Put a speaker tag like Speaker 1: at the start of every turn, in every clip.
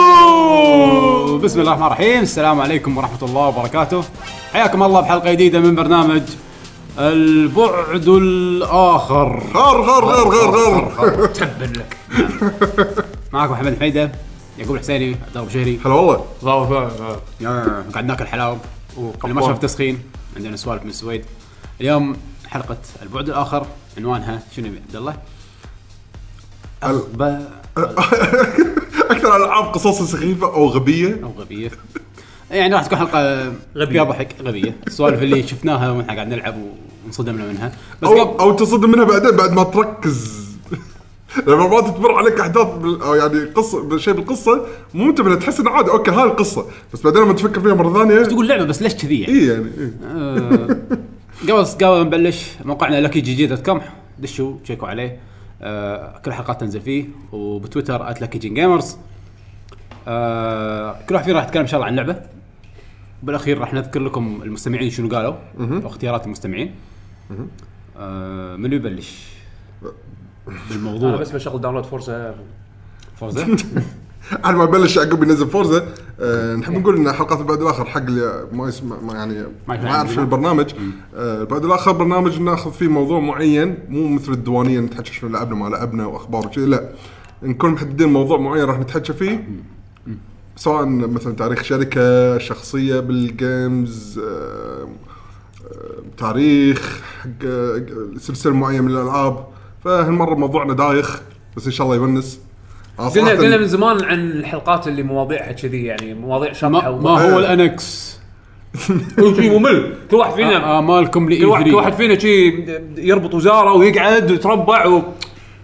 Speaker 1: أوه. بسم الله الرحمن الرحيم السلام عليكم ورحمة الله وبركاته حياكم الله بحلقة جديدة من برنامج البعد الآخر
Speaker 2: غر غر غر غر غر
Speaker 3: تبن لك
Speaker 1: معكم محمد حميدة يعقوب الحسيني عبد الله بشهري
Speaker 2: هلا والله
Speaker 1: قاعد ناكل حلاوة اللي ما شاف تسخين عندنا سوالف من السويد اليوم حلقة البعد الآخر عنوانها شنو يا عبد الله؟ أغبى
Speaker 2: اكثر العاب قصص سخيفه او غبيه
Speaker 1: او غبيه يعني راح تكون حلقه
Speaker 3: غبية.
Speaker 1: فيها ضحك غبيه السوالف اللي شفناها واحنا قاعد نلعب وانصدمنا منها بس
Speaker 2: او
Speaker 1: قبل
Speaker 2: او تصدم منها بعدين بعد ما تركز لما مرات تمر عليك احداث بال... أو يعني قصه شيء بالقصه مو منتبه تحس انه عادي اوكي هاي القصه بس بعدين لما تفكر فيها مره ثانيه
Speaker 1: تقول لعبه بس ليش كذي يعني
Speaker 2: اي يعني إيه.
Speaker 1: آه، قبل قبل ما نبلش موقعنا لكي جي جي دوت كوم دشوا تشيكوا عليه آه، كل حلقات تنزل فيه وبتويتر ات لكي جين جيمرز آه، كل واحد فينا راح يتكلم ان شاء الله عن لعبه بالاخير راح نذكر لكم المستمعين شنو قالوا واختيارات المستمعين آه، من يبلش
Speaker 3: انا
Speaker 1: بالموضوع
Speaker 3: بس بشغل داونلود فورسا
Speaker 1: فورزا
Speaker 2: على ما بلش يعقوب ينزل فورزا آه نحب نقول ان حلقات البعد الاخر حق اللي ما يسمع ما يعني
Speaker 1: ما يعرف
Speaker 2: ما يعرف شنو البرنامج آه البعد الاخر برنامج ناخذ فيه موضوع معين مو مثل الديوانيه نتحكى شنو لعبنا ما لعبنا واخبار وشي لا نكون محددين موضوع معين راح نتحكى فيه سواء مثلا تاريخ شركه شخصيه بالجيمز آه، آه، تاريخ حق آه، سلسله معينه من الالعاب فهالمره موضوعنا دايخ بس ان شاء الله يونس أنا
Speaker 3: قلنا
Speaker 2: صراحة-
Speaker 3: قلنا من زمان عن الحلقات اللي مواضيعها كذي يعني مواضيع
Speaker 1: ما,
Speaker 3: شاطحه
Speaker 1: ما هو الانكس
Speaker 3: شيء ممل كل واحد
Speaker 1: آه،
Speaker 3: فينا
Speaker 1: امالكم لاي
Speaker 3: كل واحد كل واحد
Speaker 1: 3
Speaker 3: فينا شيء يربط وزاره ويقعد ويتربع و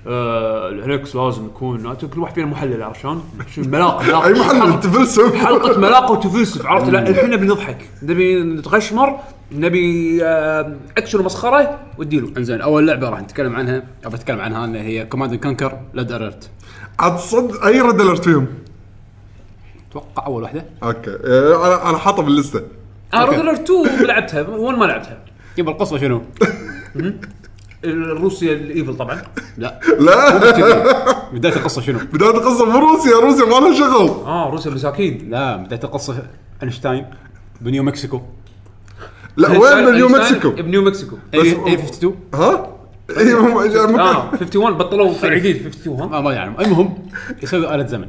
Speaker 3: آه، الهلكس لازم يكون كل واحد فينا محلل عرفت شلون؟ شو ملاق ملاق
Speaker 2: اي محل تفلسف
Speaker 3: حلقه ملاقه وتفلسف عرفت لا الحين نبي نضحك نبي نتغشمر نبي آه، اكشن ومسخره وديله
Speaker 1: انزين اول لعبه راح نتكلم عنها او بتكلم عنها اللي هي كوماند كانكر لاد الرت
Speaker 2: عاد صد اي رد الرت فيهم
Speaker 1: اتوقع اول واحده
Speaker 2: اوكي آه، انا انا حاطه باللسته
Speaker 3: انا ريد 2 لعبتها 1 ما لعبتها
Speaker 1: يبا القصه شنو؟
Speaker 3: الروسيا الايفل طبعا
Speaker 1: لا
Speaker 2: لا
Speaker 1: بدايه القصه شنو؟
Speaker 2: بدايه القصه مو روسيا روسيا ما لها شغل
Speaker 3: اه روسيا المساكين
Speaker 1: لا بدايه القصه اينشتاين بنيو مكسيكو إيه،
Speaker 2: لا وين من نيو
Speaker 3: أينشتاين
Speaker 2: مكسيكو
Speaker 3: بنيو مكسيكو
Speaker 1: اي
Speaker 2: بس-
Speaker 1: 52
Speaker 2: ها؟ اي
Speaker 1: آه.
Speaker 2: مو-
Speaker 3: اه
Speaker 2: مكان.
Speaker 3: 51 بطلوا فرعيدين 52 ها
Speaker 1: ما ما يعلم المهم يسوي آلة زمن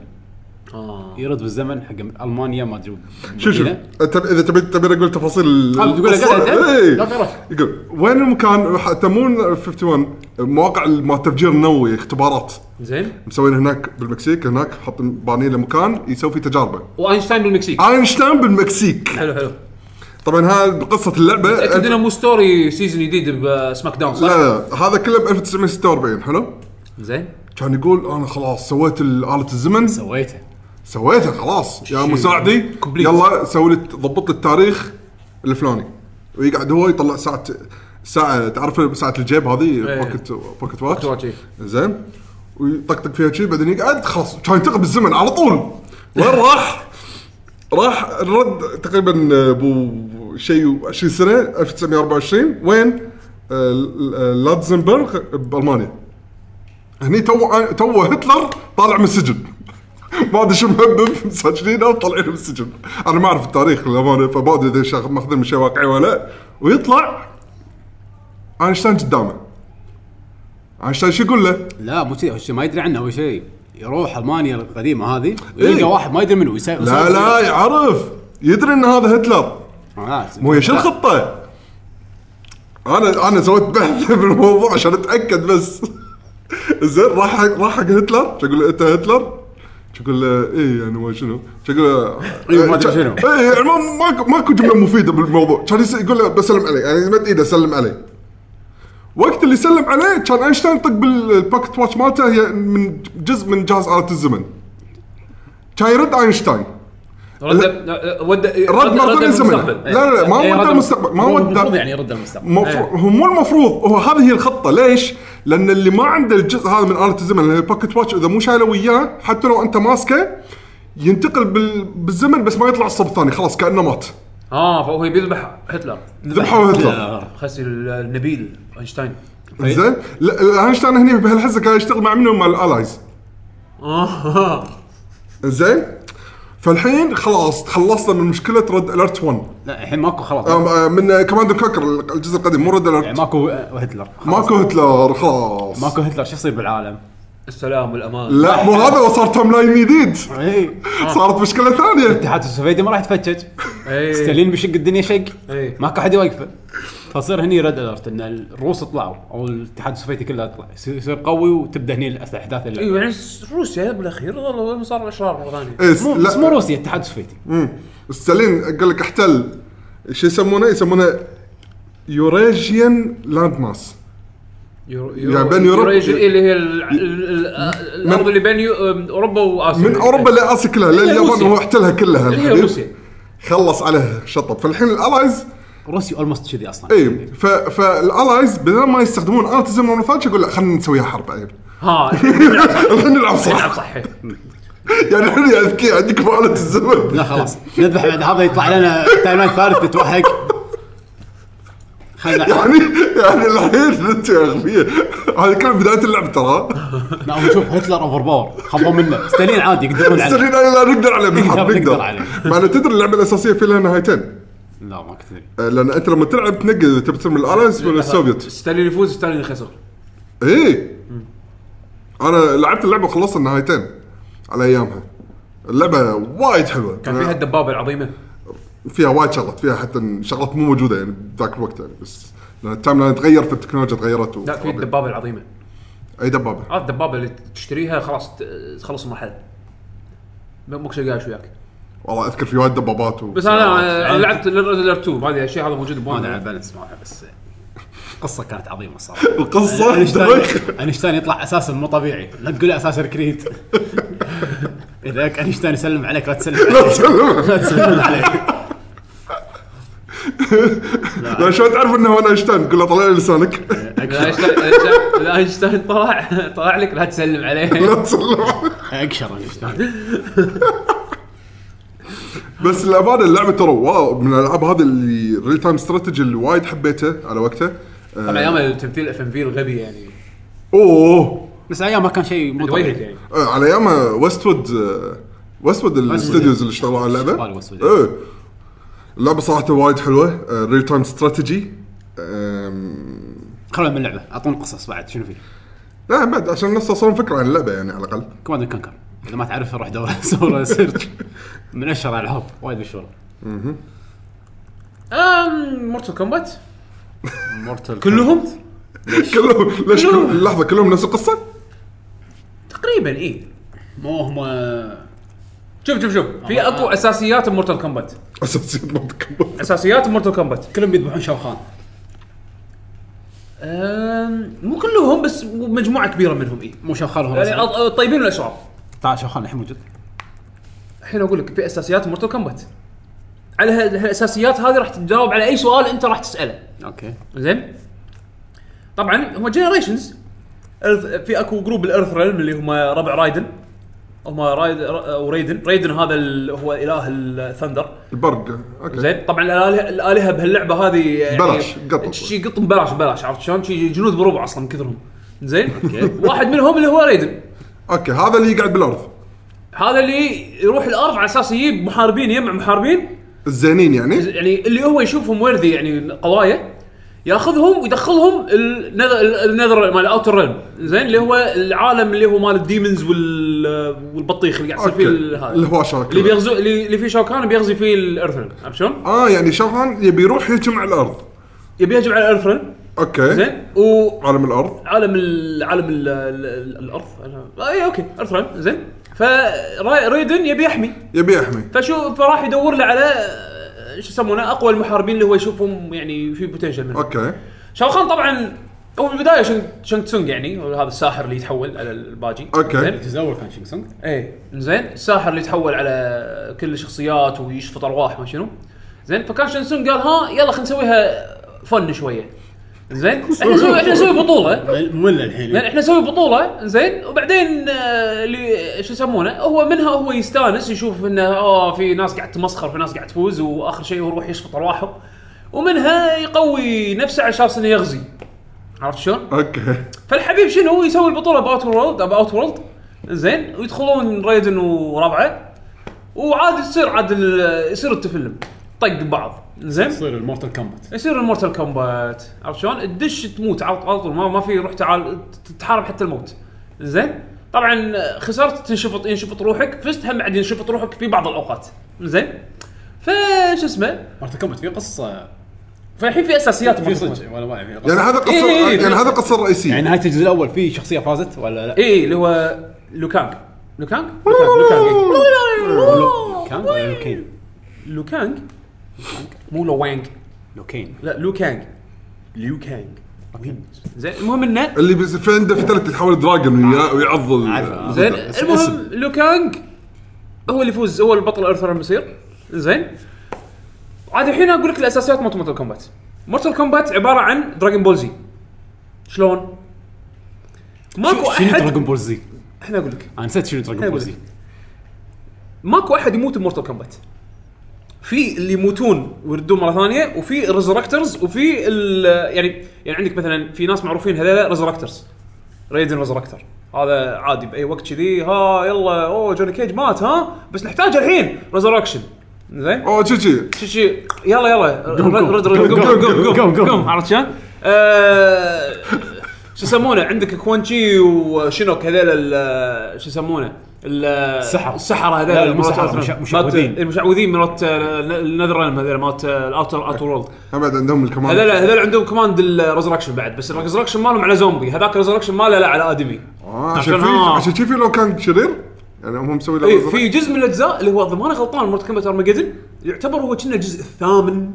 Speaker 3: اه
Speaker 1: يرد بالزمن حق المانيا ما ادري
Speaker 2: شوف شوف
Speaker 1: بالمدينة.
Speaker 2: أنت- اذا تبي تبي اقول تفاصيل
Speaker 1: إيه. آه، بتقول لك
Speaker 2: القصة.
Speaker 1: أنت؟
Speaker 2: إيه.
Speaker 1: لا تعرف.
Speaker 2: يقول وين المكان حتى مو 51 مواقع مال التفجير النووي اختبارات
Speaker 3: زين
Speaker 2: مسوين هناك بالمكسيك هناك حاط بانين له مكان يسوي فيه تجاربه
Speaker 3: واينشتاين
Speaker 2: آه.
Speaker 3: بالمكسيك
Speaker 2: اينشتاين بالمكسيك
Speaker 3: حلو حلو
Speaker 2: أه، طبعا هذا قصه اللعبه
Speaker 3: تاكد انه مو ستوري سيزون جديد بسماك داون
Speaker 2: أه. لا
Speaker 3: صح؟
Speaker 2: لا هذا كله ب 1946 حلو؟
Speaker 3: زين
Speaker 2: كان يقول انا خلاص سويت آلة الزمن
Speaker 1: سويته
Speaker 2: سويتها خلاص يا مساعدي
Speaker 3: كومبليت.
Speaker 2: يلا سوي لي ضبط لي التاريخ الفلاني ويقعد هو يطلع ساعة ساعة تعرف ساعة الجيب هذه
Speaker 3: إيه.
Speaker 2: بوكت بوكت واتش
Speaker 3: واتش، إيه.
Speaker 2: زين ويطقطق فيها شي بعدين يقعد خلاص كان ينتقل بالزمن على طول وين راح؟ راح رد تقريبا ابو شيء 20 سنة 1924 وين؟ آه، ل- آه، لاتزنبرغ بالمانيا هني تو آه، تو هتلر طالع من السجن ما ادري شو مهبب مسجنينه وطالعين من السجن انا ما اعرف التاريخ للامانه فما ادري اذا شا- ماخذين من شيء واقعي ولا لا. ويطلع اينشتاين قدامه اينشتاين شو يقول له؟
Speaker 1: لا مو كذي هو شي ما يدري عنه اول شيء يروح المانيا القديمه هذه ويلقى
Speaker 2: إيه.
Speaker 1: واحد ما يدري منو يسوي
Speaker 2: لا لا يعرف يدري ان هذا هتلر مو هي شو الخطه؟ انا انا سويت بحث بالموضوع عشان اتاكد بس زين راح حق- راح حق هتلر شو اقول له انت هتلر؟ شو اقول له ايه يعني ما شنو؟ شو اقول له
Speaker 1: إيه، ما أدري شنو.
Speaker 2: اي يعني ما- ماكو ماكو جمله مفيده بالموضوع كان يس- يقول له بسلم عليه يعني يمد ايده سلم عليه وقت اللي سلم عليه كان اينشتاين يطق بالباكت واتش مالته هي من جزء من جهاز اله الزمن كان يرد اينشتاين
Speaker 3: رد أه، ود
Speaker 2: رد مرة ثانية زمن.
Speaker 3: المستقبل.
Speaker 2: لا، لا، لا، ما
Speaker 3: إيه،
Speaker 2: هو
Speaker 3: رد
Speaker 2: ودى المستقبل، ما هو ودى-
Speaker 1: المفروض يعني يرد المستقبل
Speaker 3: إيه.
Speaker 2: مفروض هو مو المفروض هو هذه هي الخطه ليش؟ لان اللي ما عنده الجزء هذا من آلة الزمن اللي هي البوكيت واتش اذا مو شايله وياه حتى لو انت ماسكه ينتقل بال... بالزمن بس ما يطلع الصوب الثاني خلاص كانه مات
Speaker 3: اه فهو بيذبح هتلر
Speaker 2: ذبحوا هتلر
Speaker 1: لا.
Speaker 3: خسي النبيل اينشتاين
Speaker 2: زين لا، اينشتاين هني بهالحزه كان يشتغل مع منو مع الالايز
Speaker 3: آه.
Speaker 2: زين فالحين خلاص تخلصنا من مشكله ريد اليرت 1
Speaker 1: لا الحين ماكو خلاص
Speaker 2: آم، آم، أه، من كوماندو كوكر الجزء القديم مو ريد
Speaker 1: يعني
Speaker 2: اليرت
Speaker 1: ماكو آه، هتلر خلاص.
Speaker 2: ماكو هتلر خلاص
Speaker 1: ماكو هتلر شو يصير بالعالم؟
Speaker 3: السلام والامان
Speaker 2: لا مو هذا وصار تايم لاين جديد إيه.
Speaker 1: اي
Speaker 2: صارت مشكله ثانيه
Speaker 1: الاتحاد السوفيتي ما راح يتفكك
Speaker 2: إيه.
Speaker 3: إي.
Speaker 1: ستالين بيشق الدنيا شق
Speaker 3: إي.
Speaker 1: ماكو احد يوقفه فصير هني ريد الرت ان الروس طلعوا او الاتحاد السوفيتي كله طلع يصير يصير قوي وتبدا هني الاحداث اللي
Speaker 3: ايوه يعني س- روسيا بالاخير والله صار الاشرار مره ثانيه
Speaker 2: إيه،
Speaker 1: مو
Speaker 2: لا.
Speaker 1: بس مو روسيا الاتحاد السوفيتي
Speaker 2: مم. ستالين قال لك احتل شو يسمونه يسمونه يوريجيان لاند ماس
Speaker 3: يورو
Speaker 2: يعني بين يوروب-
Speaker 3: يوريجيا، إيه، اللي هي ال- ال- ال- الارض اللي بين يو- أم، اوروبا واسيا
Speaker 2: من اوروبا لاسيا كلها
Speaker 3: إلا
Speaker 2: لليابان
Speaker 3: إيه. روسيا.
Speaker 2: هو احتلها كلها
Speaker 3: اللي هي
Speaker 2: الحبيب.
Speaker 3: روسيا
Speaker 2: خلص عليها شطب فالحين الالايز
Speaker 1: روسيا اولموست كذي اصلا
Speaker 2: اي ف... فالالايز بدل ما يستخدمون ارتزم ومفاتش يقول لا خلينا نسويها حرب عيب
Speaker 3: ها
Speaker 2: خلينا نلعب
Speaker 3: نعم
Speaker 2: صح
Speaker 3: صح
Speaker 2: يعني احنا يا اذكياء عندك مهاره الزمن
Speaker 1: لا خلاص نذبح بعد هذا يطلع لنا تايم لاين ثالث نتوهق خلينا
Speaker 2: يعني يعني الحين انت يا اغبياء هذا كان بدايه اللعب ترى
Speaker 1: لا هو شوف هتلر اوفر باور خبوا منه ستالين عادي يقدرون
Speaker 3: يعني
Speaker 1: عليه
Speaker 2: مستنيين لا نقدر عليه بالحرب
Speaker 1: نقدر
Speaker 2: نقدر
Speaker 1: عليه.
Speaker 2: مع انه تدري اللعبه الاساسيه في لها نهايتين
Speaker 1: لا ما كنت ادري
Speaker 2: آه، لان انت لما تلعب تنقل إذا تبي تصير من الالاينس ولا السوفيت
Speaker 3: ستالين يفوز ستالين يخسر
Speaker 2: اي انا لعبت اللعبه وخلصت النهايتين على ايامها اللعبه وايد حلوه
Speaker 3: كان فيها الدبابه العظيمه
Speaker 2: فيها وايد شغلات فيها حتى شغلات مو موجوده يعني بذاك الوقت يعني بس لان التايم لاين تغير فالتكنولوجيا تغيرت و...
Speaker 3: لا في الدبابه العظيمه
Speaker 2: اي دبابه
Speaker 3: عرفت الدبابه اللي تشتريها خلاص ت- تخلص المرحله ما- ماك شيء قاش وياك
Speaker 2: والله اذكر في وايد دبابات و...
Speaker 3: بس انا
Speaker 2: آه،
Speaker 3: أنا آه، لعبت لعبت 2 ما ادري الشيء هذا موجود
Speaker 1: ما ادري
Speaker 3: بوانا
Speaker 1: على البالانس معها بس القصه كانت عظيمه صراحه
Speaker 2: القصه دقيقة.
Speaker 1: اينشتاين اينشتاين يطلع اساسا مو طبيعي لا تقول اساسا كريد اذا اينشتاين يسلم عليك لا تسلم
Speaker 2: لا
Speaker 1: عليه
Speaker 2: تسلم.
Speaker 1: لا تسلم عليه
Speaker 2: لا شلون تعرف انه انا ايشتاين قول له طلع لي لسانك
Speaker 3: لاينشتاين- لاينشتاين- لاينشتاين طلع طلع لك لا تسلم عليه
Speaker 2: لا تسلم
Speaker 1: اقشر اينشتاين
Speaker 2: بس الامانه اللعبه ترى واو من الالعاب هذه اللي ريل تايم استراتيجي اللي وايد حبيته على وقته آه،
Speaker 3: طبعا ايام التمثيل اف ام في الغبي يعني
Speaker 2: اوه
Speaker 1: بس ايام ما كان شيء مو
Speaker 3: دويهد
Speaker 1: طبيعي
Speaker 3: يعني
Speaker 2: آه، على أه، ايام ويستفود ويستفود
Speaker 3: إيه.
Speaker 2: الاستوديوز اللي اشتغلوا على
Speaker 1: اشتغلوا على Westwood.
Speaker 2: اللعبه ايه اللعبه صراحه وايد أه، حلوه ريل تايم استراتيجي
Speaker 1: خلونا من اللعبه اعطونا قصص بعد شنو فيه
Speaker 2: لا بعد عشان الناس صار فكره عن اللعبه يعني على الاقل
Speaker 1: كوماند كانكر اذا ما تعرفها روح دور سوى سيرش من اشهر الالعاب وايد مشهوره
Speaker 3: ام مورتال كومبات
Speaker 1: مورتل
Speaker 3: كلهم
Speaker 2: كلهم ليش كلهم لحظه كلهم نفس القصه؟
Speaker 3: تقريبا اي
Speaker 1: مو هم
Speaker 3: إيه. شوف شوف شوف في اكو اساسيات مورتال كومبات
Speaker 2: اساسيات ما تكبر
Speaker 3: اساسيات مورتال كومبات
Speaker 1: كلهم بيذبحون شاوخان
Speaker 3: أم، مو كلهم بس مجموعه كبيره منهم اي
Speaker 1: مو شاوخان هو
Speaker 3: يعني
Speaker 1: الأسد.
Speaker 3: أط- الطيبين والاشرار
Speaker 1: تعال شاوخان الحين موجود
Speaker 3: الحين اقول لك في اساسيات مورتال كومبات على ه- هالاساسيات هذه راح تجاوب على اي سؤال انت راح تساله
Speaker 1: اوكي
Speaker 3: زين طبعا هم جنريشنز في اكو جروب الارث ريلم اللي هم ربع رايدن هم رايد وريدن ريدن هذا ال- هو اله الثندر
Speaker 2: البرق اوكي
Speaker 3: زين طبعا الالهه الالهه بهاللعبه هذه يعني
Speaker 2: بلاش، قط.
Speaker 3: شي قط ببلاش ببلاش عرفت شلون؟ شي جنود بربع اصلا من كثرهم زين واحد منهم اللي هو ريدن
Speaker 2: اوكي هذا اللي يقعد بالارض
Speaker 3: هذا اللي يروح الارض على اساس يجيب محاربين يجمع محاربين
Speaker 2: الزينين يعني
Speaker 3: يعني اللي هو يشوفهم ورثي يعني قوايا ياخذهم ويدخلهم النذر النذر مال الاوتر ريلم زين اللي هو العالم اللي هو مال الديمونز وال والبطيخ اللي قاعد يصير فيه
Speaker 2: اوكي
Speaker 3: ال- هذا
Speaker 2: الهواشة
Speaker 3: اللي بيغزو اللي اللي فيه شوكان بيغزي فيه الارثرن عرفت شلون؟
Speaker 2: اه يعني شوفان يبي يروح يجمع الارض
Speaker 3: يبي يهجم على الارثرن
Speaker 2: اوكي
Speaker 3: زين و
Speaker 2: عالم الارض
Speaker 3: عالم ال عالم ال ال ال آه، إيه، الارض انا اي اوكي ارث ران زين فريدن يبي يحمي
Speaker 2: يبي يحمي
Speaker 3: فشو فراح يدور له على آه، شو يسمونه اقوى المحاربين اللي هو يشوفهم يعني في بوتنشل منهم
Speaker 2: اوكي
Speaker 3: شاوخان طبعا هو بالبدايه شنك شنك تسونج يعني هو هذا الساحر اللي يتحول على الباجي
Speaker 2: أوكي.
Speaker 3: زين
Speaker 1: الجزء الاول كان شينغ سونغ
Speaker 3: ايه زين الساحر اللي يتحول على كل الشخصيات ويشفط ارواح ما شنو زين فكان شنسون قال ها يلا خلينا نسويها فن شويه زين احنا نسوي احنا نسوي بطوله
Speaker 1: ممل الحين
Speaker 3: لان احنا نسوي بطوله زين وبعدين آه، اللي شو يسمونه هو منها هو يستانس يشوف انه اه في ناس قاعد تمسخر في ناس قاعد تفوز واخر شيء هو يروح يشفط ارواحهم ومنها يقوي نفسه على اساس انه يغزي عرفت شلون؟
Speaker 2: اوكي
Speaker 3: فالحبيب شنو يسوي البطوله باوت وورلد باوت وورلد زين ويدخلون ريدن وربعه وعاد تصير عاد ال- يصير التفلم طق بعض زين
Speaker 1: يصير المورتال كومبات
Speaker 3: يصير المورتال كومبات عرفت شلون؟ تدش تموت على على طول ما, ما في روح تعال تتحارب حتى الموت زين؟ طبعا خسرت تنشفط ينشفط روحك فزت هم بعد ينشفط روحك في بعض الاوقات زين؟ فش اسمه؟
Speaker 1: مورتال كومبات في قصه
Speaker 3: فالحين في اساسيات
Speaker 1: في
Speaker 3: مرة.
Speaker 1: صدق ولا ما في
Speaker 2: يعني
Speaker 1: قصه
Speaker 2: هذا قصه
Speaker 3: إيه، إيه، إيه.
Speaker 2: يعني هذا القصه
Speaker 1: يعني
Speaker 2: الرئيسيه
Speaker 1: نهايه الجزء الاول في شخصيه فازت ولا لا؟
Speaker 3: اي إيه، اللي هو لوكانج لوكانج؟ لوكانج
Speaker 1: لو- كان ولا لوكين؟
Speaker 3: لوكانج مو لوانج
Speaker 1: لوكين
Speaker 3: لا لوكانج لوكانج زين المهم انه
Speaker 2: اللي بس في عنده فتره تتحول دراجون ويا- ويعض ال-
Speaker 1: عارفه.
Speaker 3: زين
Speaker 1: بس-
Speaker 3: المهم
Speaker 1: اسم.
Speaker 3: لوكانج هو اللي يفوز هو البطل ارثر المسير زين عاد الحين اقول لك الاساسيات مالت مورتال كومبات مورتال كومبات عباره عن دراجون بول زي شلون؟ ماكو
Speaker 1: شنو
Speaker 3: احد
Speaker 1: دراجون بول زي؟
Speaker 3: احنا اقول لك
Speaker 1: انا نسيت شنو دراجون
Speaker 3: أنا
Speaker 1: بول
Speaker 3: أقول
Speaker 1: زي
Speaker 3: لك. ماكو احد يموت بمورتال كومبات في اللي يموتون ويردون مره ثانيه وفي ريزركترز وفي ال- يعني يعني عندك مثلا في ناس معروفين هذول ريزركترز ريدن ريزركتر هذا عادي باي وقت كذي ها يلا اوه جوني كيج مات ها بس نحتاج الحين ريزركشن زين
Speaker 2: اوه شي شي
Speaker 3: شي شي يلا يلا
Speaker 1: قوم، قوم. قوم، قوم، قوم، قوم.
Speaker 3: قوم عرفت شلون؟ آه، شو يسمونه عندك كوانشي وشنوك هذيل ال- شو يسمونه ال-
Speaker 1: السحر.
Speaker 3: السحره هذيل
Speaker 1: لا، لا، مو
Speaker 3: مالت-
Speaker 1: سحرة، مش-
Speaker 3: مالت-
Speaker 1: مشعوذين.
Speaker 3: المشعوذين مالت النذر هذول مالت الاوتر اوتر وورلد
Speaker 2: هم بعد عندهم الكمان
Speaker 3: هذول هذول عندهم كوماند الريزركشن بعد بس الريزركشن مالهم على زومبي هذاك الريزركشن ماله لا على ادمي
Speaker 2: آه، عشان
Speaker 3: عشان-
Speaker 2: في
Speaker 3: آه.
Speaker 2: عشان شي في لو كان شرير يعني هم مسوي له
Speaker 3: اي
Speaker 2: رزق.
Speaker 3: إيه، في جزء من الاجزاء اللي هو اذا ماني غلطان مورت كومبات ارمجدن يعتبر هو كنا الجزء الثامن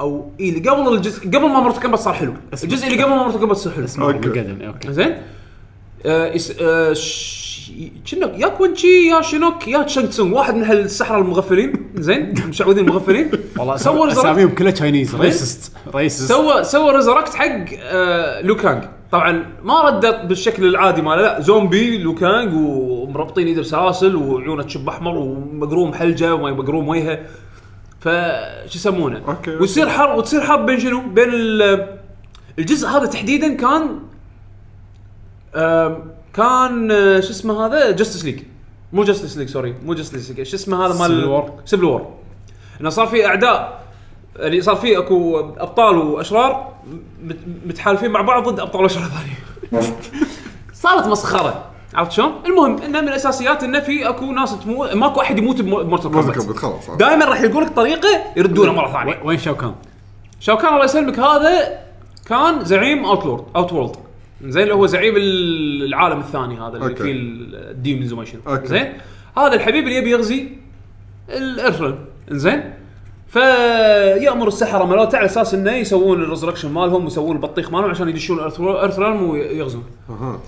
Speaker 3: او اي اللي قبل الجزء قبل ما مورت كومبات صار حلو الجزء اللي قبل ما مورت كومبات صار حلو
Speaker 2: أوكي.
Speaker 1: قدم اوكي
Speaker 3: زين آه، يس- آه، ش- شنوك يا كونشي يا شينوك يا تشانغ تسونغ واحد من هالسحره المغفلين زين المشعوذين المغفلين والله سوى ريزركت
Speaker 1: اساميهم كلها تشاينيز ريسست ريسست
Speaker 3: سوى سوى ريزركت حق آه، لوكانج طبعا ما ردت بالشكل العادي ماله لا زومبي لوكانج ومربطين ايده بسلاسل وعيونه تشب احمر ومقروم حلجه ومقروم وجهه ف شو يسمونه
Speaker 2: أوكي، أوكي.
Speaker 3: ويصير حرب وتصير حرب بين شنو؟ بين ال- الجزء هذا تحديدا كان آم، كان آه، شو اسمه هذا جاستس ليج مو جاستس ليج سوري مو جاستس ليج شو اسمه هذا مال
Speaker 1: Civil War.
Speaker 3: سيفل وور انه صار في اعداء اللي يعني صار في اكو ابطال واشرار مت- متحالفين مع بعض ضد ابطال واشرار ثانيين صارت مسخره عرفت شلون؟ المهم انه من الاساسيات انه في اكو ناس تموت ماكو احد يموت بمورتال
Speaker 2: رزق
Speaker 3: كومبات
Speaker 2: أبد، خلاص آه.
Speaker 3: دائما راح يقول لك طريقه يردونه مره ثانيه
Speaker 1: وين- وين شاو كان؟
Speaker 3: شاوكان الله يسلمك هذا كان زعيم اوتلورد اوت وورلد زين اللي هو زعيم ال- العالم الثاني هذا اللي
Speaker 2: أوكي.
Speaker 3: فيه ال- الديمونز وما شنو
Speaker 2: أوكي.
Speaker 3: زين هذا الحبيب اللي يبي يغزي الارثرن زين فيامر السحره مالته على اساس انه يسوون الريزركشن مالهم ويسوون البطيخ مالهم عشان يدشون الارثرن ويغزون
Speaker 2: أها.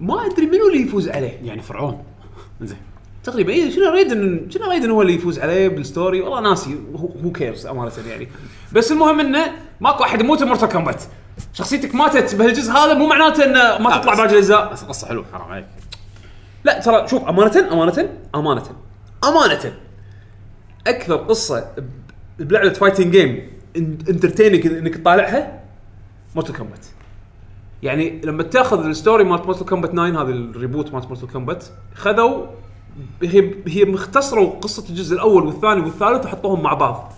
Speaker 3: ما ادري منو اللي يفوز عليه
Speaker 1: يعني فرعون زين
Speaker 3: تقريبا اي إيه، شنو ريدن شنو ريدن هو اللي يفوز عليه بالستوري والله ناسي هو كيرز امانه يعني بس المهم انه ماكو احد يموت بمورتال كومبات شخصيتك ماتت بهالجزء هذا مو معناته انه ما تطلع باقي الاجزاء
Speaker 1: بس قصه حلوه حرام عليك
Speaker 3: لا ترى شوف امانه امانه امانه امانه اكثر قصه ب- بلعبه فايتنج جيم انترتينك انك تطالعها مورتال كومبات يعني لما تاخذ الستوري مالت مورتال كومبات 9 هذه الريبوت مالت مورتال كومبات خذوا هي هي مختصره قصه الجزء الاول والثاني والثالث وحطوهم مع بعض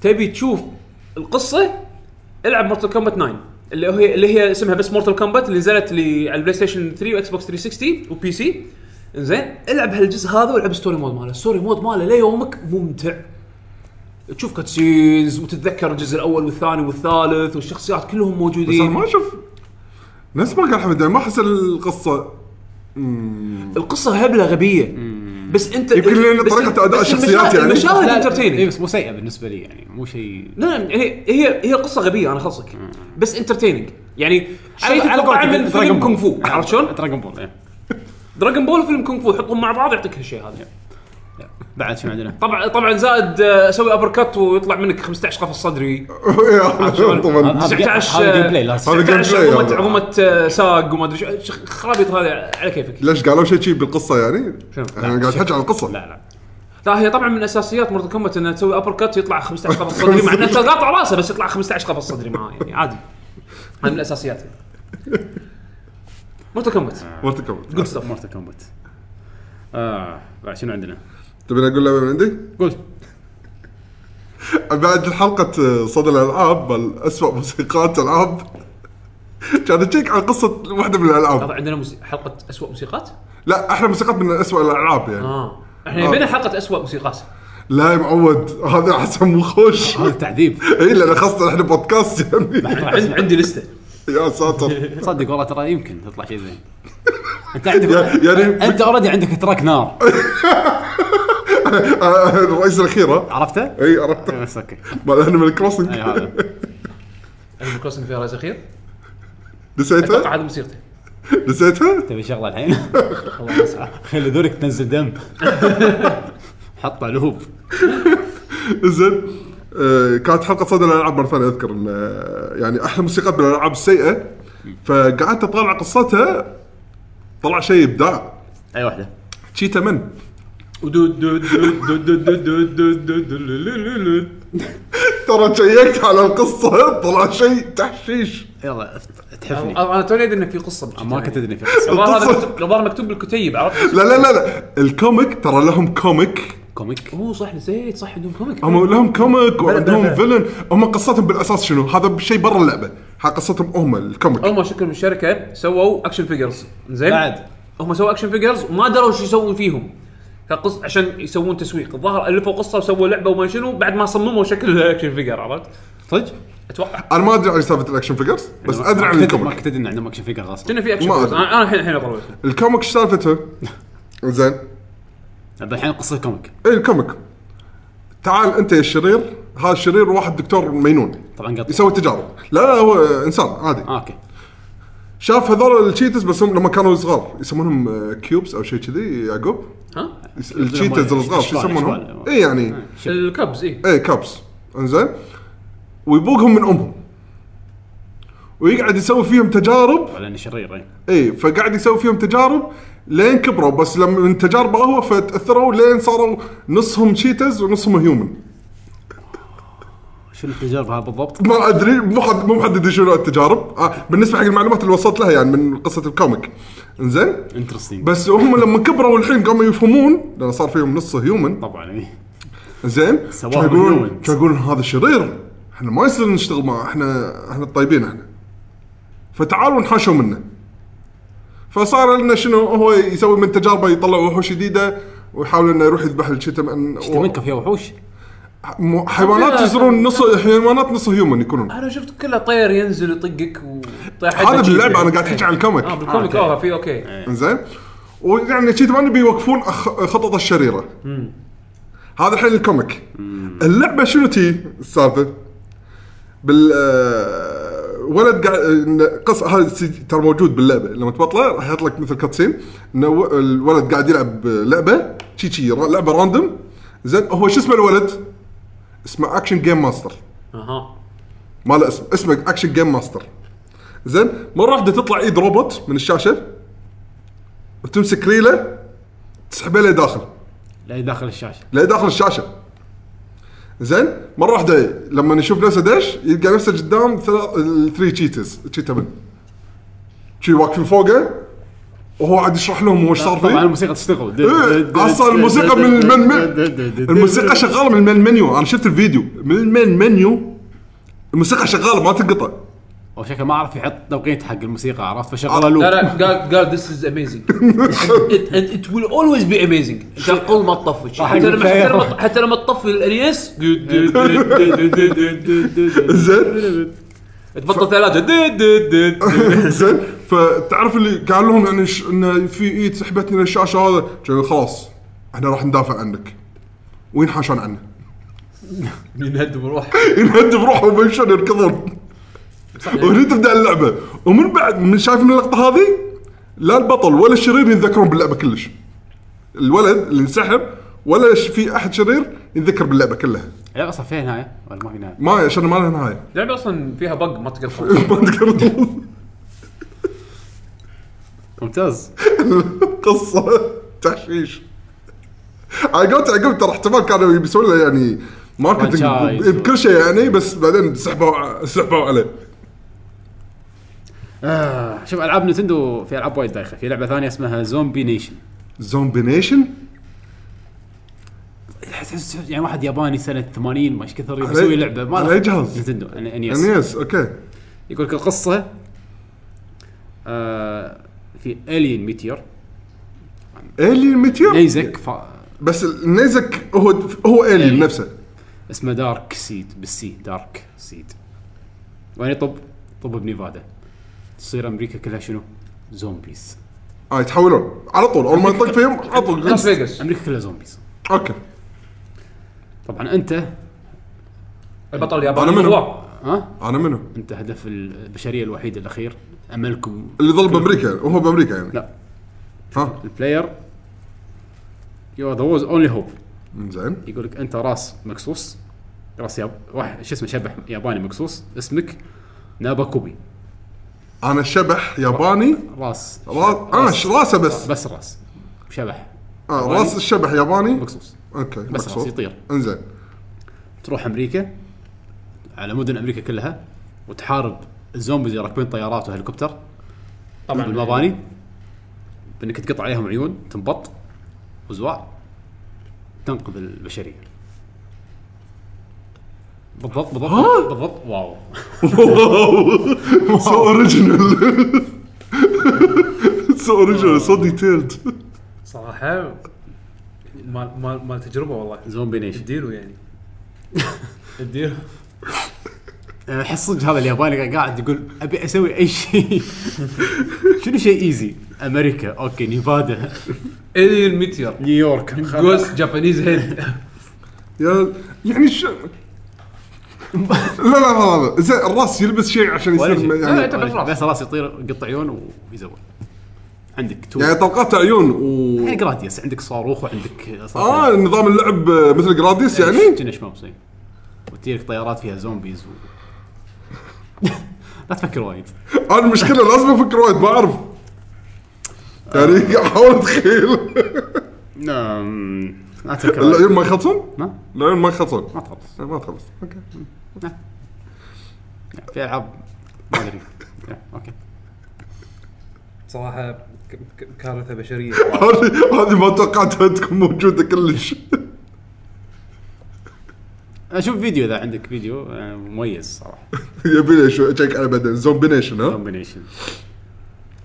Speaker 3: تبي تشوف القصه العب مورتال كومبات 9 اللي هي اللي هي اسمها بس مورتال كومبات اللي نزلت لي على البلاي ستيشن 3 واكس بوكس 360 وبي سي زين العب هالجزء هذا والعب ستوري مود ماله ستوري مود ماله ليومك ممتع تشوف كاتسينز وتتذكر الجزء الاول والثاني والثالث والشخصيات كلهم
Speaker 2: بس انا
Speaker 3: موجودين
Speaker 2: ما اشوف نفس ما قال حمد يعني ما احس القصه
Speaker 3: القصه هبله غبيه بس انت
Speaker 2: يمكن لأن طريقة أداء الشخصيات يعني.
Speaker 3: المشاهد
Speaker 1: لا، إيه،
Speaker 3: انترتيننج
Speaker 1: بس مو سيئه بالنسبه لي يعني مو شيء
Speaker 3: لا لا، هي هي هي قصه غبيه انا خلصك بس انترتيننج يعني شيء تتوقع من فيلم كونغ فو عرفت شلون؟
Speaker 1: دراجون بول إيه.
Speaker 3: دراجون بول وفيلم كونغ فو يحطهم مع بعض يعطيك هالشيء هذا
Speaker 1: بعد شنو عندنا؟
Speaker 3: طبعا طبعا زائد آه، اسوي ابر كت ويطلع منك 15 قفص صدري شلون؟
Speaker 2: طبعا
Speaker 1: هذا-
Speaker 3: 19
Speaker 1: هذا جيم
Speaker 3: آه،
Speaker 1: بلاي لازم.
Speaker 2: هذا جيم
Speaker 3: 19
Speaker 2: بلاي
Speaker 3: عظمه
Speaker 2: هذا.
Speaker 3: عظمه آه، ساق وما ادري شو- شو خرابيط هذا على كيفك
Speaker 2: ليش قالوا شيء شي بالقصه يعني؟
Speaker 3: شنو؟
Speaker 2: انا قاعد احكي عن القصه
Speaker 1: لا لا
Speaker 3: لا هي طبعا من اساسيات مورتال كومبات انها تسوي ابر كت يطلع 15 قفص صدري مع انه قاطع راسه بس يطلع 15 قفص صدري معاه يعني عادي هذه من الاساسيات مورتال كومبات
Speaker 2: مورتل
Speaker 3: جود
Speaker 2: كومبات
Speaker 3: ستاف
Speaker 1: مورتال كومبات اه بعد شنو عندنا؟
Speaker 2: تبي اقول لعبه من عندي؟
Speaker 1: قول
Speaker 2: بعد حلقة صدى الألعاب بل أسوأ موسيقات ألعاب كان تشيك عن قصة واحدة من الألعاب
Speaker 3: هذا عندنا موسي- حلقه اسوء موسيقات
Speaker 2: لا احنا موسيقات من أسوأ الألعاب يعني
Speaker 3: اه
Speaker 1: آه.
Speaker 3: احنا بينا حلقه اسوء موسيقات
Speaker 2: لا يا معود هذا حسن مو خوش
Speaker 1: هذا تعذيب
Speaker 2: اي لان خاصة احنا بودكاست يعني
Speaker 3: ترى عندي عندي لسته
Speaker 2: يا ساتر
Speaker 1: صدق والله ترى يمكن تطلع شيء زين انت عندك
Speaker 2: يعني-
Speaker 1: انت اوريدي عندك تراك نار
Speaker 2: آه، الرئيس الأخيرة
Speaker 1: عرفته؟
Speaker 3: إيه.
Speaker 2: اي عرفت
Speaker 1: بس اوكي
Speaker 2: مال انيمال كروسنج
Speaker 1: اي آه. هذا
Speaker 3: انيمال كروسنج فيها رايز اخير اتوقع
Speaker 2: نسيتها؟
Speaker 3: هذه موسيقته
Speaker 2: نسيتها؟
Speaker 1: تبي شغله الحين
Speaker 3: الله يسعدك.
Speaker 1: خلي ذولك تنزل دم حطه لهوب
Speaker 2: زين آه، كانت حلقه صدى الالعاب مره ثانيه اذكر ان آه، يعني احلى موسيقات بالالعاب السيئه فقعدت اطالع قصتها طلع شيء ابداع
Speaker 1: اي واحده
Speaker 2: تشيتا من
Speaker 3: ودود دود دود دود دود دود دود دود دود دود دود.
Speaker 2: ترى شيكت على القصه طلع شيء تحشيش
Speaker 1: يلا افت- تحفني
Speaker 3: انا توني ادري ان في قصه بجد.
Speaker 1: ما كنت ادري في قصة.
Speaker 3: لو ظهر هذا
Speaker 2: القصة.
Speaker 3: مكتوب- لو ظهر مكتوب بالكتيب عرفت
Speaker 2: لا لا لا لا الكوميك ترى لهم كوميك
Speaker 1: كوميك
Speaker 3: هو صح نسيت صح عندهم كوميك
Speaker 2: هم لهم كوميك وعندهم
Speaker 3: بلى.
Speaker 2: فيلن هم قصتهم بالاساس شنو هذا شيء برا اللعبه ها قصتهم هم الكوميك
Speaker 3: هم شكرا من الشركه سووا اكشن فيجرز زين
Speaker 1: بعد.
Speaker 3: هم سووا اكشن فيجرز وما دروا شو يسوون فيهم كقص عشان يسوون تسويق الظاهر الفوا قصه وسووا لعبه وما شنو بعد ما صمموا شكل الاكشن فيجر عرفت
Speaker 1: صدق؟
Speaker 3: اتوقع
Speaker 2: انا ما ادري عن سالفه الاكشن فيجرز بس
Speaker 1: ما-
Speaker 2: ادري
Speaker 1: ما
Speaker 2: عن
Speaker 1: كنت- ما
Speaker 2: الكوميك
Speaker 1: كنت ادري ان عندهم اكشن فيجر غصب
Speaker 3: كنا في اكشن
Speaker 2: ما
Speaker 3: فيجرز
Speaker 2: أدري.
Speaker 3: انا أنا آه، الحين الحين اطلع
Speaker 2: الكوميك ايش سالفته؟ زين
Speaker 1: هذا الحين قصه كوميك
Speaker 2: اي الكوميك إيه، تعال انت يا الشرير هذا الشرير واحد دكتور مجنون
Speaker 1: طبعا قط
Speaker 2: يسوي تجارب لا لا هو انسان عادي
Speaker 1: آه اوكي
Speaker 2: شاف هذول التشيتس بس هم لما كانوا صغار يسمونهم آه، كيوبس او شيء كذي يعقوب
Speaker 3: ها
Speaker 2: يس- التشيتس الصغار شو
Speaker 1: أشبال-
Speaker 2: يسمونهم؟
Speaker 1: أشبال.
Speaker 2: اي يعني
Speaker 1: إيه.
Speaker 3: الكابز اي
Speaker 2: اي كابس انزين ويبوقهم من امهم ويقعد يسوي فيهم تجارب
Speaker 1: ولا انه شرير إيه.
Speaker 2: اي فقاعد يسوي فيهم تجارب لين كبروا بس لما من تجاربه هو فتاثروا لين صاروا نصهم شيتز ونصهم هيومن
Speaker 1: شنو التجارب هذا بالضبط؟
Speaker 2: ما ادري مو حد مو محدد شنو التجارب آه بالنسبه حق المعلومات اللي وصلت لها يعني من قصه الكوميك انزين
Speaker 1: انترستنج
Speaker 2: بس هم لما كبروا الحين قاموا يفهمون لان صار فيهم نص هيومن
Speaker 1: طبعا إيه.
Speaker 2: زين
Speaker 1: سواهم
Speaker 2: كانوا يقولون
Speaker 1: humans.
Speaker 2: كانوا يقولون هذا شرير احنا ما يصير نشتغل معه احنا احنا الطيبين احنا فتعالوا نحاشوا منه فصار لنا شنو هو يسوي من تجاربه يطلع وحوش جديده ويحاول انه يروح يذبح الشتم ان
Speaker 1: تمنك فيها وحوش
Speaker 2: م- حيوانات يصيرون نص حيوانات نص هيومن يكونون
Speaker 3: انا شفت كله طير ينزل يطقك وطيح
Speaker 2: هذا باللعبه انا قاعد احكي عن الكوميك آه،
Speaker 3: اه بالكوميك اه في اوكي
Speaker 2: انزين ويعني شي ما نبي يوقفون أخ- خطط الشريره هذا الحين الكوميك اللعبه شنو تي السالفه بال آه، ولد قاعد إن قص هذا السي- ترى موجود باللعبه لما تبطله راح يحط لك مثل كاتسين انه و- الولد قاعد يلعب لعبه شي شي را- لعبه راندوم زين هو شو اسمه الولد؟ اسمه اكشن جيم ماستر
Speaker 3: اها
Speaker 2: ما له اسم اسمه اكشن جيم ماستر زين مره واحده تطلع ايد روبوت من الشاشه وتمسك ريله تسحبه له داخل
Speaker 1: لا داخل الشاشه
Speaker 2: لا داخل الشاشه زين مره واحده لما نشوف نفسه دش يلقى نفسه قدام ثري تشيتز تشيتا من شي واقفين فوقه وهو قاعد يشرح لهم هو ايش صار
Speaker 1: طبعا
Speaker 2: فيه
Speaker 1: الموسيقى تشتغل
Speaker 2: إيه، اصلا الموسيقى من المن من- الموسيقى شغاله من المن منيو انا شفت الفيديو من المن منيو الموسيقى شغاله ما تنقطع
Speaker 1: هو شكله ما عرف يحط توقيت حق الموسيقى عرفت فشغله
Speaker 3: لا
Speaker 1: لوب
Speaker 3: لا قال قال ذيس از اميزنج ات ويل اولويز بي اميزنج كل ما تطفش
Speaker 1: راح
Speaker 3: حتى
Speaker 1: يقول
Speaker 3: لما حتى
Speaker 1: فيها.
Speaker 3: لما- حتى لما تطفي الالياس
Speaker 2: زين
Speaker 3: تبطل ثلاجه دد دد دد.
Speaker 2: زين فتعرف اللي قال لهم يعني ش... انه في ايد سحبتني للشاشه هذا قالوا خلاص احنا راح ندافع عنك وينحاشون عنه
Speaker 3: ينهد بروح
Speaker 2: ينهد بروحه وبيمشون يركضون
Speaker 3: إيه.
Speaker 2: وهنا تبدا اللعبه ومن بعد من شايف من اللقطه هذه لا البطل ولا الشرير يتذكرون باللعبه كلش الولد اللي انسحب ولا ش- في احد شرير يتذكر باللعبه كلها
Speaker 1: لا اصلا فيها نهايه ولا ما في نهايه
Speaker 2: ما عشان ما لها نهايه
Speaker 3: اللعبه اصلا فيها بق ما تقدر تخلص.
Speaker 2: ما تقدر تخلص
Speaker 1: ممتاز
Speaker 2: قصه تحشيش على قولت عقب ترى احتمال كانوا يبيسون له يعني ماركتنج
Speaker 1: Franchise.
Speaker 2: بكل شيء يعني بس بعدين سحبوا سحبوا عليه
Speaker 1: آه شوف العاب نتندو في العاب وايد دايخه في لعبه ثانيه اسمها زومبي نيشن
Speaker 2: زومبي نيشن
Speaker 1: تحس يعني واحد ياباني سنه 80 ما ايش كثر يبي يسوي لعبه ما يعني
Speaker 2: على أي جهاز؟ E
Speaker 1: نتندو ان اس
Speaker 2: انيس اوكي
Speaker 1: E يقول لك القصه آه في الين ميتير
Speaker 2: الين ميتير
Speaker 1: نيزك فا-
Speaker 2: بس النيزك هو هو الين نفسه
Speaker 1: اسمه دارك سيد بالسي دارك سيد وين يطب؟ طب بنيفادا تصير امريكا كلها شنو؟ زومبيز
Speaker 2: اه يتحولون على طول اول ما يطق فيهم على طول
Speaker 3: لاس فيغاس
Speaker 1: امريكا كلها زومبيز
Speaker 2: اوكي
Speaker 1: طبعا انت
Speaker 3: البطل الياباني
Speaker 2: أنا منو؟
Speaker 3: هو.
Speaker 1: ها
Speaker 2: انا منو؟
Speaker 1: انت هدف البشريه الوحيد الاخير املكم
Speaker 2: اللي ظل بامريكا وهو بامريكا يعني
Speaker 1: لا
Speaker 2: ها
Speaker 1: البلاير يو ذا ووز اونلي هوب
Speaker 2: زين
Speaker 1: يقول لك انت راس مقصوص راس ياب... واحد شو اسمه شبح ياباني مقصوص اسمك ناباكوبي
Speaker 2: انا شبح ياباني
Speaker 1: راس
Speaker 2: راس اه ش- راسه بس
Speaker 1: بس راس شبح
Speaker 2: اه راس الشبح ياباني
Speaker 1: مقصوص
Speaker 2: اوكي
Speaker 1: بس
Speaker 2: مقصود.
Speaker 1: راس يطير
Speaker 2: انزين
Speaker 1: تروح امريكا على مدن امريكا كلها وتحارب الزومبيز اللي راكبين طيارات وهليكوبتر
Speaker 3: طبعا
Speaker 1: بالمباني بانك تقطع عليهم عيون تنبط وزواع تنقذ البشريه بالضبط بالضبط بالضبط واو
Speaker 2: سو اوريجينال سو اوريجينال سو ديتيلد
Speaker 3: صراحه مال مال مال تجربه والله
Speaker 1: زومبي نيشن
Speaker 3: اديله يعني اديله
Speaker 1: احس أه، صدق هذا الياباني قاعد يقول ابي اسوي اي شيء شنو شيء ايزي امريكا اوكي نيفادا
Speaker 3: الين ميتير
Speaker 1: نيويورك
Speaker 3: جوست جابانيز هيد
Speaker 2: يا يعني شو لا لا لا لا زين الراس يلبس شيء عشان
Speaker 1: ولا
Speaker 2: يصير
Speaker 1: شيء.
Speaker 2: يعني
Speaker 3: أنت بس راس.
Speaker 1: بس راس يطير قط عيون ويزول عندك تو
Speaker 2: يعني طلقات عيون و
Speaker 1: يعني جراديوس عندك صاروخ وعندك
Speaker 2: اه نظام اللعب مثل جراديس يعني
Speaker 1: كنا شمبس إي. وتجيك طيارات فيها زومبيز و... لا تفكر وايد
Speaker 2: انا المشكله لازم افكر وايد ما اعرف يعني
Speaker 1: آه.
Speaker 2: قاعد احاول اتخيل
Speaker 1: لا أمم، لا تفكر وايد.
Speaker 2: العيون ما يخلصون؟
Speaker 1: ما
Speaker 2: العيون ما يخلصون إيه،
Speaker 1: ما تخلص
Speaker 2: ما تخلص اوكي
Speaker 1: يعني في العاب ما ادري يعني، اوكي
Speaker 3: صراحه ك- ك- كارثه بشريه
Speaker 2: هذه هذه ما توقعتها تكون موجوده كلش
Speaker 1: اشوف فيديو اذا عندك فيديو يعني مميز صراحه
Speaker 2: يبي لي شوي اتشيك على بعدين زومبي نيشن
Speaker 1: طيب.
Speaker 2: ها
Speaker 1: كومبينيشن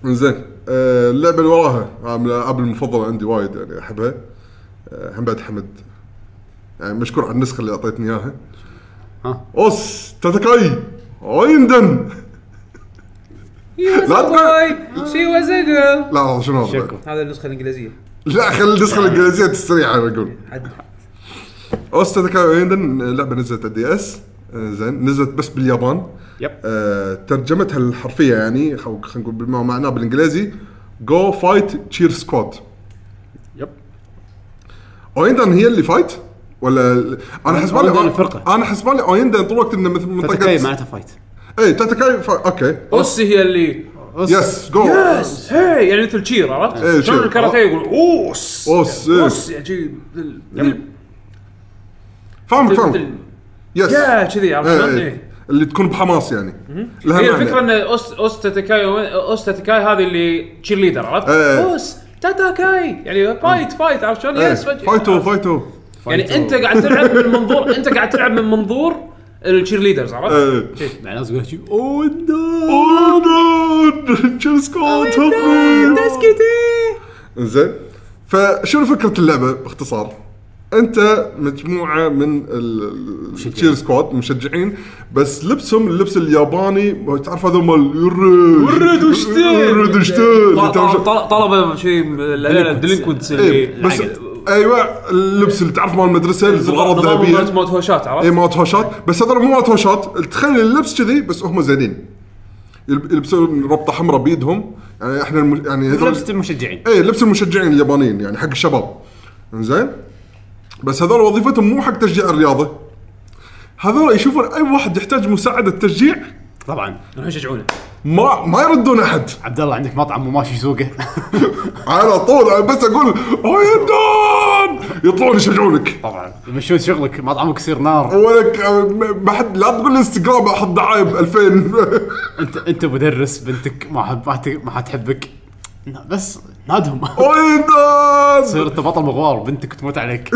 Speaker 2: زين آه، اللعبه اللي وراها آه، من الالعاب المفضله عندي وايد يعني احبها آه، هم بعد حمد يعني مشكور على النسخه اللي اعطيتني اياها
Speaker 1: ها
Speaker 2: اوس تاتاكاي اويندن
Speaker 3: لا
Speaker 2: لا تقول-
Speaker 3: شي واز ا جيرل
Speaker 2: لا لا شنو هذا
Speaker 1: شكو
Speaker 3: هذا النسخه الانجليزيه
Speaker 2: لا خلي النسخه الانجليزيه تستريح انا اقول
Speaker 3: عد
Speaker 2: اوس تاتاكاي اويندن آه، لعبه نزلت على الدي اس آه، زين نزلت بس باليابان
Speaker 1: يب
Speaker 2: آه، ترجمتها الحرفيه يعني خو- خلينا نقول بما معناه بالانجليزي جو فايت تشير سكواد
Speaker 1: يب
Speaker 2: اويندن هي اللي فايت ولا انا حسبالي
Speaker 1: أويندن الفرقة.
Speaker 2: انا حسبالي اويندن طول الوقت انه مثل إيه،
Speaker 1: تتكي
Speaker 2: منطقه
Speaker 1: معناته فايت
Speaker 2: اي تاتاكاي فا... اوكي
Speaker 3: اوس هي اللي
Speaker 1: أوس.
Speaker 2: يس جو
Speaker 3: يس هي يعني مثل تشير
Speaker 2: إيه،
Speaker 3: عرفت؟
Speaker 2: cheer.
Speaker 3: شلون الكاراتيه يقول اوس
Speaker 2: أوس، إيه.
Speaker 3: اوس يعني شي- مثل- مثل-
Speaker 2: فاهمك
Speaker 3: مثل
Speaker 2: فاهمك يس
Speaker 3: يا كذي عرفت شلون؟
Speaker 2: إيه،
Speaker 3: إيه.
Speaker 2: إيه. اللي تكون بحماس يعني لها
Speaker 3: هي
Speaker 2: معنى. يعني.
Speaker 3: الفكره ان اوس اوس تاتاكاي اوس تاتاكاي هذه اللي تشير ليدر عرفت؟
Speaker 2: إيه.
Speaker 3: اوس تاتاكاي يعني فايت فايت عرفت شلون؟
Speaker 2: إيه،
Speaker 3: يس فج-
Speaker 2: فايتو فايتو
Speaker 3: يعني انت قاعد تلعب من منظور انت قاعد تلعب من منظور التشير ليدرز عرفت؟
Speaker 2: إيه.
Speaker 1: مع ناس يقول شي، اوندو
Speaker 2: Oh اويندن تشير سكواد help me. زين فشنو فكره اللعبه باختصار؟ انت مجموعه من التشير سكواد مشجعين بس لبسهم اللبس الياباني تعرف هذول مال الرد الرد
Speaker 3: طل- طل-
Speaker 2: وشتين
Speaker 3: طل- طلبه شيء الديلينكونتس
Speaker 1: إيه،
Speaker 3: اللي
Speaker 2: إيه،
Speaker 3: يعني
Speaker 2: بس ايوه اللبس اللي تعرف مال المدرسه الزرار
Speaker 3: مالت
Speaker 2: الذهبيه
Speaker 3: موت هوشات
Speaker 2: اي
Speaker 1: إيه.
Speaker 3: عرفت؟
Speaker 2: مالت هوشات إيه، بس هذول مو مالت هوشات تخيل اللبس كذي بس هم زينين يلب- يلبسون ربطه حمراء بيدهم يعني احنا الم... يعني هذول-
Speaker 1: لبسة المشجعين
Speaker 2: اي إيه، لبس المشجعين اليابانيين يعني حق الشباب زين بس هذول وظيفتهم مو حق تشجيع الرياضه هذول يشوفون اي واحد يحتاج مساعده تشجيع
Speaker 1: طبعا
Speaker 3: راح يشجعونه
Speaker 2: ما ما يردون احد
Speaker 1: عبد الله عندك مطعم وماشي سوقه
Speaker 2: على طول أنا بس اقول هايدان يطلعون يشجعونك
Speaker 1: طبعا يمشون شغلك مطعمك يصير نار
Speaker 2: ولك ما حد لا تقول لي انستغرام احط دعايه ب 2000
Speaker 1: انت انت مدرس بنتك ما حب ما ت- ما حتحبك نا- بس نادهم تصير
Speaker 2: هايدان
Speaker 1: انت بطل مغوار بنتك تموت عليك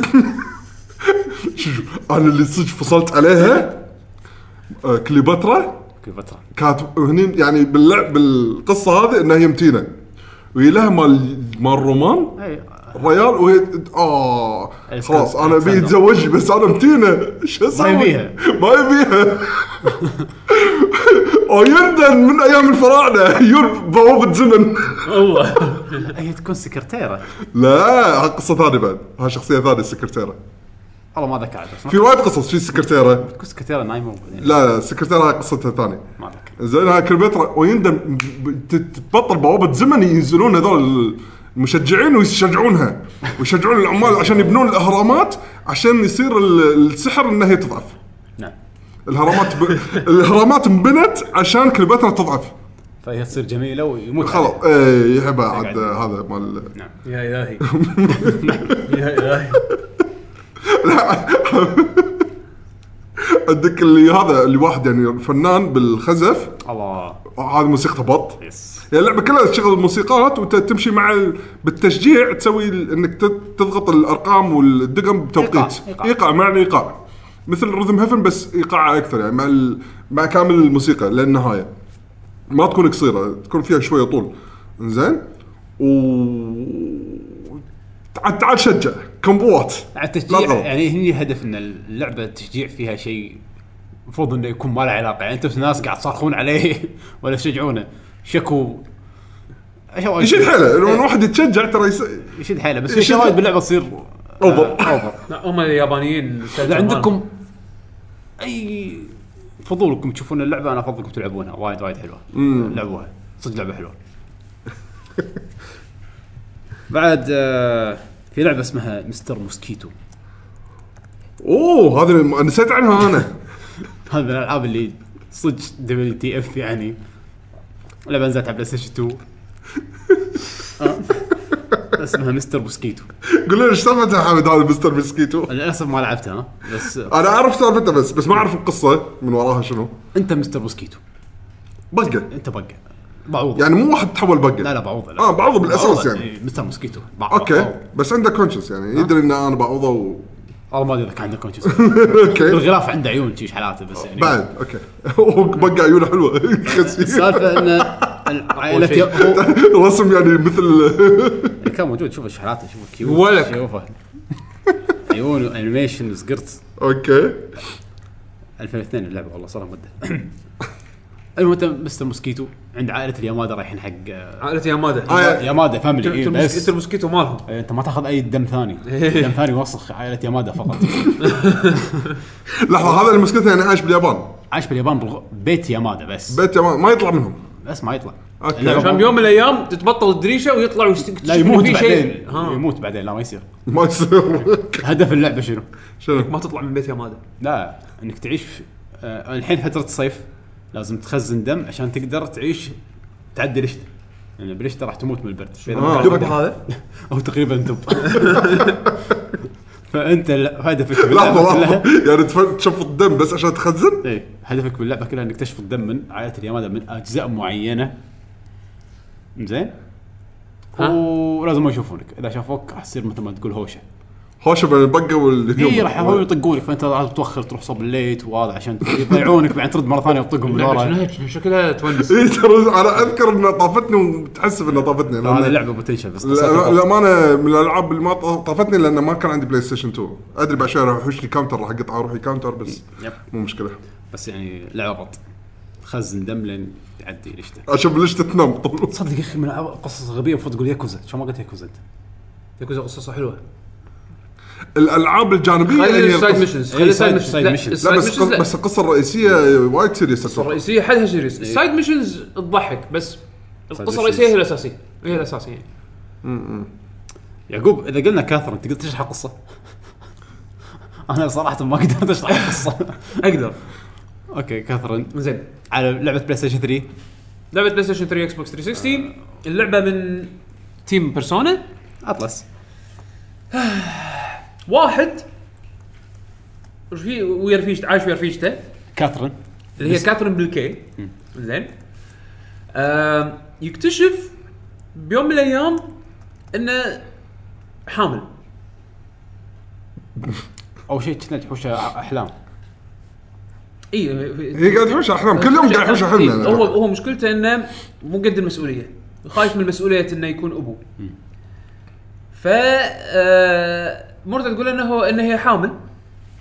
Speaker 2: انا اللي صدق فصلت عليها آه، كليوباترا
Speaker 1: كل فتره
Speaker 2: كانت هني يعني باللعب بالقصه هذه انها هي متينه وهي لها مال مال رومان
Speaker 1: اي
Speaker 2: ريال وهي اه خلاص انا ابي
Speaker 1: الكسندر.
Speaker 2: اتزوج بس انا متينه شو اسوي؟
Speaker 1: يبيها.
Speaker 2: ما يبيها ويندن من ايام الفراعنه يور بوابه زمن
Speaker 3: والله
Speaker 1: هي تكون سكرتيره
Speaker 2: لا ها قصه ثانيه بعد ها شخصيه ثانيه السكرتيره
Speaker 1: والله ما ذكرت بس ما
Speaker 2: في وايد قصص في السكرتيره
Speaker 1: تكون سكرتيره نايمه وبعدين
Speaker 2: لا لا السكرتيره هاي قصتها ثانيه
Speaker 1: ما ذكر
Speaker 2: زين هاي كليوباترا ويندم ب- ت- تبطل بوابه زمن ينزلون هذول المشجعين ويشجعونها ويشجعون العمال عشان يبنون الاهرامات عشان يصير ال- السحر انها هي تضعف
Speaker 1: نعم
Speaker 2: الاهرامات ب... الاهرامات انبنت عشان كليوباترا تضعف
Speaker 1: فهي تصير جميله ويموت
Speaker 2: خلاص
Speaker 1: عليها.
Speaker 2: ايه يحبها عاد هذا مال
Speaker 1: نعم
Speaker 3: يا الهي يا الهي
Speaker 2: عندك اللي هذا اللي واحد يعني فنان بالخزف
Speaker 1: الله
Speaker 2: هذا موسيقته بط
Speaker 1: يس
Speaker 2: يعني اللعبه كلها تشغل موسيقات وتمشي مع ال- بالتشجيع تسوي ال- انك ت- تضغط الارقام والدقم بتوقيت
Speaker 1: إيقاع- إيقاع.
Speaker 2: ايقاع معنى ايقاع مثل رذم هيفن بس ايقاعها اكثر يعني مع ال... مع كامل الموسيقى للنهايه ما تكون قصيره تكون فيها شويه طول زين و تعال تعال شجع كمبوات
Speaker 1: مع
Speaker 2: لا
Speaker 1: التشجيع
Speaker 2: تغلط.
Speaker 1: يعني هني الهدف ان اللعبه التشجيع فيها شيء المفروض انه يكون ما له علاقه يعني انتم ناس قاعد تصرخون عليه ولا تشجعونه شكو أشياء وايد.
Speaker 2: يشد حيله لو
Speaker 1: إيه،
Speaker 2: الواحد يتشجع ترى يس...
Speaker 1: يشد حيله بس في
Speaker 2: يشد-
Speaker 1: شيء وايد باللعبه تصير
Speaker 2: أوفر.
Speaker 1: آه، اوفر
Speaker 3: لا، هم اليابانيين
Speaker 1: اذا عندكم اي فضولكم تشوفون اللعبه انا افضلكم تلعبونها وايد وايد حلوه لعبوها صدق لعبه حلوه بعد آه، في لعبه اسمها مستر موسكيتو
Speaker 2: اوه هذا الم- نسيت عنها انا
Speaker 1: هذا من الالعاب اللي صدق دبل تي اف يعني لعبه نزلت على بلاي ستيشن 2 آه. اسمها مستر موسكيتو
Speaker 2: قول لنا ايش سالفتها حامد هذا مستر مسكيتو
Speaker 1: للاسف ما لعبتها بس
Speaker 2: انا اعرف سالفتها بس بس ما اعرف القصه من وراها شنو
Speaker 1: انت مستر موسكيتو
Speaker 2: بقه
Speaker 1: انت بقى بعوض
Speaker 2: يعني مو واحد تحول بقه
Speaker 1: لا لا بعوضه لا.
Speaker 2: اه بعوضه بالاساس
Speaker 1: بعوضة،
Speaker 2: يعني
Speaker 1: إيه، مستر موسكيتو بع- بعوضة.
Speaker 2: اوكي بس عنده كونشس
Speaker 1: آه.
Speaker 2: يعني يدري ان انا بعوضه و...
Speaker 1: والله ما ادري اذا كان عندك كونشس
Speaker 2: اوكي
Speaker 1: بالغلاف عنده عيون شي حالاته بس يعني
Speaker 2: بعد اوكي هو بقى عيونه حلوه خسي.
Speaker 1: السالفه ان ال- عائله
Speaker 3: شيء.
Speaker 1: يا- هو
Speaker 2: رسم يعني مثل
Speaker 1: اللي كان موجود شوف شحالاته شوف كيوت
Speaker 3: ولك.
Speaker 1: شوفه عيون وانيميشن سقرت
Speaker 2: اوكي
Speaker 1: 2002 اللعبه والله صار لها مده المهم انت مستر موسكيتو عند عائله اليمادا رايحين حق آه،
Speaker 3: عائلة يامادا
Speaker 2: آه،
Speaker 1: يمادا فاميلي إيه،
Speaker 3: انت
Speaker 1: بس
Speaker 3: الموسكيتو مالهم
Speaker 1: إيه، انت ما تاخذ اي دم ثاني دم ثاني وسخ عائله يمادا فقط
Speaker 2: لحظه هذا المسكته يعني عايش باليابان
Speaker 1: عايش باليابان بالغ- بيت يمادا بس
Speaker 2: بيت يابان ما يطلع منهم
Speaker 1: بس ما يطلع
Speaker 2: أوكي.
Speaker 1: اللعبة
Speaker 3: عشان بيوم من الايام تتبطل الدريشه ويطلع ويست-
Speaker 1: لا يموت
Speaker 3: في شيء.
Speaker 1: بعدين
Speaker 3: ها.
Speaker 1: يموت بعدين لا ما يصير
Speaker 2: ما يصير
Speaker 1: هدف اللعبه شنو؟
Speaker 2: شنو
Speaker 3: ما تطلع من بيت يامادا
Speaker 1: لا انك تعيش في آه الحين فتره الصيف لازم تخزن دم عشان تقدر تعيش تعدي الشتاء يعني بالشتاء راح تموت من البرد فإذا ما
Speaker 2: آه.
Speaker 1: قاعد-
Speaker 3: دب هذا
Speaker 1: او تقريبا دب فانت ال- هدفك
Speaker 2: لحظه
Speaker 1: باللعبه
Speaker 2: لحظه
Speaker 1: كلها
Speaker 2: يعني تف- تشوف الدم بس عشان تخزن
Speaker 1: ايه هدفك باللعبه كلها انك تشفط دم من عائله اليمادة من اجزاء معينه زين
Speaker 3: ها؟
Speaker 1: ولازم ما يشوفونك اذا شافوك راح تصير مثل ما تقول هوشه
Speaker 2: هوشه بين البقه والهجوم
Speaker 1: اي إيه، راح هو يطقونك فانت لازم توخر تروح صوب الليت وهذا عشان يضيعونك بعدين ترد مره ثانيه وتطقهم من
Speaker 3: اللعبة
Speaker 1: ورا
Speaker 3: شنو هيك؟ شنو شكلها تونس
Speaker 1: إيه.
Speaker 2: اي إيه، ترى انا اذكر انها طافتني وتحسب انها طافتني لأن-
Speaker 1: هذه لعبه بوتنشل بس
Speaker 2: لا- للامانه من الالعاب اللي ما ط- طافتني لان ما كان عندي بلاي ستيشن 2 ادري بعد شوي راح يحوشني كاونتر راح اقطع روحي كاونتر بس
Speaker 1: يب.
Speaker 2: مو مشكله
Speaker 1: بس يعني لعبه بط خزن دم لين تعدي الشتاء
Speaker 2: اشوف ليش تتنام طول
Speaker 1: تصدق يا اخي من الألعاب- قصص غبيه المفروض تقول ياكوزا شو ما قلت ياكوزا انت
Speaker 3: يكوزا قصصها حلوه
Speaker 2: الالعاب الجانبيه
Speaker 3: خلي
Speaker 2: اللي هي
Speaker 3: السايد
Speaker 2: القصة-
Speaker 3: ميشنز
Speaker 1: إيه،
Speaker 3: خلي
Speaker 1: سايد-
Speaker 3: السايد ميشنز
Speaker 1: سايد
Speaker 3: لا،
Speaker 1: ميشنز.
Speaker 2: لا
Speaker 3: السايد
Speaker 2: بس
Speaker 3: ميشنز
Speaker 2: الق-
Speaker 3: لا.
Speaker 2: بس القصه الرئيسيه وايد سيريس
Speaker 3: القصة الرئيسيه حدها سيريس السايد ميشنز تضحك بس
Speaker 1: missions.
Speaker 3: القصه الرئيسيه هي الاساسيه هي الاساسيه
Speaker 1: يعقوب اذا قلنا كاثرين تقدر تشرح القصه انا صراحه ما قدرت اشرح القصه
Speaker 3: اقدر
Speaker 1: اوكي كاثرين
Speaker 3: زين
Speaker 1: على لعبه بلاي ستيشن 3
Speaker 3: لعبه بلاي ستيشن 3 اكس بوكس 360 اللعبه من تيم بيرسونا
Speaker 1: اطلس
Speaker 3: واحد وش في ويا رفيجته عايش ويا رفيجته
Speaker 1: كاترين
Speaker 3: اللي هي كاثرين بالكي زين آم، يكتشف بيوم من الايام انه حامل
Speaker 1: اول شيء كنا تحوش احلام
Speaker 3: اي
Speaker 2: هي قاعد تحوش احلام كل يوم قاعد يحوش
Speaker 3: إي،
Speaker 2: احلام
Speaker 3: إيه، هو هو مشكلته انه مو قد المسؤوليه خايف من المسؤوليه انه يكون ابوه ف آه، مرته تقول انه هو انه هي حامل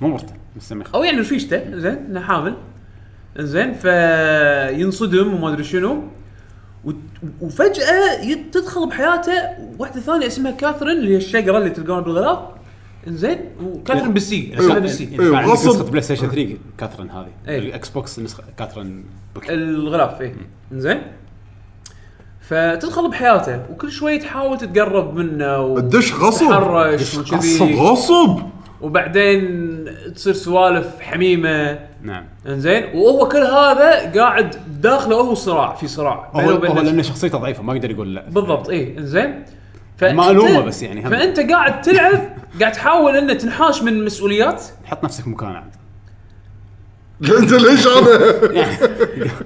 Speaker 1: مو مرته مستمخ
Speaker 3: او يعني رفيجته زين انه حامل زين فينصدم وما ادري شنو وت- وفجاه يت- تدخل بحياته واحده ثانيه اسمها كاثرين اللي هي الشقره اللي تلقونها بالغلاف انزين وكاثرين بالسي اسمها بالسي
Speaker 2: إيه، غصب.
Speaker 1: نسخه بلاي ستيشن 3 كاترين هذه
Speaker 3: إيه.
Speaker 1: الاكس بوكس نسخه كاترين بوكي.
Speaker 3: الغلاف ايه انزين فتدخل بحياته وكل شوي تحاول تتقرب منه
Speaker 2: الدش غصب.
Speaker 3: تتحرش
Speaker 2: غصب
Speaker 3: وكذي
Speaker 2: غصب
Speaker 3: وبعدين تصير سوالف حميمه
Speaker 1: نعم
Speaker 3: انزين وهو كل هذا قاعد داخله هو صراع في صراع
Speaker 1: هو
Speaker 3: بينه وبين
Speaker 1: هو
Speaker 3: نفسه.
Speaker 1: لان شخصيته ضعيفه ما يقدر يقول لا
Speaker 3: بالضبط ايه انزين
Speaker 1: ما ألومه بس يعني هم.
Speaker 3: فانت قاعد تلعب قاعد تحاول انه تنحاش من مسؤوليات
Speaker 1: حط نفسك مكانه عاد
Speaker 2: انت ليش انا
Speaker 1: نعم.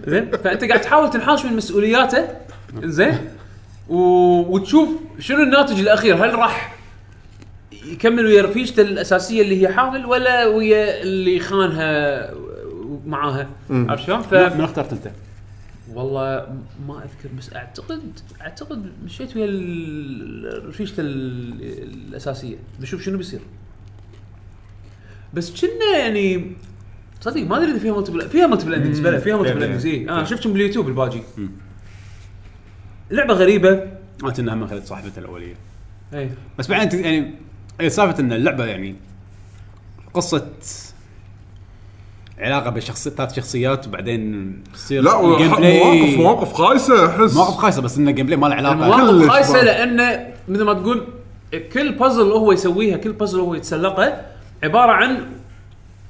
Speaker 3: زين فانت قاعد تحاول تنحاش من مسؤولياته زين و... وتشوف شنو الناتج الاخير هل راح يكمل ويا رفيجته الاساسيه اللي هي حامل ولا ويا اللي خانها و- معاها عرفت شلون؟ ف
Speaker 1: من اخترت انت؟
Speaker 3: والله ما اذكر بس اعتقد اعتقد مشيت ويا ال- رفيجته ال- الاساسيه بشوف شنو بيصير بس كنا يعني صدق ما ادري اذا فيها ملتي فيها ملتي اندنجز بلا فيها ملتي
Speaker 1: فيها-
Speaker 3: اندنجز اي
Speaker 1: فيها.
Speaker 3: انا آه، شفتهم باليوتيوب الباجي لعبه غريبه
Speaker 1: ما كنا هم خليت صاحبته الاوليه
Speaker 3: اي
Speaker 1: بس بعدين تد- يعني هي سالفه ان اللعبه يعني قصه علاقه بين شخص ثلاث شخصيات وبعدين تصير
Speaker 2: لا
Speaker 1: الجيم
Speaker 2: وح-
Speaker 1: بلاي-
Speaker 2: مواقف مواقف خايسه احس
Speaker 1: مواقف خايسه بس ان الجيم بلاي ما له علاقه
Speaker 3: المواقف
Speaker 2: كلش
Speaker 3: خايسه
Speaker 2: بارد.
Speaker 3: لانه مثل ما تقول كل بازل هو يسويها كل بازل هو يتسلقه عباره عن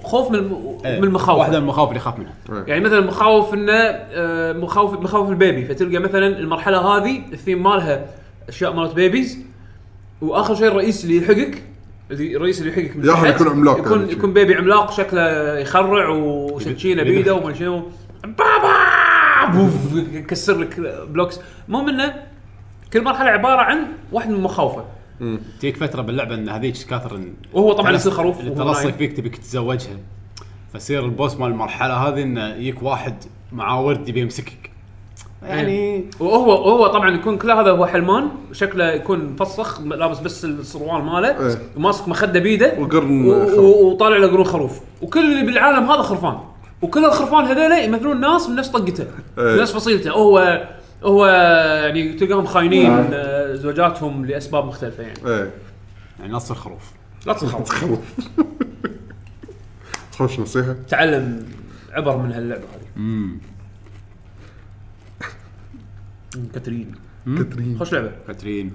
Speaker 3: خوف من الم-
Speaker 1: إيه.
Speaker 3: من المخاوف
Speaker 1: واحده من المخاوف اللي يخاف منها
Speaker 3: يعني مثلا مخاوف انه آه، مخاوف مخاوف البيبي فتلقى مثلا المرحله هذه الثيم مالها اشياء مالت بيبيز واخر شيء الرئيس اللي يلحقك اللي- الرئيس اللي يلحقك من
Speaker 2: يا أخي
Speaker 3: تحت
Speaker 2: يكون عملاق
Speaker 3: يكون
Speaker 2: يعني.
Speaker 3: يكون بيبي عملاق شكله يخرع وشنشينه
Speaker 1: بيدخل.
Speaker 3: بيده وما شنو بابا بوف، يكسر لك بلوكس المهم انه كل مرحله عباره عن واحد من مخاوفه
Speaker 1: تجيك فتره باللعبه ان هذيك كاثرين
Speaker 3: وهو طبعاً
Speaker 1: تلص-
Speaker 3: يصير خروف
Speaker 1: اللي
Speaker 3: وهو
Speaker 1: تلصق
Speaker 3: نايم.
Speaker 1: فيك تبيك تتزوجها فيصير البوس مال المرحله هذه انه يجيك واحد معاه ورد يبي يمسكك
Speaker 3: إيه.
Speaker 1: يعني
Speaker 3: وهو هو طبعا يكون كل هذا هو حلمان شكله يكون مفسخ لابس بس السروال ماله
Speaker 2: إيه.
Speaker 3: وماسك مخده بيده
Speaker 2: وقرن
Speaker 3: و- و-
Speaker 2: خروف.
Speaker 3: وطالع له قرون خروف وكل اللي بالعالم هذا خرفان وكل الخرفان هذول يمثلون ناس من نفس طقته
Speaker 2: إيه.
Speaker 3: من نفس فصيلته هو هو يعني تلقاهم خاينين
Speaker 2: إيه.
Speaker 3: آه، زوجاتهم لاسباب مختلفه يعني
Speaker 2: ايه
Speaker 1: يعني نص الخروف
Speaker 3: لا
Speaker 2: إيه.
Speaker 3: تخاف
Speaker 2: خوش نصيحه
Speaker 3: تعلم عبر من هاللعبه هذه
Speaker 1: امم
Speaker 3: من كاترين
Speaker 2: كاترين
Speaker 3: خوش لعبه
Speaker 1: كاترين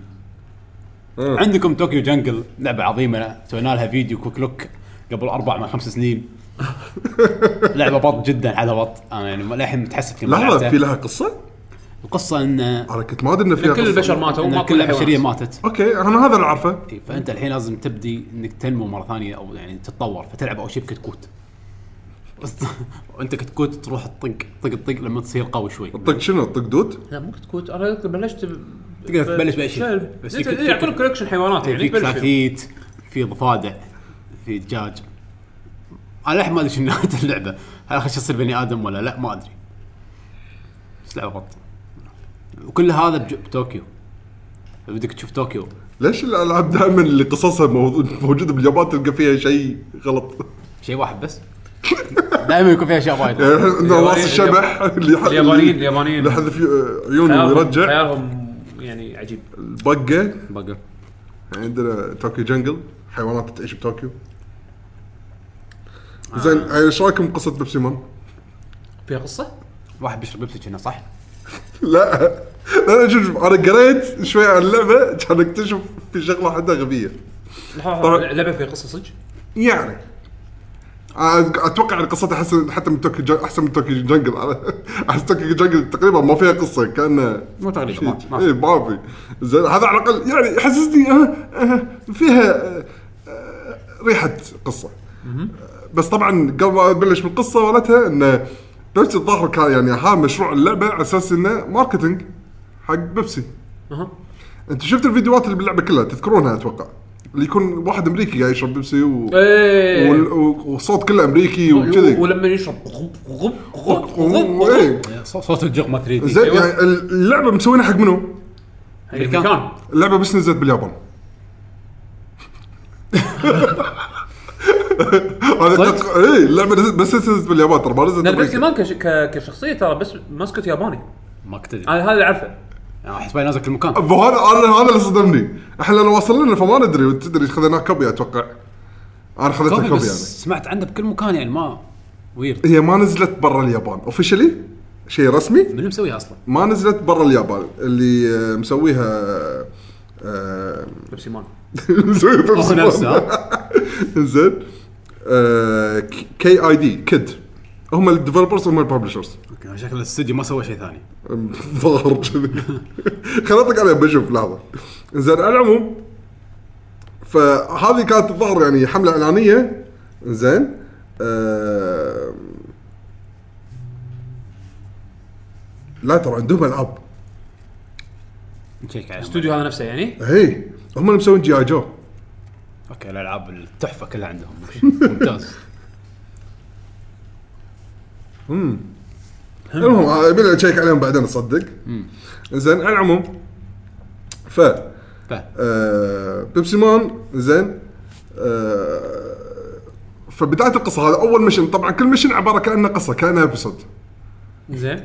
Speaker 2: آه.
Speaker 1: عندكم طوكيو جنجل لعبه عظيمه سوينا لها فيديو كوك لوك قبل اربع من خمس سنين لعبه بط جدا على بط انا يعني للحين متحسف لما
Speaker 2: لحظه
Speaker 1: لعبتها.
Speaker 2: في لها قصه؟
Speaker 1: القصه ان
Speaker 2: انا كنت ما ادري ان فيها
Speaker 3: كل
Speaker 2: قصة.
Speaker 3: البشر ماتوا
Speaker 1: ان
Speaker 3: ما
Speaker 1: كل
Speaker 3: كل
Speaker 1: البشريه
Speaker 3: الحيوانات
Speaker 1: ماتت
Speaker 2: اوكي انا هذا اللي اعرفه
Speaker 1: إي، فانت إيه، الحين لازم تبدي انك تنمو مره ثانيه او يعني تتطور فتلعب اول شيء بكتكوت بس- وانت كتكوت تروح تطق طق طق لما تصير قوي شوي
Speaker 2: طق شنو طق دود؟
Speaker 3: لا ممكن تكون انا بلشت ب-
Speaker 1: تقدر
Speaker 3: ب-
Speaker 1: تبلش بأي شيء.
Speaker 3: شلب.
Speaker 1: بس
Speaker 3: انت
Speaker 1: يكون-
Speaker 3: يعطونك كولكشن حيوانات يعني
Speaker 1: في
Speaker 3: تبلش فيهم.
Speaker 1: كراكيت في ضفادع في دجاج انا للحين ما ادري شنو نهايه اللعبه هل اخر شيء يصير بني ادم ولا لا ما ادري بس لعبه بط وكل هذا بج- بطوكيو بدك تشوف طوكيو
Speaker 2: ليش الالعاب دائما اللي قصصها موجود- موجوده باليابان تلقى فيها شيء غلط؟
Speaker 1: شيء واحد بس دائما يكون فيها اشياء وايد
Speaker 2: يعني إحنا عندنا راس
Speaker 3: اليابانيين-
Speaker 2: الشبح اللي يح-
Speaker 3: اليابانيين اليابانيين
Speaker 2: اللي يحذف عيونه
Speaker 3: خيالهم-
Speaker 2: ويرجع
Speaker 3: خيالهم يعني عجيب
Speaker 2: البقه
Speaker 1: بقر
Speaker 2: عندنا طوكيو جنجل حيوانات تعيش بطوكيو زين
Speaker 3: آه.
Speaker 2: يعني ايش رايكم بقصه بيبسي مان؟
Speaker 3: فيها قصه؟
Speaker 1: واحد بيشرب بيبسي هنا صح؟
Speaker 2: لا لا لا شوف شوف، انا قريت شوي عن اللعبه كان اكتشف في شغله حدا غبيه
Speaker 3: لحظة،
Speaker 2: طبعاً.
Speaker 3: لعبه فيها قصه صدق؟
Speaker 2: يعني أنا اتوقع ان قصته احسن حتى من توكي جن- احسن من توكي جنجل احس توكي جنجل تقريبا ما فيها قصه كانه
Speaker 1: مو تقريبا ما- ما في.
Speaker 2: اي إيه، ما في زين هذا على الاقل يعني يحسسني آه، آه، فيها آه، آه، ريحه قصه بس طبعا قبل ما ابلش بالقصه ولتها انه بيبسي الظاهر كان يعني ها مشروع اللعبه على اساس انه ماركتنج حق بيبسي
Speaker 3: أها.
Speaker 2: انت شفت الفيديوهات اللي باللعبه كلها تذكرونها اتوقع اللي يكون واحد امريكي قاعد يشرب بيبسي و...
Speaker 3: إيه.
Speaker 2: وال- و- والصوت كله امريكي وكذي
Speaker 3: ولما يشرب غب غب غب غب غب
Speaker 1: إيه.
Speaker 2: ايه
Speaker 1: صوت الجغمه 3 دي
Speaker 2: زين يعني اللعبه مسوينها حق منو؟
Speaker 3: حق المكان
Speaker 2: اللعبه بس نزلت باليابان هذا
Speaker 1: صدق؟
Speaker 2: تق... اي اللعبه إيه، نزلت بس نزلت باليابان ترى ما نزلت
Speaker 3: نبريكسي
Speaker 2: أمريكا.
Speaker 3: مان كش- ك- كشخصيه ترى بس ماسكت ياباني
Speaker 1: ما كنت ادري
Speaker 3: انا هذا اللي اعرفه
Speaker 1: أنا احس باي نازل كل مكان
Speaker 2: فهذا انا هذا اللي صدمني احنا لو وصلنا لنا فما ندري وتدري خذيناه كوبي اتوقع انا خذيتها
Speaker 1: كوبي
Speaker 2: كوبي,
Speaker 1: بس
Speaker 2: يعني
Speaker 1: سمعت عنه بكل مكان يعني ما ويرد
Speaker 2: هي ما نزلت برا اليابان اوفشلي شيء رسمي
Speaker 1: من اللي مسويها اصلا؟
Speaker 2: ما نزلت برا اليابان اللي آه، مسويها آه،
Speaker 3: بيبسي مان
Speaker 2: مسويها
Speaker 1: هو
Speaker 2: بيبسي مان.
Speaker 1: نفسه ها؟
Speaker 2: زين كي اي دي كيد هم الديفلوبرز هم الببلشرز
Speaker 1: أوكي، شكل الاستوديو ما سوى شيء ثاني
Speaker 2: ظاهر كذي خل اطق عليه بشوف لحظه زين على العموم فهذه كانت الظاهر يعني حمله اعلانيه زين آه، لا ترى عندهم العاب
Speaker 1: نشيك عليها
Speaker 3: الاستوديو هذا نفسه يعني
Speaker 2: هي هم اللي مسوين جي اي جو
Speaker 1: اوكي الالعاب التحفه كلها عندهم ممتاز
Speaker 2: المهم آه، يبي تشيك عليهم بعدين تصدق زين على العموم ف
Speaker 1: فاهم.
Speaker 2: آه، بيبسي مان زين آه، فبدايه القصه هذا اول مشن طبعا كل مشن عباره كانه قصه كانه ابيسود
Speaker 3: زين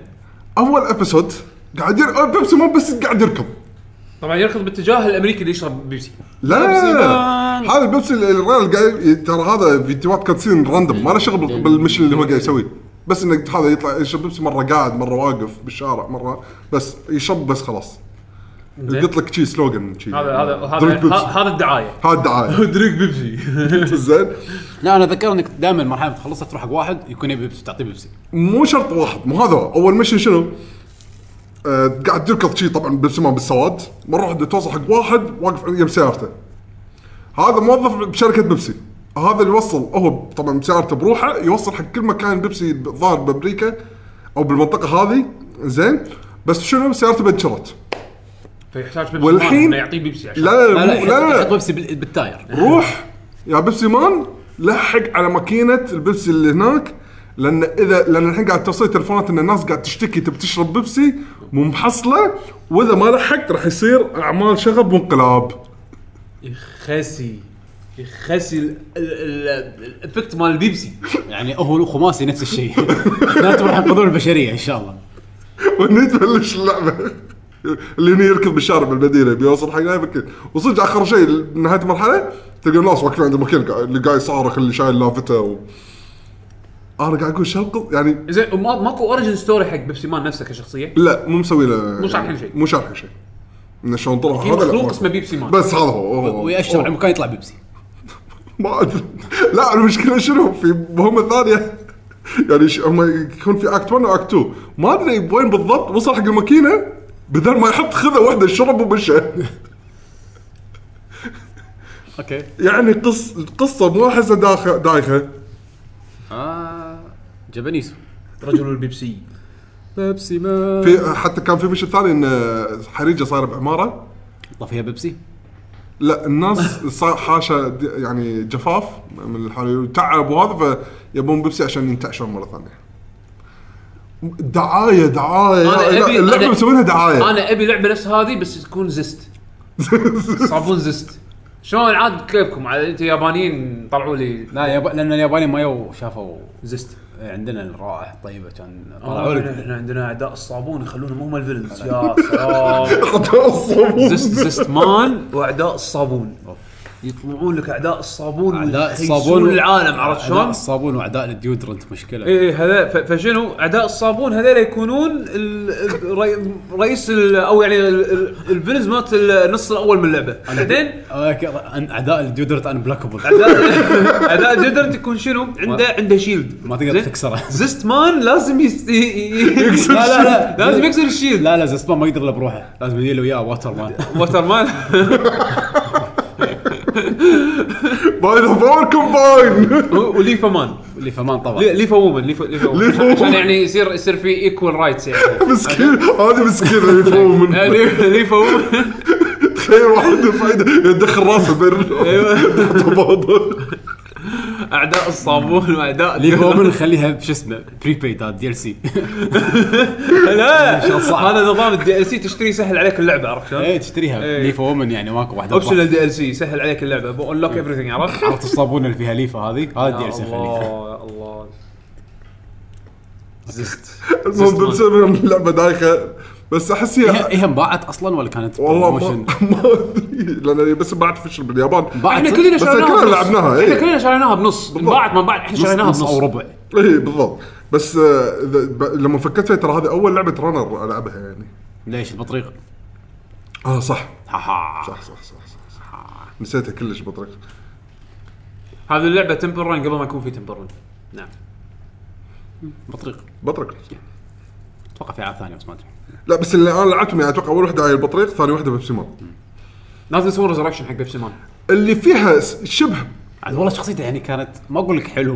Speaker 2: اول ابيسود قاعد ير... آه، بيبسي مان بس قاعد يركض
Speaker 3: طبعا يركض باتجاه الامريكي اللي يشرب بيبسي بيبسي
Speaker 2: لا
Speaker 3: مان.
Speaker 2: هذا البيبسي ال- الرجال قاعد ي- ترى هذا فيديوهات كاتسين راندوم ما له شغل بال- بالمشن اللي هو قاعد يسويه بس انك هذا يطلع يشرب بيبسي مره قاعد مره واقف بالشارع مره بس يشرب بس خلاص
Speaker 3: زين.
Speaker 2: يقط لك شي سلوجن شي
Speaker 3: هذا هذا
Speaker 2: درينك
Speaker 3: هذا
Speaker 2: بيبسي.
Speaker 3: ه- هذا الدعايه
Speaker 2: هذا الدعايه
Speaker 3: دريك بيبسي
Speaker 2: زين
Speaker 1: لا انا اتذكر انك دائما مرحله تخلصها تروح حق واحد يكون يبي بيبسي تعطيه بيبسي
Speaker 2: مو شرط واحد مو هذا هو. اول مشن شنو؟ آه قاعد تركض شي طبعا بالسماء بالسواد مره واحده توصل حق واحد واقف يم سيارته هذا موظف بشركه بيبسي هذا اللي وصل هو طبعا بسيارته بروحه يوصل حق كل مكان بيبسي ظاهر بامريكا او بالمنطقه هذه زين بس شنو سيارته بنشرت
Speaker 3: فيحتاج بيبسي
Speaker 2: والحين-
Speaker 3: والحين انه يعطيه بيبسي عشان
Speaker 2: لا لا
Speaker 1: لا
Speaker 2: لا,
Speaker 1: لا
Speaker 2: مو- لا, لا,
Speaker 1: يحط- يحط
Speaker 2: لا,
Speaker 1: بيبسي بال- بالتاير
Speaker 2: روح يا بيبسي مان لحق على ماكينه البيبسي اللي هناك لان اذا لان الحين قاعد توصل تلفونات ان الناس قاعد تشتكي تبي تشرب بيبسي مو محصله واذا ما لحقت راح يصير اعمال شغب وانقلاب
Speaker 3: يخسي يخسي ال- ال- ال- الافكت مال البيبسي
Speaker 1: يعني هو خماسي نفس الشيء لا تروح القانون البشريه ان شاء الله
Speaker 2: وهني تبلش اللعبه اللي هني يركض بالشارع بالمدينه بيوصل حق هاي مكان وصدق اخر شيء نهايه المرحله تلقى الناس واقفين عند المكان قاعد- اللي قاعد يصارخ اللي شايل لافته و... انا قاعد اقول شنقض يعني
Speaker 3: زين وما- ماكو اوريجن ستوري حق بيبسي مان نفسه كشخصيه
Speaker 2: لا مو مسوي له
Speaker 3: مو شارحين شيء.
Speaker 2: مو شارحين شيء انه شلون طلع
Speaker 3: في
Speaker 2: هذا لا،
Speaker 3: مخلوق
Speaker 2: ما-
Speaker 3: اسمه بيبسي مان.
Speaker 2: بس هذا هو هو- هو.
Speaker 1: ويأشر على
Speaker 2: هو.
Speaker 1: المكان يطلع بيبسي
Speaker 2: ما ادري لا المشكله شنو في مهمه ثانيه يعني ش... هم يكون في اكت 1 واكت 2 ما ادري وين بالضبط وصل حق الماكينه بدل ما يحط خذ واحده شرب ومشى
Speaker 1: اوكي
Speaker 2: يعني قص القصه مو احسها داخ- دايخه
Speaker 1: اه جابانيز
Speaker 3: رجل البيبسي
Speaker 1: بيبسي ما
Speaker 2: في حتى كان في مشهد ثاني ان حريجه صايره بعماره
Speaker 1: طب فيها بيبسي
Speaker 2: لا الناس صار حاشا د- يعني جفاف من الحريق تعب وهذا فيبون بيبسي عشان ينتعشون مره ثانيه دعايه دعايه يا- لا، اللعبه
Speaker 3: أنا-
Speaker 2: مسوينها دعايه
Speaker 3: انا ابي لعبه نفس هذه بس تكون زست صابون زست شلون عاد كيفكم عاد انتم يابانيين طلعوا لي
Speaker 1: لا يب... لان الياباني ما يو شافوا إيه،
Speaker 3: زست
Speaker 1: عندنا الروائح الطيبه كان طلعوا
Speaker 3: آه،
Speaker 1: لك
Speaker 3: احنا عندنا اعداء الصابون يخلونهم هم الفيلنز يا سلام
Speaker 2: أعطاه الصابون.
Speaker 3: زست زست مان واعداء الصابون يطلعون لك اعداء الصابون
Speaker 1: اعداء
Speaker 3: ويخيسون
Speaker 1: الصابون
Speaker 3: العالم عرفت
Speaker 1: أعداء
Speaker 3: شلون؟
Speaker 1: الصابون واعداء الديودرنت مشكله
Speaker 3: ايه هذا ف- فشنو اعداء الصابون هذول يكونون ال- الري- رئيس ال- او يعني الفيلنز مالت النص الاول من اللعبه بعدين
Speaker 1: أوكي، أن- اعداء الديودرنت ان بلاكبل
Speaker 3: اعداء اعداء جدرن تكون شنو؟ عنده عنده شيلد
Speaker 1: ما تقدر
Speaker 3: زين؟
Speaker 1: تكسره.
Speaker 3: زيست مان لازم يس- ي- ي- يكسر
Speaker 1: لا، لا، لا.
Speaker 3: الشيلد. لازم يكسر الشيلد
Speaker 1: لا لا زسبان ما يقدر الا بروحه لازم يجي له وياه واتر مان
Speaker 3: ووتر مان
Speaker 2: باين فوركم باين
Speaker 3: و- وليفا مان
Speaker 1: اللي فمان طبعا
Speaker 3: لي- ليفا وومن ليفا ليفا وومن.
Speaker 2: ليفا وومن.
Speaker 3: عشان يعني يصير يصير في ايكوال رايتس يعني
Speaker 2: مسكين هذا مسكين اللي يفهم
Speaker 3: آه،
Speaker 2: منه
Speaker 3: لي- ليفا وومن
Speaker 2: تخيل واحد فايده يدخل راسه بين
Speaker 3: أيوة.
Speaker 2: تحت بعضه.
Speaker 3: اعداء الصابون واعداء
Speaker 1: ليج وومن خليها بش اسمه بريبيد هذا دي ال سي
Speaker 3: لا
Speaker 1: شلون صعب.
Speaker 3: هذا نظام الدي ال سي تشتري يسهل عليك اللعبه عرفت شلون؟
Speaker 1: ايه تشتريها
Speaker 3: إيه.
Speaker 1: ليفا وومن يعني ماكو واحده
Speaker 3: اوبشن الدي ال سي يسهل عليك اللعبه بونلوك ايفريثينج عرفت؟
Speaker 1: عرفت الصابون اللي فيها ليفا هذه هذا
Speaker 3: يا
Speaker 1: الدي ال سي خليها
Speaker 3: الله يا الله زست
Speaker 2: المهم بالنسبه اللعبه دايخه بس احس
Speaker 1: هي
Speaker 2: هي
Speaker 1: هي إيه، انباعت اصلا ولا كانت
Speaker 2: والله ما-
Speaker 1: بروموشن؟
Speaker 2: ما ادري لان هي بس بعد فشل باليابان
Speaker 1: انباعت
Speaker 3: احنا كلنا
Speaker 2: بس
Speaker 3: شريناها
Speaker 2: كلنا
Speaker 3: بنص.
Speaker 2: لعبناها، إيه.
Speaker 3: احنا كلنا شريناها بنص انباعت ما انباعت احنا
Speaker 1: نص-
Speaker 3: شريناها
Speaker 1: نص او
Speaker 3: بنص
Speaker 1: ربع
Speaker 2: اي إيه، بالضبط بس آه، إذا- ب- لما فكرت فيها ترى هذه اول لعبه رانر العبها يعني
Speaker 1: ليش البطريق؟
Speaker 2: اه صح
Speaker 1: هاها
Speaker 2: صح صح صح صح, صح. نسيتها كلش بطريقه
Speaker 3: هذه اللعبه تمبر رن قبل ما يكون في تمبر رن نعم
Speaker 1: بطريق
Speaker 2: بطريق
Speaker 1: اتوقع في العاب ثانيه بس ما ادري
Speaker 2: لا بس اللي انا لعبتهم يعني اتوقع اول وحده هاي البطريق ثاني وحده بيبسي مان
Speaker 3: لازم يسوون ريزركشن حق بيبسي مان
Speaker 2: اللي فيها س- شبه
Speaker 1: عاد والله شخصيته يعني كانت ما اقول لك حلو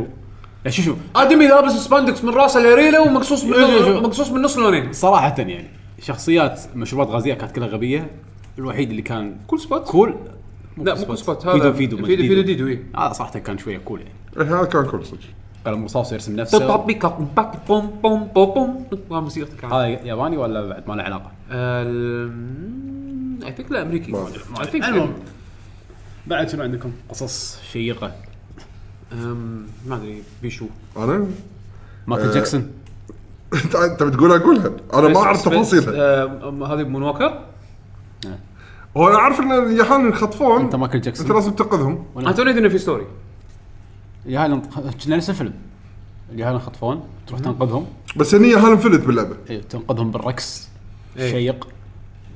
Speaker 1: يعني شو شو
Speaker 3: ادمي لابس سباندكس من راسه لريله ومقصوص من
Speaker 1: إيه، شوف.
Speaker 3: مقصوص من نص لونين
Speaker 1: صراحه يعني شخصيات مشروبات غازيه كانت كلها غبيه الوحيد اللي كان
Speaker 3: كول سبوت
Speaker 1: كول
Speaker 3: لا مو كول سبوت
Speaker 1: فيدو
Speaker 3: هذا
Speaker 1: فيدو
Speaker 3: فيدو فيدو ديدو اي
Speaker 1: هذا صراحه كان شويه كول يعني
Speaker 2: إيه، هذا كان كل صدق
Speaker 1: قال مصاص يرسم نفسه
Speaker 3: تطبيق باك بوم بوم بوم بوم ها موسيقتك آه، كانت
Speaker 1: هذا ياباني ولا بعد ما له علاقه؟
Speaker 3: اي ثينك لا امريكي
Speaker 2: ما
Speaker 3: اي ثينك
Speaker 1: المهم بعد شنو عندكم؟ قصص شيقه
Speaker 3: ما ادري بيشو
Speaker 2: انا
Speaker 1: مايكل
Speaker 2: آه،
Speaker 1: جاكسون
Speaker 2: انت أنت بتقولها اقولها انا ما اعرف
Speaker 3: سبيس-
Speaker 2: تفاصيلها
Speaker 3: آه، هذه مون ووكر
Speaker 2: هو انا عارف ان اليهال ينخطفون
Speaker 1: انت مايكل
Speaker 2: انت
Speaker 1: جاكسون
Speaker 2: لازم تنقذهم
Speaker 1: ولا-
Speaker 3: انا توني ادري انه في ستوري
Speaker 1: يا هلا كنا نفس الفيلم اللي هلا خطفون تروح تنقذهم
Speaker 2: بس هني يهال انفلت باللعبه
Speaker 1: إيه، تنقذهم بالركس
Speaker 3: إيه.
Speaker 1: شيق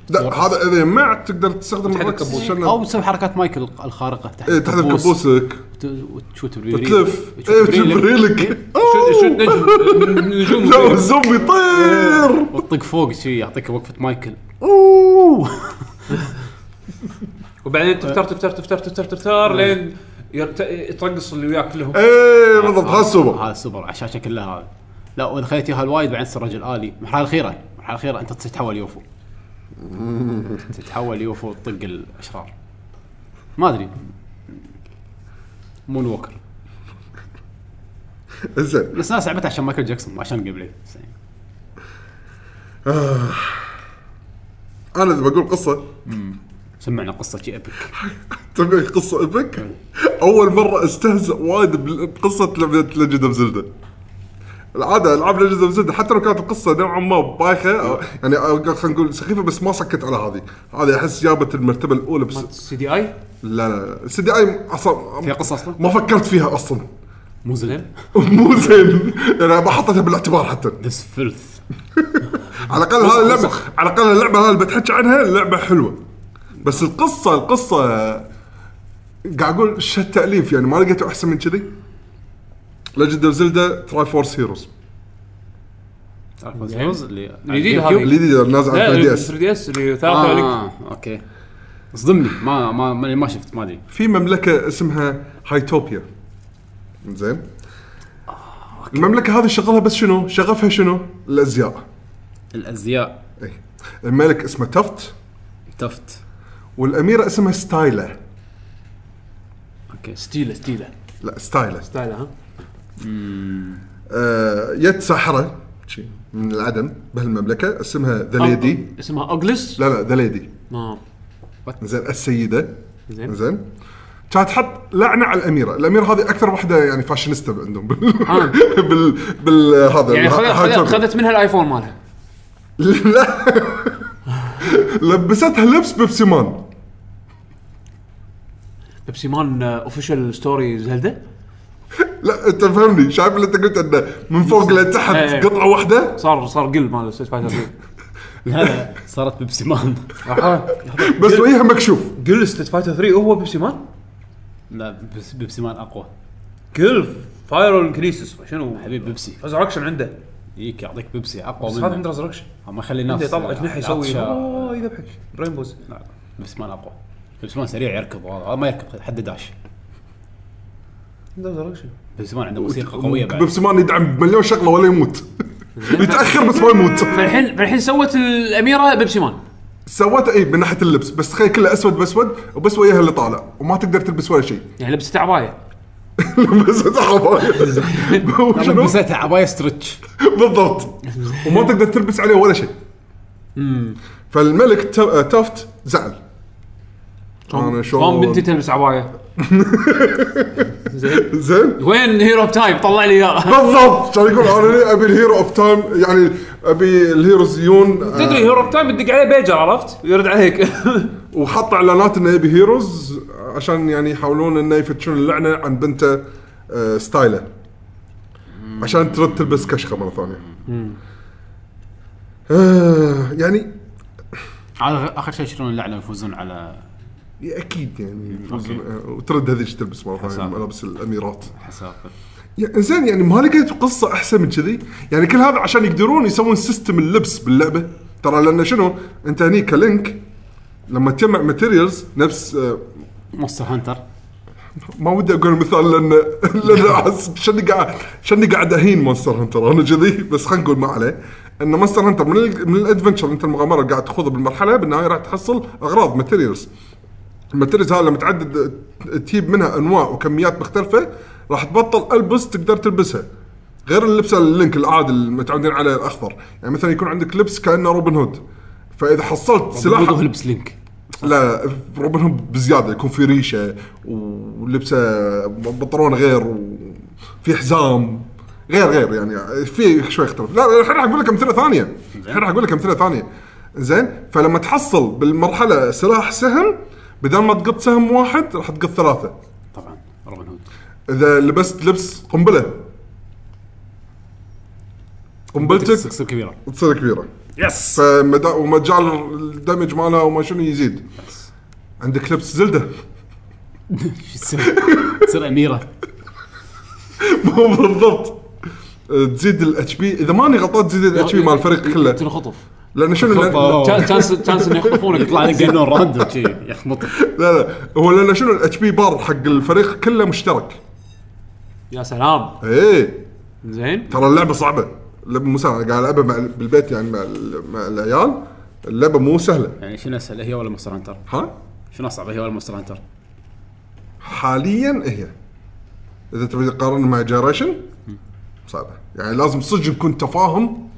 Speaker 2: لا هذا اذا جمعت تقدر تستخدم
Speaker 3: تحدد
Speaker 2: الركس
Speaker 3: كبوس.
Speaker 2: عشان-
Speaker 1: او تسوي حركات مايكل الخارقه تحت
Speaker 2: إيه، تحذف كبوسك
Speaker 1: وت- وتشوت بريلك
Speaker 2: تلف ايه بريلك
Speaker 3: شو- شو نجم نجوم
Speaker 2: لا الزومبي طير
Speaker 1: وتطق فوق شي يعطيك وقفه مايكل اوه
Speaker 3: وبعدين تفتر تفتر تفتر تفتر تفتر
Speaker 2: نعم.
Speaker 3: لين يرت- يترقص اللي وياك كلهم
Speaker 2: ايه بالضبط هذا السوبر
Speaker 1: هذا السوبر على الشاشه كلها هذا لا واذا خليت اياها الوايد بعدين تصير رجل الي المرحله الاخيره المرحله الاخيره انت تتحول يوفو تتحول يوفو وتطق الاشرار ما ادري مون ووكر
Speaker 2: زين
Speaker 1: بس الناس لعبتها عشان مايكل جاكسون مو عشان جيم بلاي بس يعني.
Speaker 2: انا اذا بقول قصه
Speaker 1: سمعنا قصه شي ايبك
Speaker 2: تبي قصه ايبك اول مره استهزأ وايد بال- بقصه لعبه ليجند اوف زلدا العاده العاب ليجند اوف زلدا حتى لو كانت القصه نوعا ما بايخه أو- يعني أو خلينا نقول سخيفه بس ما سكت على هذه هذه احس جابت المرتبه الاولى بس
Speaker 3: سي دي اي
Speaker 2: لا لا سي دي اي اصلا
Speaker 1: فيها قصه اصلا
Speaker 2: ما فكرت فيها اصلا
Speaker 1: مو زين
Speaker 2: مو زين يعني ما حطيتها بالاعتبار حتى
Speaker 1: ذس فيلث
Speaker 2: على الاقل هذه اللعبه على الاقل اللعبه هذه اللي بتحكي عنها لعبه حلوه بس القصه القصه قاعد اقول شو التاليف يعني ما لقيته احسن من كذي ليجند اوف زلدا تراي فورس هيروز
Speaker 1: اللي
Speaker 3: جديد
Speaker 1: جيم كيوب.
Speaker 3: هذه.
Speaker 2: الجديد اللي نازل على 3 دي اس
Speaker 3: 3 دي اس اللي ثلاثه
Speaker 2: آه.
Speaker 3: عليك.
Speaker 1: اه اوكي صدمني ما ما ما, ما شفت ما ادري
Speaker 2: في مملكه اسمها هايتوبيا زين المملكه هذه شغلها بس شنو؟ شغفها شنو؟ الازياء
Speaker 1: الازياء
Speaker 2: اي الملك اسمه تفت
Speaker 1: تفت
Speaker 2: والاميره اسمها ستايلا
Speaker 1: اوكي ستيله ستيله
Speaker 2: لا ستايلا
Speaker 3: تعال ها
Speaker 2: آه، يد ساحره شي، من العدم بهالمملكه اسمها ذا ليدي
Speaker 3: اسمها اوجلس
Speaker 2: لا لا ذا ليدي
Speaker 3: آه.
Speaker 2: زين السيده
Speaker 3: زين
Speaker 2: زين كانت تحط لعنه على الاميره، الاميره هذه اكثر واحده يعني فاشينيستا عندهم بال
Speaker 3: آه.
Speaker 2: بال بال هذا
Speaker 3: يعني
Speaker 2: الها- هاي
Speaker 3: خذت
Speaker 2: توب.
Speaker 3: خذت منها الايفون مالها
Speaker 2: لا لبستها لبس بيبسي مان
Speaker 3: بيبسي مان آه، اوفيشال ستوري زلده
Speaker 2: لا انت فهمني شايف اللي انت قلت انه من فوق
Speaker 3: إيه.
Speaker 2: لتحت قطعه واحده
Speaker 3: صار صار قل مال ستريت فايتر
Speaker 1: هلا صارت بيبسي مان
Speaker 3: 3
Speaker 2: بس وجهه مكشوف
Speaker 3: قل ستريت فايتر 3 هو بيبسي مان
Speaker 1: لا بيبس- بيبسي مان اقوى
Speaker 3: قل فايرال كريسس شنو
Speaker 1: حبيب بيبسي
Speaker 3: ريزركشن عنده
Speaker 1: يجيك يعطيك بيبسي اقوى
Speaker 3: بس هذا عنده
Speaker 1: منه
Speaker 3: ريزركشن
Speaker 1: ما يخلي الناس
Speaker 3: عنده يطلع جناح يسوي
Speaker 1: عطشة.
Speaker 3: اوه يذبحك رينبوز
Speaker 1: لا، لا، بيبسي مان اقوى بيبسي مان سريع يركض هذا هذا ما يركض حد داش
Speaker 3: عنده ريزركشن
Speaker 1: بيبسي مان عنده موسيقى قويه بعد
Speaker 2: بيبسي مان يدعم مليون شغله ولا يموت يتاخر بس ما يموت
Speaker 3: فالحين فالحين سوت الاميره بيبسي مان
Speaker 2: سوته اي إيه؟ من ناحيه اللبس بس تخيل كله اسود باسود وبس وجهها اللي طالع وما تقدر تلبس ولا شيء
Speaker 3: يعني لبسته عبايه
Speaker 2: بس تعبان.
Speaker 1: انا
Speaker 2: شنو؟
Speaker 1: لبستها عبايه ستريتش
Speaker 2: بالضبط وما تقدر تلبس عليه ولا شيء فالملك تا- تافت زعل انا
Speaker 3: شلون بنتي
Speaker 2: شلون
Speaker 3: تلبس عبايه زين
Speaker 2: زين
Speaker 3: وين هيرو تايب طلع لي اياه
Speaker 2: بالضبط كان يقول انا ليه ابي الهيرو اوف تايم يعني ابي الهيروز يون آه،
Speaker 3: تدري هيرو تايب تدق عليه بيجر عرفت يرد عليك
Speaker 2: وحط اعلانات انه يبي هيروز عشان يعني يحاولون انه يفتشون اللعنه عن بنته آه، ستايله عشان ترد تلبس كشخه مره ثانيه آه، يعني
Speaker 1: هذا اخر شيء يشترون اللعنه ويفوزون على
Speaker 2: اكيد يعني
Speaker 1: أوكي.
Speaker 2: آه، وترد هذيك تلبس مره ثانيه
Speaker 1: حسام.
Speaker 2: ملابس الاميرات
Speaker 1: حساب
Speaker 2: يعني زين يعني ما لقيت قصه احسن من كذي يعني كل هذا عشان يقدرون يسوون سيستم اللبس باللعبه ترى لان شنو انت هني كلينك لما تجمع ماتيريالز نفس آه،
Speaker 1: مونستر هانتر
Speaker 2: ما ودي اقول مثال لان لان احس شني قاعد شني قاعد اهين مونستر هانتر انا كذي بس خلينا نقول ما عليه ان مونستر هانتر من ال من الادفنشر انت المغامره اللي قاعد تخوضها بالمرحله بالنهايه راح تحصل اغراض ماتيريالز الماتيريالز هاي لما تعدد تجيب منها انواع وكميات مختلفه راح تبطل البس تقدر تلبسها غير اللبس اللينك العادي المتعودين عليه الاخضر يعني مثلا يكون عندك لبس كانه روبن هود فاذا حصلت سلاح
Speaker 1: سلاحه لبس لينك
Speaker 2: لا روبن هود بزياده يكون في ريشه ولبسه بنطلون غير وفي حزام غير غير يعني في شوي اختلاف لا لا، الحين راح اقول لك امثله ثانيه الحين راح اقول لك امثله ثانيه زين فلما تحصل بالمرحله سلاح سهم بدل ما تقط سهم واحد راح تقط ثلاثه
Speaker 1: طبعا روبن هود
Speaker 2: اذا لبست لبس قنبله قنبلتك
Speaker 1: تصير كبيره
Speaker 2: تصير كبيره
Speaker 1: يس
Speaker 2: فمدا ومجال الدمج مالها وما شنو يزيد عندك لبس زلده
Speaker 1: شو تصير تصير اميره
Speaker 2: مو بالضبط آه، تزيد الاتش بي اذا ماني غلطان تزيد الاتش بي مال الفريق كله
Speaker 3: تنخطف
Speaker 2: لان شنو لأن
Speaker 1: أوه.
Speaker 3: تشانس تشانس انه يخطفونك
Speaker 1: يطلع لك قانون راندوم شي يخبطك
Speaker 2: لا لا هو لان شنو الاتش بي بار حق الفريق كله مشترك
Speaker 3: يا سلام
Speaker 2: ايه
Speaker 3: زين
Speaker 2: ترى اللعبه صعبه اللعبه مو سهله أنا قاعد العبها مع بالبيت يعني مع, ال- مع العيال اللعبه مو سهله
Speaker 1: يعني شنو اسهل هي ولا مونستر هانتر؟
Speaker 2: ها
Speaker 1: شنو اصعب هي ولا مونستر هانتر؟
Speaker 2: حاليا هي اذا تبي تقارن مع جنريشن صعبه يعني لازم صدق يكون تفاهم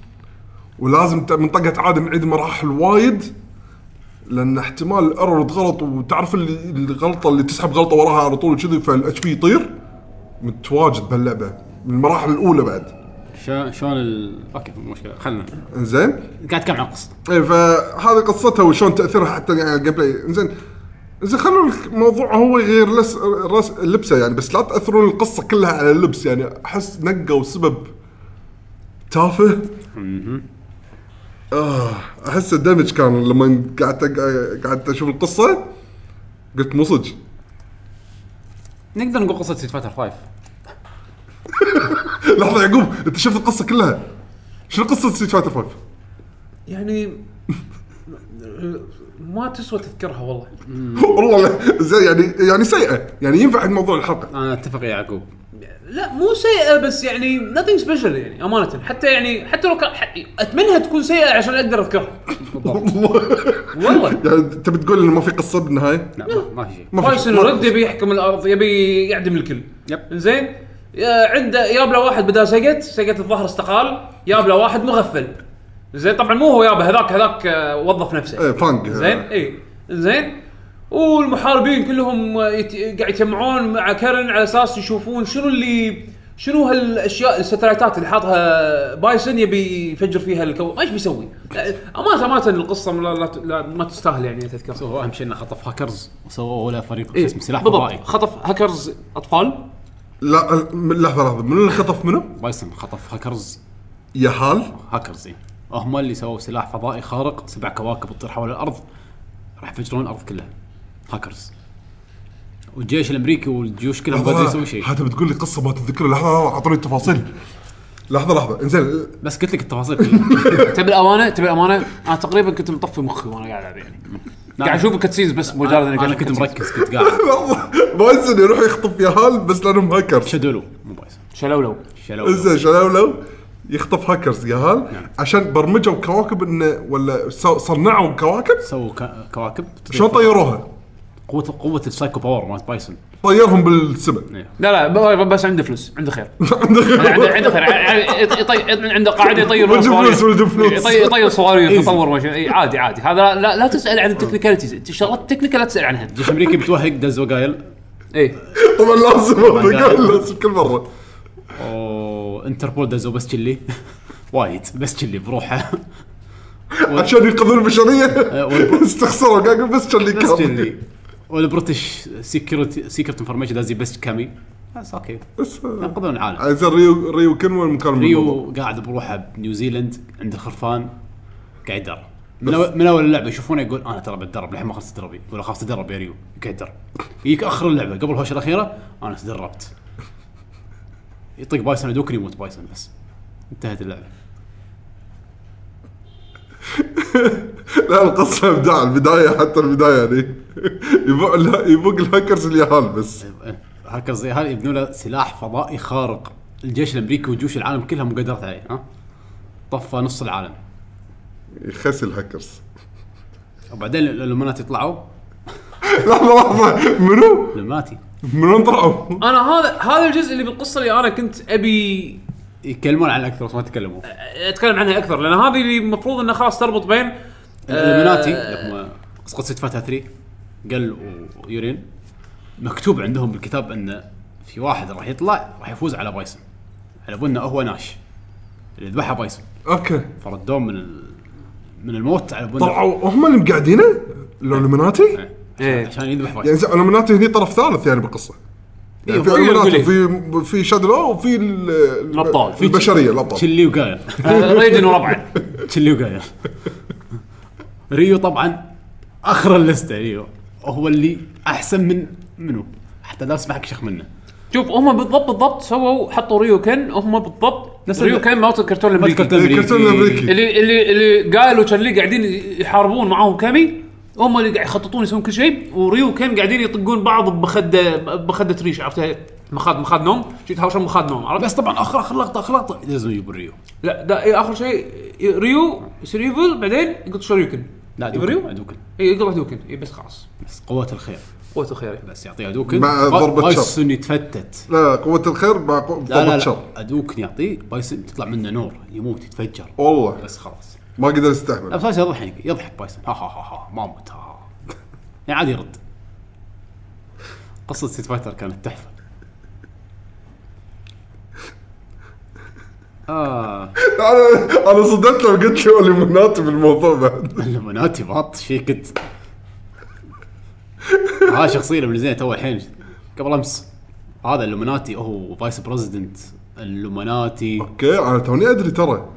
Speaker 2: ولازم ت- من طقه عاده نعيد مراحل وايد لان احتمال الارر غلط وتعرف اللي الغلطه اللي تسحب غلطه وراها على طول كذي فالاتش بي يطير متواجد بهاللعبه من المراحل الاولى بعد
Speaker 1: شلون شلون ال... اوكي مو مشكله خلنا
Speaker 2: انزين
Speaker 1: قاعد اتكلم عن القصه
Speaker 2: اي إيه، فهذه قصتها وشلون تاثيرها حتى يعني على الجيم بلاي زين زين خلوا الموضوع هو يغير لس رس لبسه يعني بس لا تاثرون القصه كلها على اللبس يعني احس نقوا سبب تافه آه احس الدمج كان لما قعدت قعدت اشوف القصه قلت مو صدق
Speaker 1: نقدر نقول قصه سيت فايتر 5
Speaker 2: لحظه يعقوب انت شفت القصه كلها شنو قصه ستريت فايتر 5
Speaker 3: يعني ما تسوى تذكرها والله
Speaker 2: والله لا، زين يعني يعني سيئه يعني ينفع حق موضوع الحلقه
Speaker 1: انا اتفق يا يعقوب
Speaker 3: لا مو سيئه بس يعني nothing سبيشل يعني امانه حتى يعني حتى لو كان ح- اتمنى تكون سيئه عشان اقدر اذكرها والله
Speaker 2: يعني تبي تقول انه ما في قصه بالنهايه
Speaker 1: لا ما- ما في شيء
Speaker 2: ما في
Speaker 3: بايسون
Speaker 2: شيء.
Speaker 3: رد يبي يحكم الارض يبي يعدم الكل
Speaker 1: يب.
Speaker 3: زين عنده ياب له واحد بدا سقط سقط الظهر استقال ياب له واحد مغفل زين طبعا مو هو يابه هذاك هذاك آه، وظف نفسه
Speaker 2: ايه فانج
Speaker 3: زين اي زين والمحاربين كلهم يت... قاعد يجمعون مع كارن على اساس يشوفون شنو اللي شنو هالاشياء الستلايتات اللي حاطها بايسن يبي يفجر فيها الكوكب ما ايش بيسوي؟ لا، امانه امانه القصه لا, لا, لا ما تستاهل يعني تذكر
Speaker 1: هو اهم شيء انه خطف هاكرز وسووا ولا فريق شو
Speaker 3: إيه،
Speaker 1: اسمه سلاح
Speaker 3: بالضبط
Speaker 1: فضائي
Speaker 3: خطف هاكرز اطفال
Speaker 2: لا أه، ال- لحظه لحظه من اللي خطف منه؟
Speaker 1: بايسن خطف هاكرز
Speaker 2: يا حال
Speaker 1: هاكرز إيه. هم اللي سووا سلاح فضائي خارق سبع كواكب تطير حول الارض راح يفجرون الارض كلها هاكرز والجيش الامريكي والجيوش كلهم ما قادرين يسوي شيء
Speaker 2: هذا بتقول لي قصه ما تتذكر لحظه لحظه اعطوني التفاصيل لحظه لحظه انزين
Speaker 1: بس قلت لك التفاصيل كلها
Speaker 3: تبي الامانه تبي الامانه انا تقريبا كنت مطفي مخي وانا قاعد العب يعني قاعد اشوف الكاتسينز بس مجرد اني قاعد
Speaker 1: انا
Speaker 3: أشوف
Speaker 1: نعم. كنت
Speaker 3: cutscenes.
Speaker 1: مركز كنت قاعد
Speaker 2: بايسن يروح يخطف يا هال بس لانهم هاكرز
Speaker 1: شدلو مو بايسن
Speaker 3: شلولو
Speaker 1: شلو
Speaker 2: انزين شلولو يخطف هاكرز يا هال عشان برمجوا كواكب انه ولا سو- صنعوا كواكب
Speaker 1: سووا كا- كواكب
Speaker 2: شلون طيروها؟
Speaker 1: قوه قوه السايكو باور مالت بايسون
Speaker 2: طيرهم بالسماء
Speaker 3: لا لا ب- بس عنده فلوس عنده خير عنده عنده خير ع- يط- يطي- عنده قاعده يطير
Speaker 2: ونجيب
Speaker 3: صواريخ.
Speaker 2: فلوس ونجيب فلوس. إيه.
Speaker 3: يطي- يطير صواريخ يطور ما شاء- إي، عادي عادي هذا لا, لا تسال عن التكنيكاليتيز الشغلات التكنيكال لا تسال عنها إيه.
Speaker 1: الجيش الامريكي بتوهق دز وقايل
Speaker 3: اي
Speaker 2: طبعا لازم هذا قال لازم كل مره
Speaker 1: وانتربول دزوا بس تشلي وايد بس تشلي بروحه
Speaker 2: عشان ينقذون البشريه
Speaker 1: والب-
Speaker 2: استخسروا قاعد يقول بس شلي
Speaker 1: بس
Speaker 2: كام
Speaker 1: تشلي والبريتش سيكيورتي سيكرت انفورميشن دازي بس كامي بس اوكي
Speaker 2: بس
Speaker 1: ينقذون العالم
Speaker 2: زين ريو ريو كن وين مكان ريو
Speaker 1: ريو قاعد بروحه بنيوزيلند عند الخرفان قاعد يدرب من اول من اول اللعبه يشوفونه يقول انا ترى بتدرب للحين ما خلصت تدربي ولا خلاص تدرب يا ريو قاعد يدرب يجيك اخر اللعبه قبل الهوشه الاخيره انا تدربت يطق بايسون يدوكني يموت بايسون بس انتهت اللعبه
Speaker 2: لا القصه ابداع البدايه حتى البدايه يعني يبوق ال- يبوق الهاكرز اللي هال بس
Speaker 1: هاكر زي هذا يبنوا له سلاح فضائي خارق الجيش الامريكي وجيوش العالم كلها مقدرت عليه ها طفى نص العالم
Speaker 2: يخسي الهاكرز
Speaker 1: وبعدين الالومنات يطلعوا
Speaker 2: لحظه لحظه منو؟
Speaker 1: الالومناتي
Speaker 2: منو طلعوا؟
Speaker 3: انا هذا هذا الجزء اللي بالقصه اللي انا كنت ابي
Speaker 1: يتكلمون عن اكثر بس ما تكلموا
Speaker 3: اتكلم عنها اكثر لان هذه اللي المفروض انها خلاص تربط بين
Speaker 1: الالومناتي
Speaker 3: آه،
Speaker 1: اللي هم قصه فتاه 3 قل ويورين مكتوب عندهم بالكتاب ان في واحد راح يطلع راح يفوز على بايسون على انه هو ناش اللي ذبحه بايسون
Speaker 2: اوكي
Speaker 1: فردوه من ال... من الموت على بنا
Speaker 2: طلعوا هم اللي مقعدينه؟ الالومناتي؟
Speaker 3: إيه.
Speaker 1: عشان يذبح بايسون
Speaker 2: يعني زين الالومناتي هني طرف ثالث يعني بالقصه يعني في
Speaker 3: هو اللي
Speaker 2: الالومناتي
Speaker 3: يقول
Speaker 2: في في شادلو وفي ال- ال-
Speaker 3: الأبطال.
Speaker 2: في البشريه الابطال
Speaker 1: تشلي وقايل
Speaker 3: آه، ريدن وربعه
Speaker 1: تشيلي وقايل ريو طبعا اخر اللسته ريو هو اللي احسن من منو حتى لا اسمعك شخ منه
Speaker 3: شوف هم بالضبط بالضبط سووا حطوا ريوكن هم بالضبط
Speaker 1: نفس
Speaker 3: ريوكن مالت الكرتون الامريكي
Speaker 1: الكرتون
Speaker 2: الكرتون الأمريكي.
Speaker 3: اللي اللي اللي قالوا كان لي قاعدين يحاربون معاهم كامي هم اللي قاعد يخططون يسوون كل شيء وريو كان قاعدين يطقون بعض بخده بخده ريش عرفتها مخاد مخاد نوم شي تهاوشون مخاد نوم عرفت
Speaker 1: بس طبعا اخر اخر لقطه اخر لقطه لازم يجيبون ريو
Speaker 3: لا ده إيه اخر شيء ريو يصير ايفل بعدين يقط شوريوكن
Speaker 1: لا
Speaker 3: يبي
Speaker 1: دوكن
Speaker 3: ريو إيه،
Speaker 1: دوكن
Speaker 3: اي يقط دوكن اي بس خلاص
Speaker 1: بس قوة الخير
Speaker 3: قوته خيري
Speaker 1: بس يعطيها دوكن
Speaker 2: مع
Speaker 1: با-
Speaker 2: ضربة شر.
Speaker 1: بايسون يتفتت
Speaker 2: لا قوه الخير مع قوه
Speaker 1: لا لا,
Speaker 2: الشر
Speaker 1: لا دوكن يعطيه بايسون تطلع منه نور يموت يتفجر
Speaker 2: والله
Speaker 1: بس خلاص
Speaker 2: ما قدر
Speaker 1: لا
Speaker 2: يستحمل
Speaker 1: بس هذا يضحك يضحك بايسون ها ها ها ها ما مت ها ها يعني عادي يرد قصة ستيت فايتر كانت تحفة آه
Speaker 2: انا انا صدقت لو قلت له الالومناتي بالموضوع بعد
Speaker 1: الاموناتي باط شي كنت ها شخصية من زين تو الحين قبل امس هذا الاموناتي هو فايس بريزدنت الاموناتي
Speaker 2: اوكي انا توني ادري ترى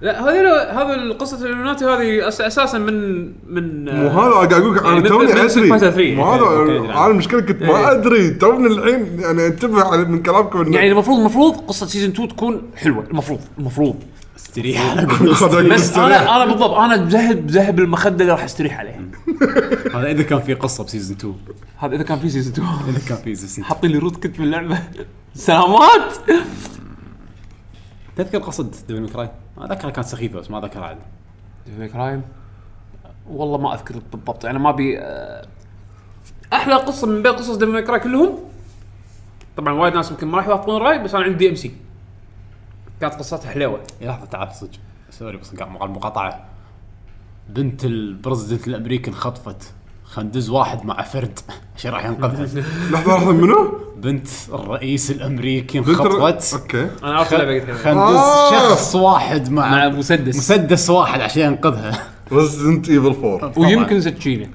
Speaker 3: لا هذه هذا قصه اليوناتي هذه أس- اساسا من من
Speaker 2: مو هذا أنا قاعد اقول لك
Speaker 3: إيه،
Speaker 2: انا
Speaker 3: مثل-
Speaker 2: توني
Speaker 3: مثل Street Fighter 3.
Speaker 2: ادري مو هذا
Speaker 1: أوكي، أدري
Speaker 2: انا
Speaker 1: عنه.
Speaker 2: المشكله كنت
Speaker 3: إيه.
Speaker 2: ما ادري توني الحين يعني انتبه على- من كلامكم انه
Speaker 3: يعني المفروض المفروض قصه سيزون 2 تكون حلوه المفروض المفروض
Speaker 1: استريح على قول
Speaker 2: خذ
Speaker 1: استريح.
Speaker 3: بس انا انا بالضبط انا بذهب بذهب المخده اللي راح استريح عليه
Speaker 1: هذا اذا كان في قصة بسيزون 2
Speaker 3: هذا اذا كان في سيزون 2
Speaker 1: اذا كان في سيزون
Speaker 3: حاطين لي روت كنت في اللعبه سلامات
Speaker 1: تذكر قصة ديفل كراي؟ اذكرها كانت سخيفة بس ما اذكرها عاد
Speaker 3: كرايم والله ما اذكر بالضبط يعني ما ابي آه، احلى قصه من بين قصص ديفل كراي كلهم طبعا وايد ناس يمكن ما راح يوافقون الراي بس انا عندي دي ام سي كانت قصتها حلوه
Speaker 1: يا لحظة تعال صدق سوري بس قاعد مقاطعة بنت البرزدنت الامريكي انخطفت خلينا ندز واحد مع فرد عشان راح ينقذها
Speaker 2: لحظه لحظه منو؟
Speaker 1: بنت الرئيس الامريكي
Speaker 2: بنت الر-
Speaker 1: انخطفت
Speaker 2: اوكي
Speaker 3: انا عرفت اللعبه قلت لك.
Speaker 1: خلينا
Speaker 2: آه.
Speaker 1: ندز شخص واحد
Speaker 3: مع
Speaker 1: مع
Speaker 3: آه، مسدس
Speaker 1: مسدس واحد عشان ينقذها
Speaker 2: ريزدنت ايفل 4
Speaker 3: ويمكن سكينه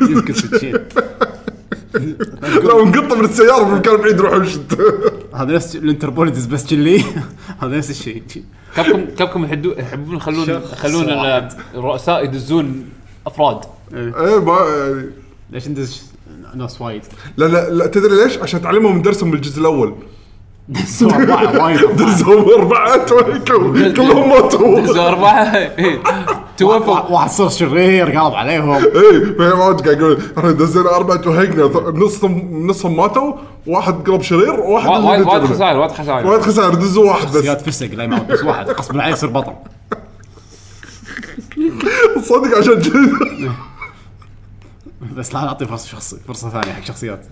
Speaker 1: يمكن تشيل
Speaker 2: لو انقطه من السياره من مكان بعيد روح وشت
Speaker 1: هذا نفس الانتربول يدز بس كلي هذا نفس الشيء
Speaker 3: كابكم كابكم يحدو- يحبون يخلون
Speaker 1: شخص
Speaker 3: يخلون
Speaker 1: واحد.
Speaker 3: ال- الرؤساء يدزون افراد
Speaker 2: ايه ما يعني
Speaker 1: ليش ندز ناس وايد
Speaker 2: لا لا لا تدري ليش؟ عشان تعلمهم من درسهم بالجزء الاول
Speaker 1: سوى أربعة وايد
Speaker 2: درسهم اربعه كل- كلهم
Speaker 3: دزوا
Speaker 2: ماتوا
Speaker 3: اربعه إيه. توفوا
Speaker 1: واحد صار شرير قالب عليهم
Speaker 2: ايه فاهم قاعد يقول احنا دزينا اربعه وهقنا ف- نصهم نصهم ماتوا واحد قلب شرير وواحد
Speaker 3: وا-
Speaker 2: اللي
Speaker 3: وايد وايد
Speaker 2: نجربه.
Speaker 3: خسائر وايد
Speaker 2: وايد
Speaker 3: خسائر
Speaker 2: خسائر دزوا واحد
Speaker 1: زياد
Speaker 2: بس
Speaker 1: فسق لا يموت بس واحد غصب عليه يصير بطل
Speaker 2: صدق عشان كذا
Speaker 1: بس لا نعطيه فرصه شخصي فرصه ثانيه حق شخصيات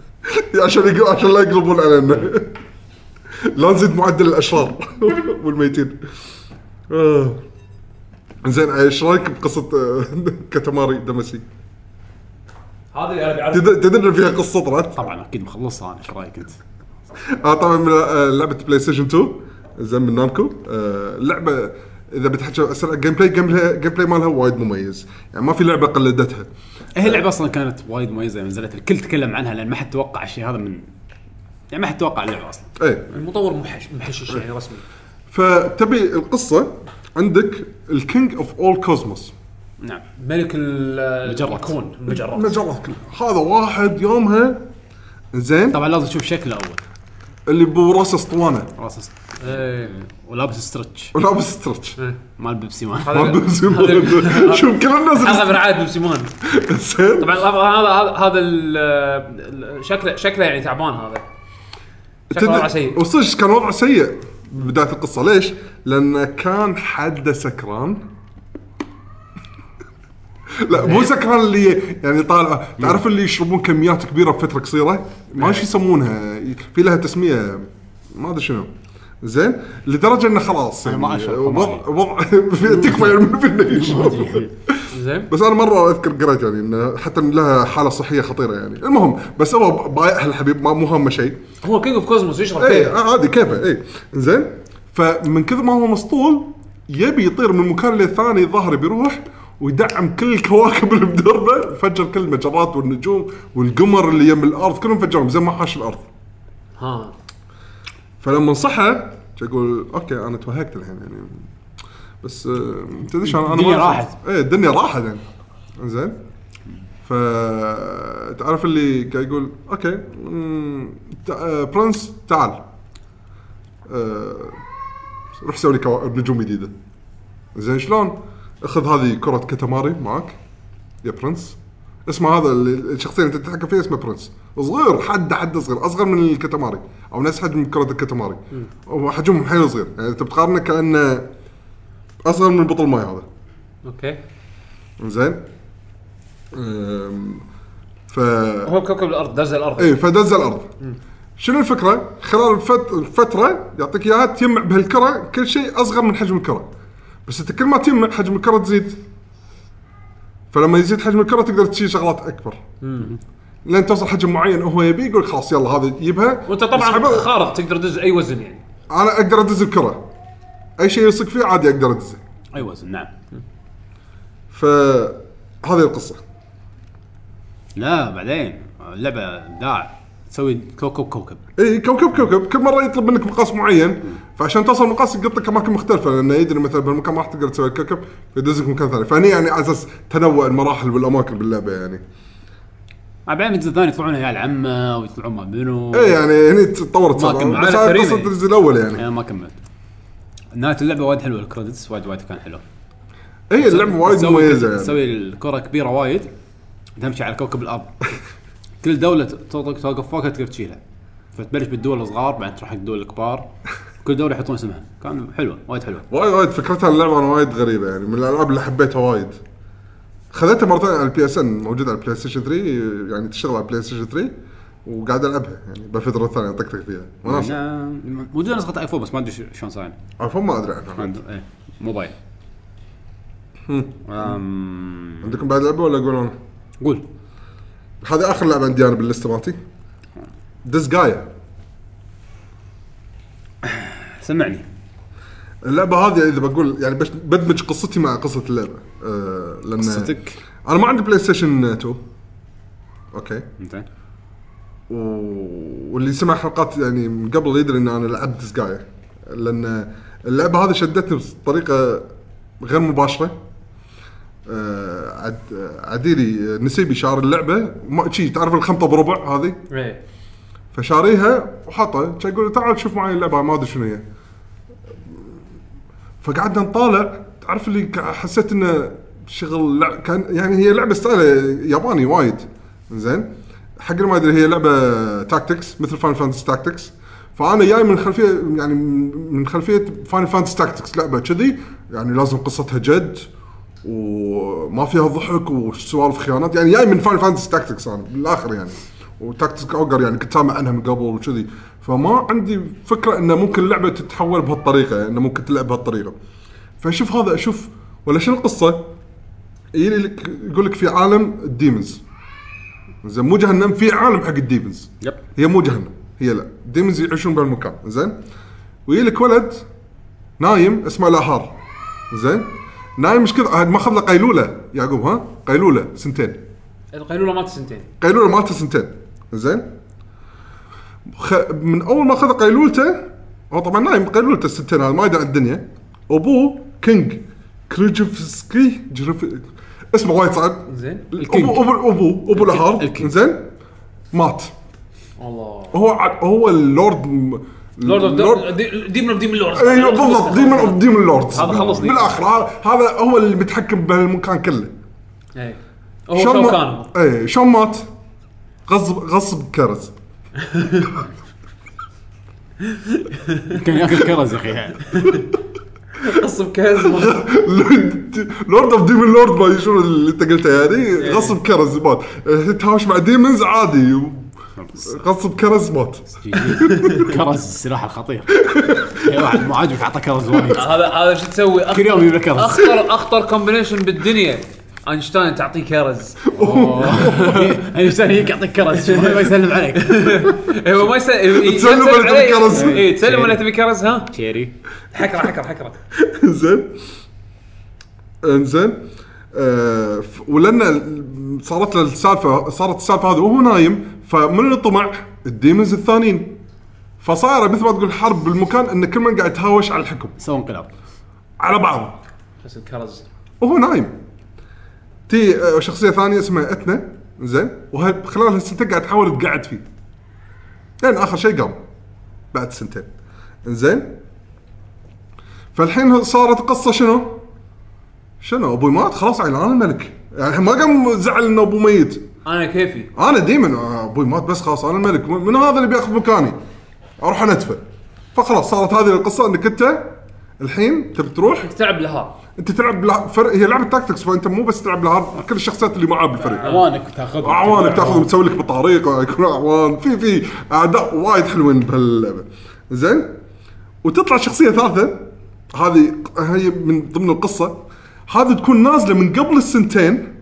Speaker 2: عشان يقل... عشان لا يقلبون علينا لا نزيد معدل الاشرار والميتين آه. زين ايش رايك بقصه آه، كتماري دمسي؟
Speaker 3: هذا يعني اللي انا بعرفه
Speaker 2: تد- تدري إن فيها قصه طلعت؟
Speaker 1: طبعا اكيد مخلصها انا ايش رايك انت؟
Speaker 2: اه طبعا من آه، لعبه بلاي ستيشن 2 زين من نامكو آه، اللعبه اذا بتحكي اسرع جيم بلاي جيم بلاي- جيم بلاي مالها وايد مميز يعني ما في لعبه قلدتها
Speaker 1: هي اللعبه اصلا كانت وايد مميزه لما نزلت الكل تكلم عنها لان ما حد توقع الشيء هذا من يعني ما حد توقع اللعبه اصلا
Speaker 2: ايه
Speaker 3: المطور محش- محشش يعني رسمي
Speaker 2: فتبي القصه عندك الكينج اوف اول كوزموس
Speaker 1: نعم
Speaker 3: ملك ال-
Speaker 1: مجرات.
Speaker 3: الكون المجرات
Speaker 2: المجرات كلها هذا واحد يومها زين
Speaker 1: طبعا لازم تشوف شكله اول
Speaker 2: اللي براسه اسطوانه
Speaker 1: راسه س-
Speaker 3: إيه.
Speaker 1: ولابس ستريتش
Speaker 2: ولابس ستريتش
Speaker 1: مال بيبسي مان
Speaker 3: هذا-
Speaker 2: شوف كل
Speaker 3: حلقه
Speaker 2: الناس
Speaker 3: من عاد بسيمان
Speaker 2: زين
Speaker 3: طبعا هذا هذا هذا- هذا ال- ال- شكله شكله يعني تعبان هذا شكله وضعه سيء
Speaker 2: وصدق كان وضعه سيء بدايه القصه ليش؟ لان كان حده سكران لا مو
Speaker 3: إيه.
Speaker 2: سكران اللي يعني طالع تعرف اللي يشربون كميات كبيره بفتره قصيره
Speaker 3: إيه.
Speaker 2: ما شو يسمونها في لها تسميه ما ادري شنو زين لدرجه انه خلاص يعني
Speaker 1: ما أشرب، ما
Speaker 2: وضع وضع تكفى يعني ما في إنه يشرب
Speaker 3: زين
Speaker 2: بس انا مره اذكر قريت يعني انه حتى إن لها حاله صحيه خطيره يعني المهم بس هو بايعها الحبيب ما- مو هامه شيء
Speaker 3: هو كينج اوف كوزموس يشرب
Speaker 2: اي
Speaker 3: فيه
Speaker 2: عادي إيه، آه، كيفه اي زين فمن كثر ما هو مسطول يبي يطير من مكان للثاني ظهره بيروح ويدعم كل الكواكب اللي بدربه فجر كل المجرات والنجوم والقمر اللي يم الارض كلهم فجرهم زي ما حاش الارض
Speaker 3: ها
Speaker 2: فلما صحى يقول اوكي انا توهقت الحين يعني بس آه، تدري شلون انا ما
Speaker 1: الدنيا
Speaker 2: أعرف-
Speaker 1: راحت.
Speaker 2: ايه الدنيا راحت يعني زين ف تعرف اللي قاعد يقول اوكي مم، تع- آه، برنس تعال آه، روح سوي لي كوا- نجوم جديده زين شلون؟ اخذ هذه كره كتماري معك يا برنس اسمه هذا اللي- الشخصيه اللي انت تتحكم فيه اسمه برنس صغير حد حد صغير اصغر من الكتماري او نفس حجم كره الكتماري وحجمهم حيل صغير يعني انت بتقارنه كانه اصغر من بطل ماي هذا
Speaker 3: اوكي
Speaker 2: زين أم، ف
Speaker 3: هو كوكب الارض دز الارض
Speaker 2: اي فدز الارض شنو الفكره؟ خلال الفت- الفتره يعطيك اياها تجمع بهالكره كل شيء اصغر من حجم الكره بس انت كل ما تجمع حجم الكره تزيد فلما يزيد حجم الكره تقدر تشيل شغلات اكبر لين توصل حجم معين هو يبي يقول خلاص يلا هذا يجيبها
Speaker 3: وانت طبعا
Speaker 2: يسحبها.
Speaker 3: خارق تقدر تدز اي وزن يعني
Speaker 2: انا اقدر ادز الكره اي شيء يلصق فيه عادي اقدر ادزه
Speaker 1: اي وزن نعم
Speaker 2: فهذه القصه
Speaker 1: لا بعدين اللعبه ابداع تسوي كوكب كوكب
Speaker 2: اي كوكب كوكب كل مره يطلب منك مقاس معين فعشان توصل المقاس يقط لك اماكن مختلفه لانه يدري مثلا بالمكان ما راح تقدر تسوي الكوكب فيدزك مكان ثاني فهني يعني على اساس تنوع المراحل والاماكن باللعبه يعني
Speaker 1: بعدين الجزء الثاني يطلعون عيال عمه ويطلعون ما منو
Speaker 2: اي يعني هني تطورت
Speaker 1: ما
Speaker 2: صراحة.
Speaker 1: كمل.
Speaker 2: بس
Speaker 3: عارف
Speaker 2: هاي
Speaker 3: كريمة.
Speaker 2: قصه الجزء الاول يعني
Speaker 1: انا ما كملت نهايه اللعبه وايد حلوه الكريدتس وايد وايد كان حلو
Speaker 2: اي اللعبه إيه، وايد
Speaker 1: تسوي-
Speaker 2: مميزه يعني
Speaker 1: تسوي الكره كبيره وايد تمشي على كوكب الارض كل دوله توقف توقف فوقها تقدر تشيلها فتبلش بالدول الصغار بعدين تروح حق الدول الكبار كل دوله يحطون اسمها كان حلوه وايد حلوه
Speaker 2: وايد وايد فكرتها اللعبه انا وايد غريبه يعني من الالعاب اللي حبيتها وايد خذيتها مرتين على البي اس ان موجوده على البلاي ستيشن 3 يعني تشتغل على البلاي ستيشن 3 وقاعد العبها يعني بالفتره الثانيه طقطق فيها وناسة.
Speaker 1: أنا- موجوده نسخه ايفون بس ما ادري ش- شلون صاير
Speaker 2: عفوا ما ادري عنها
Speaker 1: عند- إيه، موبايل أم،
Speaker 2: عندكم بعد لعبه ولا اقول انا؟
Speaker 1: قول
Speaker 2: هذا اخر لعبه عندي انا باللسته مالتي دزجايا
Speaker 1: سمعني
Speaker 2: اللعبه هذه اذا بقول يعني بش- بدمج قصتي مع قصه اللعبه أه لان
Speaker 1: قصتك
Speaker 2: انا ما عندي بلاي ستيشن 2 اوكي
Speaker 1: زين
Speaker 2: و- واللي سمع حلقات يعني من قبل يدري ان انا لعبت ديسجايا لان اللعبه هذه شدتني بطريقه غير مباشره آه، عد عديلي نسيبي شار اللعبه ما شي تعرف الخمطه بربع هذه
Speaker 3: ايه
Speaker 2: فشاريها وحطها كان يقول تعال شوف معي اللعبه ما ادري شنو هي فقعدنا نطالع تعرف اللي ك- حسيت انه شغل لع- كان يعني هي لعبه ستايل ياباني وايد زين حق اللي ما يدري هي لعبه تاكتكس مثل فاين فانتسي تاكتكس فانا جاي من خلفيه يعني من- من خلفيه فاين فانتسي تاكتكس لعبه كذي يعني لازم قصتها جد وما فيها ضحك وسوالف خيانات يعني جاي من فاين فانتسي تاكتكس انا بالاخر يعني وتاكتكس اوجر يعني كنت سامع عنها من قبل وكذي فما عندي فكره انه ممكن اللعبه تتحول بهالطريقه يعني انه ممكن تلعب بهالطريقه فاشوف هذا اشوف ولا شنو القصه؟ يجي لك يقول لك في عالم الديمونز زين مو جهنم في عالم حق الديمونز
Speaker 1: يب
Speaker 2: هي مو جهنم هي لا ديمونز يعيشون بهالمكان زين ويجي لك ولد نايم اسمه الاهار زين نايم مش كذا عاد ماخذ له قيلوله يعقوب ها قيلوله سنتين
Speaker 3: القيلوله مالت سنتين
Speaker 2: قيلوله مالته سنتين زين خ... من اول ما اخذ قيلولته هو طبعا نايم قيلولته السنتين هذا ما يدري عن الدنيا ابوه كينج كريجفسكي جرف... اسمه وايد صعب
Speaker 3: زين
Speaker 1: الكينج.
Speaker 2: ابو ابو ابو ابو الاهار
Speaker 1: الكينج.
Speaker 2: زين مات
Speaker 3: الله
Speaker 2: هو ع- هو اللورد م-
Speaker 3: لورد اوف
Speaker 2: لورد-
Speaker 3: ديمون اوف ديمون لورد
Speaker 2: ايوه بالضبط ديمون اوف ديمون لورد
Speaker 3: هذا خلص ديمون.
Speaker 2: بالاخر ه- هذا هو اللي متحكم بهالمكان كله
Speaker 3: ايه هو شو كان
Speaker 2: ما... اي شلون مات؟ غصب غصب كرز
Speaker 1: كان ياكل كرز يا اخي
Speaker 3: قصب كاز
Speaker 2: لورد اوف ديمون لورد ما شنو اللي انت قلته
Speaker 3: إيه.
Speaker 2: يعني غصب كرز مات إيه، تهاوش مع ديمونز عادي و- غصب كرز مات
Speaker 1: كرز السلاح الخطير يا واحد مو عاجبك اعطى كرز وايد
Speaker 3: هذا هذا شو تسوي أخطر-
Speaker 1: كل يوم يجيب لك كرز.
Speaker 3: اخطر اخطر كومبينيشن بالدنيا اينشتاين تعطيه كرز
Speaker 1: اينشتاين هيك يعطيك كرز شو ما يسلم عليك
Speaker 3: هو ما إيه، يسال
Speaker 2: تسلم ولا تبي كرز؟
Speaker 3: اي إيه، تسلم ولا تبي كرز ها
Speaker 1: شيري
Speaker 3: حكره حكره حكره
Speaker 2: زين انزين آه، ف- ولان صارت له السالفه صارت السالفه هذه وهو نايم فمن اللي طمع الديمونز الثانيين فصايره مثل ما تقول حرب بالمكان ان كل من قاعد يتهاوش على الحكم
Speaker 1: سووا انقلاب
Speaker 2: على بعض
Speaker 3: بس الكرز
Speaker 2: وهو نايم تي آه، شخصيه ثانيه اسمها اتنا زين وهي خلال هالسنتين قاعد تحاول تقعد فيه لين اخر شيء قام بعد سنتين زين فالحين صارت قصه شنو؟ شنو ابوي مات خلاص عيل انا الملك يعني الحين ما قام زعل ان ابوه ميت
Speaker 3: انا كيفي
Speaker 2: انا دائما ابوي مات بس خلاص انا الملك من من هذا اللي بياخذ مكاني اروح انتفه فخلاص صارت هذه القصه انك انت الحين تبي تروح
Speaker 3: تلعب لها
Speaker 2: انت تلعب بلا- فرق هي لعبه تاكتكس فانت مو بس تلعب لها كل الشخصيات اللي معاه بالفريق
Speaker 1: اعوانك تاخذ
Speaker 2: اعوانك تاخذهم تسوي لك بطريقه يكون اعوان في في اعداء وايد حلوين بهاللعبه زين وتطلع شخصيه ثالثه هذه هي من ضمن القصه هذه تكون نازله من قبل السنتين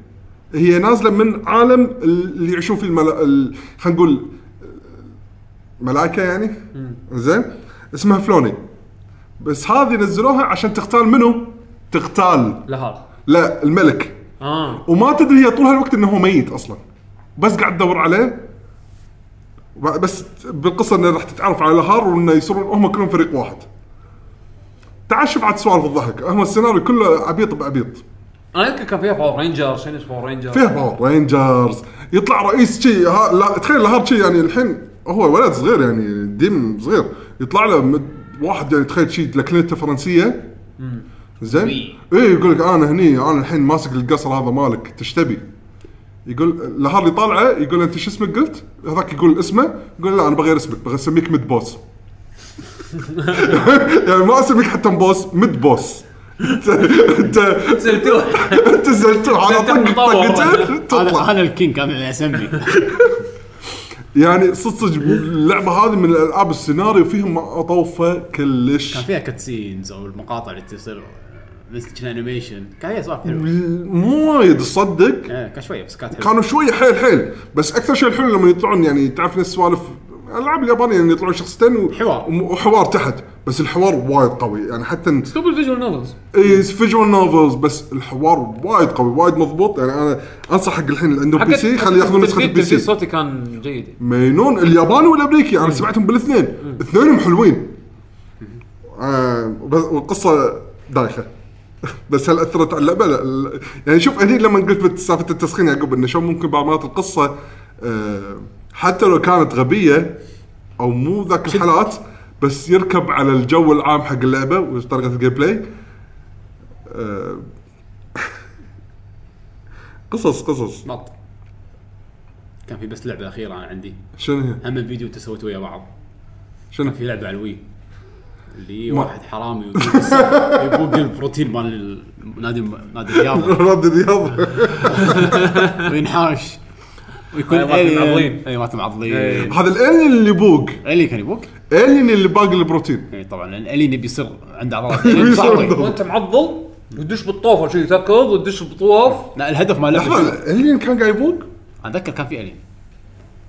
Speaker 2: هي نازله من عالم اللي يعيشون فيه الملا... ال... خلينا نقول ملائكه يعني زين اسمها فلوني بس هذه نزلوها عشان تختال منو؟ تختال
Speaker 3: لها
Speaker 2: لا الملك
Speaker 3: اه
Speaker 2: وما تدري هي طول هالوقت انه هو ميت اصلا بس قاعد تدور عليه وب- بس بالقصه انه راح تتعرف على الهار وانه يصيرون هم كلهم فريق واحد تعال شوف عاد سوالف الضحك هم السيناريو كله عبيط بعبيط
Speaker 3: انا اذكر كان فيها باور رينجر شنو اسمه باور رينجر
Speaker 2: فيها باور رينجرز يطلع رئيس شي ها لا تخيل الهار شي يعني الحين هو ولد صغير يعني ديم صغير يطلع له مد- واحد يعني تخيل شي لكنته فرنسيه زين
Speaker 3: وي.
Speaker 2: اي يقول لك انا هني انا الحين ماسك القصر هذا مالك تشتبي يقول الهار اللي طالعه يقول انت شو اسمك قلت؟ هذاك يقول اسمه يقول لا انا بغير اسمك بغير اسميك ميد بوس يعني ما اسميك حتى بوس ميد بوس انت انت
Speaker 3: سلتوه
Speaker 2: انت زلتوه على طق
Speaker 3: مطور.
Speaker 2: طقتين
Speaker 1: هذا
Speaker 2: تطلع
Speaker 1: انا الكينج انا اللي اسمي
Speaker 2: يعني صدق صدق اللعبه هذه من الالعاب السيناريو فيهم طوفه كلش
Speaker 1: كان فيها كاتسينز او المقاطع اللي تصير بس كان انيميشن كان هي سوالف حلوه
Speaker 2: مو وايد تصدق
Speaker 1: إيه، كان شويه بس كانت حلوه
Speaker 2: كانوا شوي حيل حيل بس اكثر شيء الحلو لما يطلعون يعني تعرف نفس سوالف الالعاب اليابانيه يعني يطلعون شخصيتين و...
Speaker 1: حوار.
Speaker 2: وم- وحوار تحت بس الحوار وايد قوي يعني حتى
Speaker 3: اسلوب الفيجوال نوفلز
Speaker 2: اي فيجوال نوفلز بس الحوار وايد قوي وايد مضبوط يعني انا انصح حق الحين اللي عندهم بي سي خليه ياخذون نسخه البي
Speaker 3: البي
Speaker 2: سي
Speaker 3: صوتي كان جيد
Speaker 2: مينون الياباني والامريكي انا سمعتهم بالاثنين اثنينهم حلوين آه بس والقصه دايخه بس هل اثرت على اللعبه؟ لا ال- يعني شوف هني لما قلت سالفه التسخين يعقوب انه شلون ممكن بعض مرات القصه آه حتى لو كانت غبيه او مو ذاك الحالات بس يركب على الجو العام حق اللعبه وطريقه الجيم بلاي آه قصص قصص
Speaker 1: بط كان في بس لعبه اخيره انا عندي
Speaker 2: شنو هي؟
Speaker 1: هم الفيديو انت سويته ويا بعض
Speaker 2: شنو؟
Speaker 1: في لعبه على الوي اللي
Speaker 2: ما-
Speaker 1: واحد حرامي يبوق- يبوق البروتين مال ال- نادي نادي الرياضه
Speaker 2: رد الرياض
Speaker 1: وينحاش ويكون
Speaker 3: أي، مالتهم
Speaker 1: alien.
Speaker 3: عضلين.
Speaker 1: اي مالتهم
Speaker 3: أي.
Speaker 1: عضلين
Speaker 2: هذا الالين اللي بوق
Speaker 1: الين كان يبوق
Speaker 2: الين اللي باقي البروتين
Speaker 1: اي طبعا لان الين يبي يصير عنده عضلات الين
Speaker 2: يصير
Speaker 1: صعبة.
Speaker 2: عضلات.
Speaker 3: وانت معضل وتدش بالطوفه شي تركض وتدش بالطواف
Speaker 1: لا الهدف مال اللعبة
Speaker 2: لحظه
Speaker 1: شنو؟
Speaker 2: الالين كان قاعد يبوق؟
Speaker 1: اتذكر كان في الين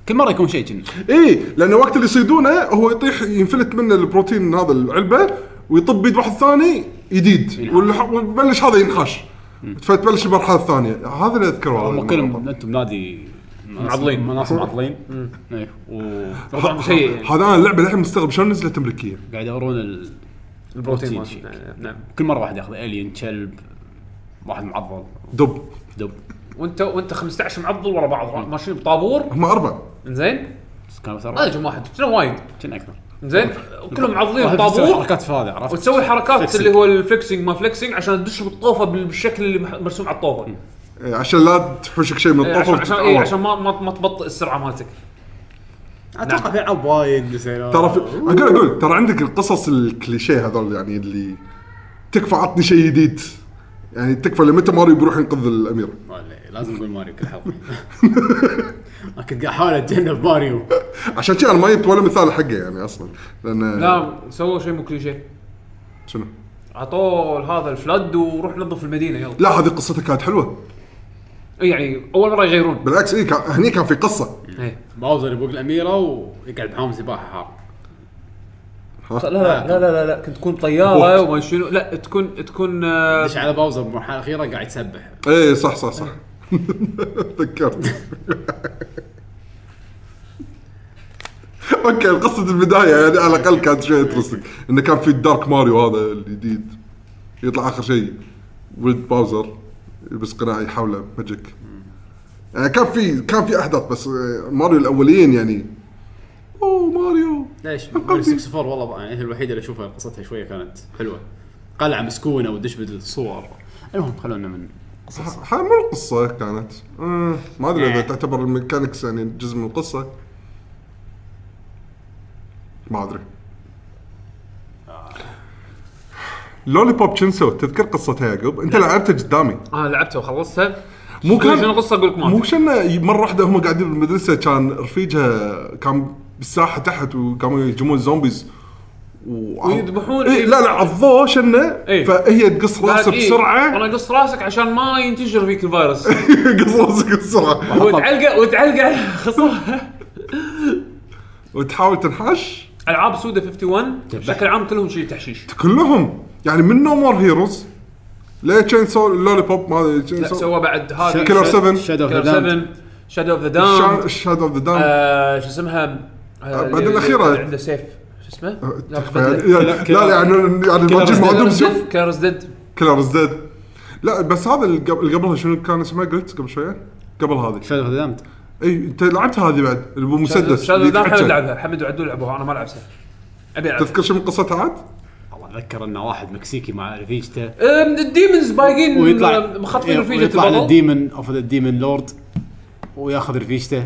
Speaker 1: كل مره يكون شيء كنا
Speaker 2: اي لانه إيه، وقت اللي يصيدونه هو يطيح ينفلت منه البروتين هذا العلبه ويطب بيد واحد ثاني جديد
Speaker 1: ينحاش.
Speaker 2: والح- ويبلش هذا ينحاش فتبلش المرحله الثانيه هذا اللي اذكره
Speaker 1: هم
Speaker 2: والله
Speaker 1: كلهم انتم نادي ناس-
Speaker 3: معضلين.
Speaker 1: ناس معضلين اي
Speaker 3: طبعاً شيء يعني.
Speaker 2: هذا انا اللعبه الحين مستغرب شلون نزلت امريكيه
Speaker 1: وقاعد يدورون ال...
Speaker 3: البروتين
Speaker 1: بروتين
Speaker 3: مال-
Speaker 1: شيك.
Speaker 3: نعم، نعم
Speaker 1: كل مره واحد ياخذ الين كلب واحد معضل
Speaker 2: دب
Speaker 1: دب
Speaker 3: وانت وانت 15 معضل ورا بعض ماشيين بطابور
Speaker 2: هم اربع
Speaker 3: زين
Speaker 1: بس كانوا بس
Speaker 3: هذا
Speaker 1: أربعة.
Speaker 3: كم واحد شنو وايد
Speaker 1: كنا اكثر
Speaker 3: زين كلهم معضلين
Speaker 1: واحد يسوي
Speaker 3: بطابور
Speaker 1: حركات في هذا عرفت
Speaker 3: أيوه، وتسوي حركات
Speaker 1: flexing.
Speaker 3: اللي هو الفليكسنج ما فليكسنج عشان تدش بالطوفه بالشكل اللي مح- مرسوم على الطوفه
Speaker 2: إيه، عشان لا تحوشك شيء من
Speaker 3: إيه،
Speaker 2: الطفل
Speaker 3: عشان عشان, إيه،
Speaker 2: وتتعور.
Speaker 3: عشان ما ما, ما تبطئ السرعه مالتك نعم.
Speaker 1: اتوقع في العاب وايد يصيرون.
Speaker 2: ترى في... اقول اقول ترى عندك القصص الكليشيه هذول يعني اللي تكفى عطني شيء جديد يعني تكفى لمتى ماريو بيروح ينقذ الاميره
Speaker 1: والله، لازم اقول ماريو كل حلقه انا كنت قاعد احاول اتجنب ماريو
Speaker 2: عشان كذا انا ما جبت ولا مثال حقه يعني اصلا لان
Speaker 3: لا نعم. سووا شيء مو كليشيه
Speaker 2: شنو؟
Speaker 3: عطوه هذا الفلد وروح نظف المدينه يلا
Speaker 2: لا هذه قصتها كانت حلوه
Speaker 3: إيه، يعني اول مره يغيرون
Speaker 2: بالعكس اي كان... هني كان في قصه
Speaker 3: إيه.
Speaker 1: باوزر يبوق الاميره ويقعد معاهم سباحه حار
Speaker 3: لا لا لا لا لا كنت تكون طياره وما شنو لا تكون تكون آه،
Speaker 1: دش على باوزر بالمرحله الاخيره قاعد يسبح
Speaker 2: اي إيه، صح صح صح تذكرت اوكي قصة البداية يعني على الاقل كانت شيء انترستنج انه كان في الدارك ماريو هذا الجديد يطلع اخر شيء ولد باوزر يلبس قناع يحوله ماجيك يعني كان في كان في احداث بس آه، ماريو الاوليين يعني اوه ماريو
Speaker 1: ليش؟
Speaker 2: أقل
Speaker 1: ماريو
Speaker 2: فيه.
Speaker 1: 64 والله بقى يعني هي الوحيده اللي اشوفها قصتها شويه كانت حلوه قلعه مسكونه ودش بالصور المهم خلونا من قصص
Speaker 2: ح- مو القصة كانت مم، ما ادري
Speaker 3: إيه.
Speaker 2: اذا تعتبر الميكانكس يعني جزء من القصة ما ادري لولي بوب تشنسو تذكر قصتها يعقوب
Speaker 3: إيه.
Speaker 2: انت لعبتها قدامي
Speaker 3: انا لعبتها وخلصتها
Speaker 2: مو
Speaker 3: كل شنو القصة أقول لك ما
Speaker 2: مو
Speaker 3: أدري.
Speaker 2: شنو مره واحده هم قاعدين بالمدرسه كان رفيجها كان بالساحه تحت وكانوا يهجمون زومبيز و...
Speaker 3: ويذبحون-
Speaker 2: إيه لا لا عضوه شنه
Speaker 3: إيه.
Speaker 2: فهي تقص راسه
Speaker 3: إيه،
Speaker 2: بسرعه
Speaker 3: انا قص راسك عشان ما ينتشر فيك الفيروس
Speaker 2: قص راسك بسرعه
Speaker 3: وتعلقه وتعلقه على خصرها
Speaker 2: وتحاول تنحش
Speaker 3: العاب سودا 51 بشكل عام كلهم شيء تحشيش
Speaker 2: كلهم يعني من نو مور هيروز ليه تشين سو لولي بوب ما ادري تشين
Speaker 3: لا سوى بعد هذه
Speaker 2: كيلر
Speaker 3: شاد-
Speaker 2: 7
Speaker 1: شادو
Speaker 3: كيلر 7 شادو اوف ذا داون
Speaker 2: شاد اوف ذا داون
Speaker 3: آه، شو اسمها آه،
Speaker 2: بعد
Speaker 3: اللي-
Speaker 2: الأخيرة.
Speaker 3: اللي عنده سيف شو اسمه؟ لا مش فاكر.
Speaker 2: لا لا يعني يعني الباجين ما عندهم سيوف
Speaker 3: كيلرز ديد
Speaker 2: كلر زد لا بس هذا اللي قبل- اللي قبلها شنو كان اسمه قلت قبل شويه قبل هذه
Speaker 1: شادو اوف ذا دامت
Speaker 2: اي انت لعبت هذه بعد اللي هو مسدس
Speaker 3: شادو
Speaker 2: اللي
Speaker 3: اوف ذا داون حمد
Speaker 2: يتحكى.
Speaker 3: لعبها حمد وعدول لعبوها انا ما لعبتها ابي العبها
Speaker 2: تذكر شو من قصتها عاد؟
Speaker 1: والله اتذكر ان واحد مكسيكي مع رفيجته
Speaker 3: أم، الديمونز بايقين
Speaker 1: ويطلع
Speaker 3: مخطفين رفيجة
Speaker 1: إيه، ويطلع
Speaker 3: البطل
Speaker 1: للديمن اوف ذا ديمن لورد وياخذ رفيجته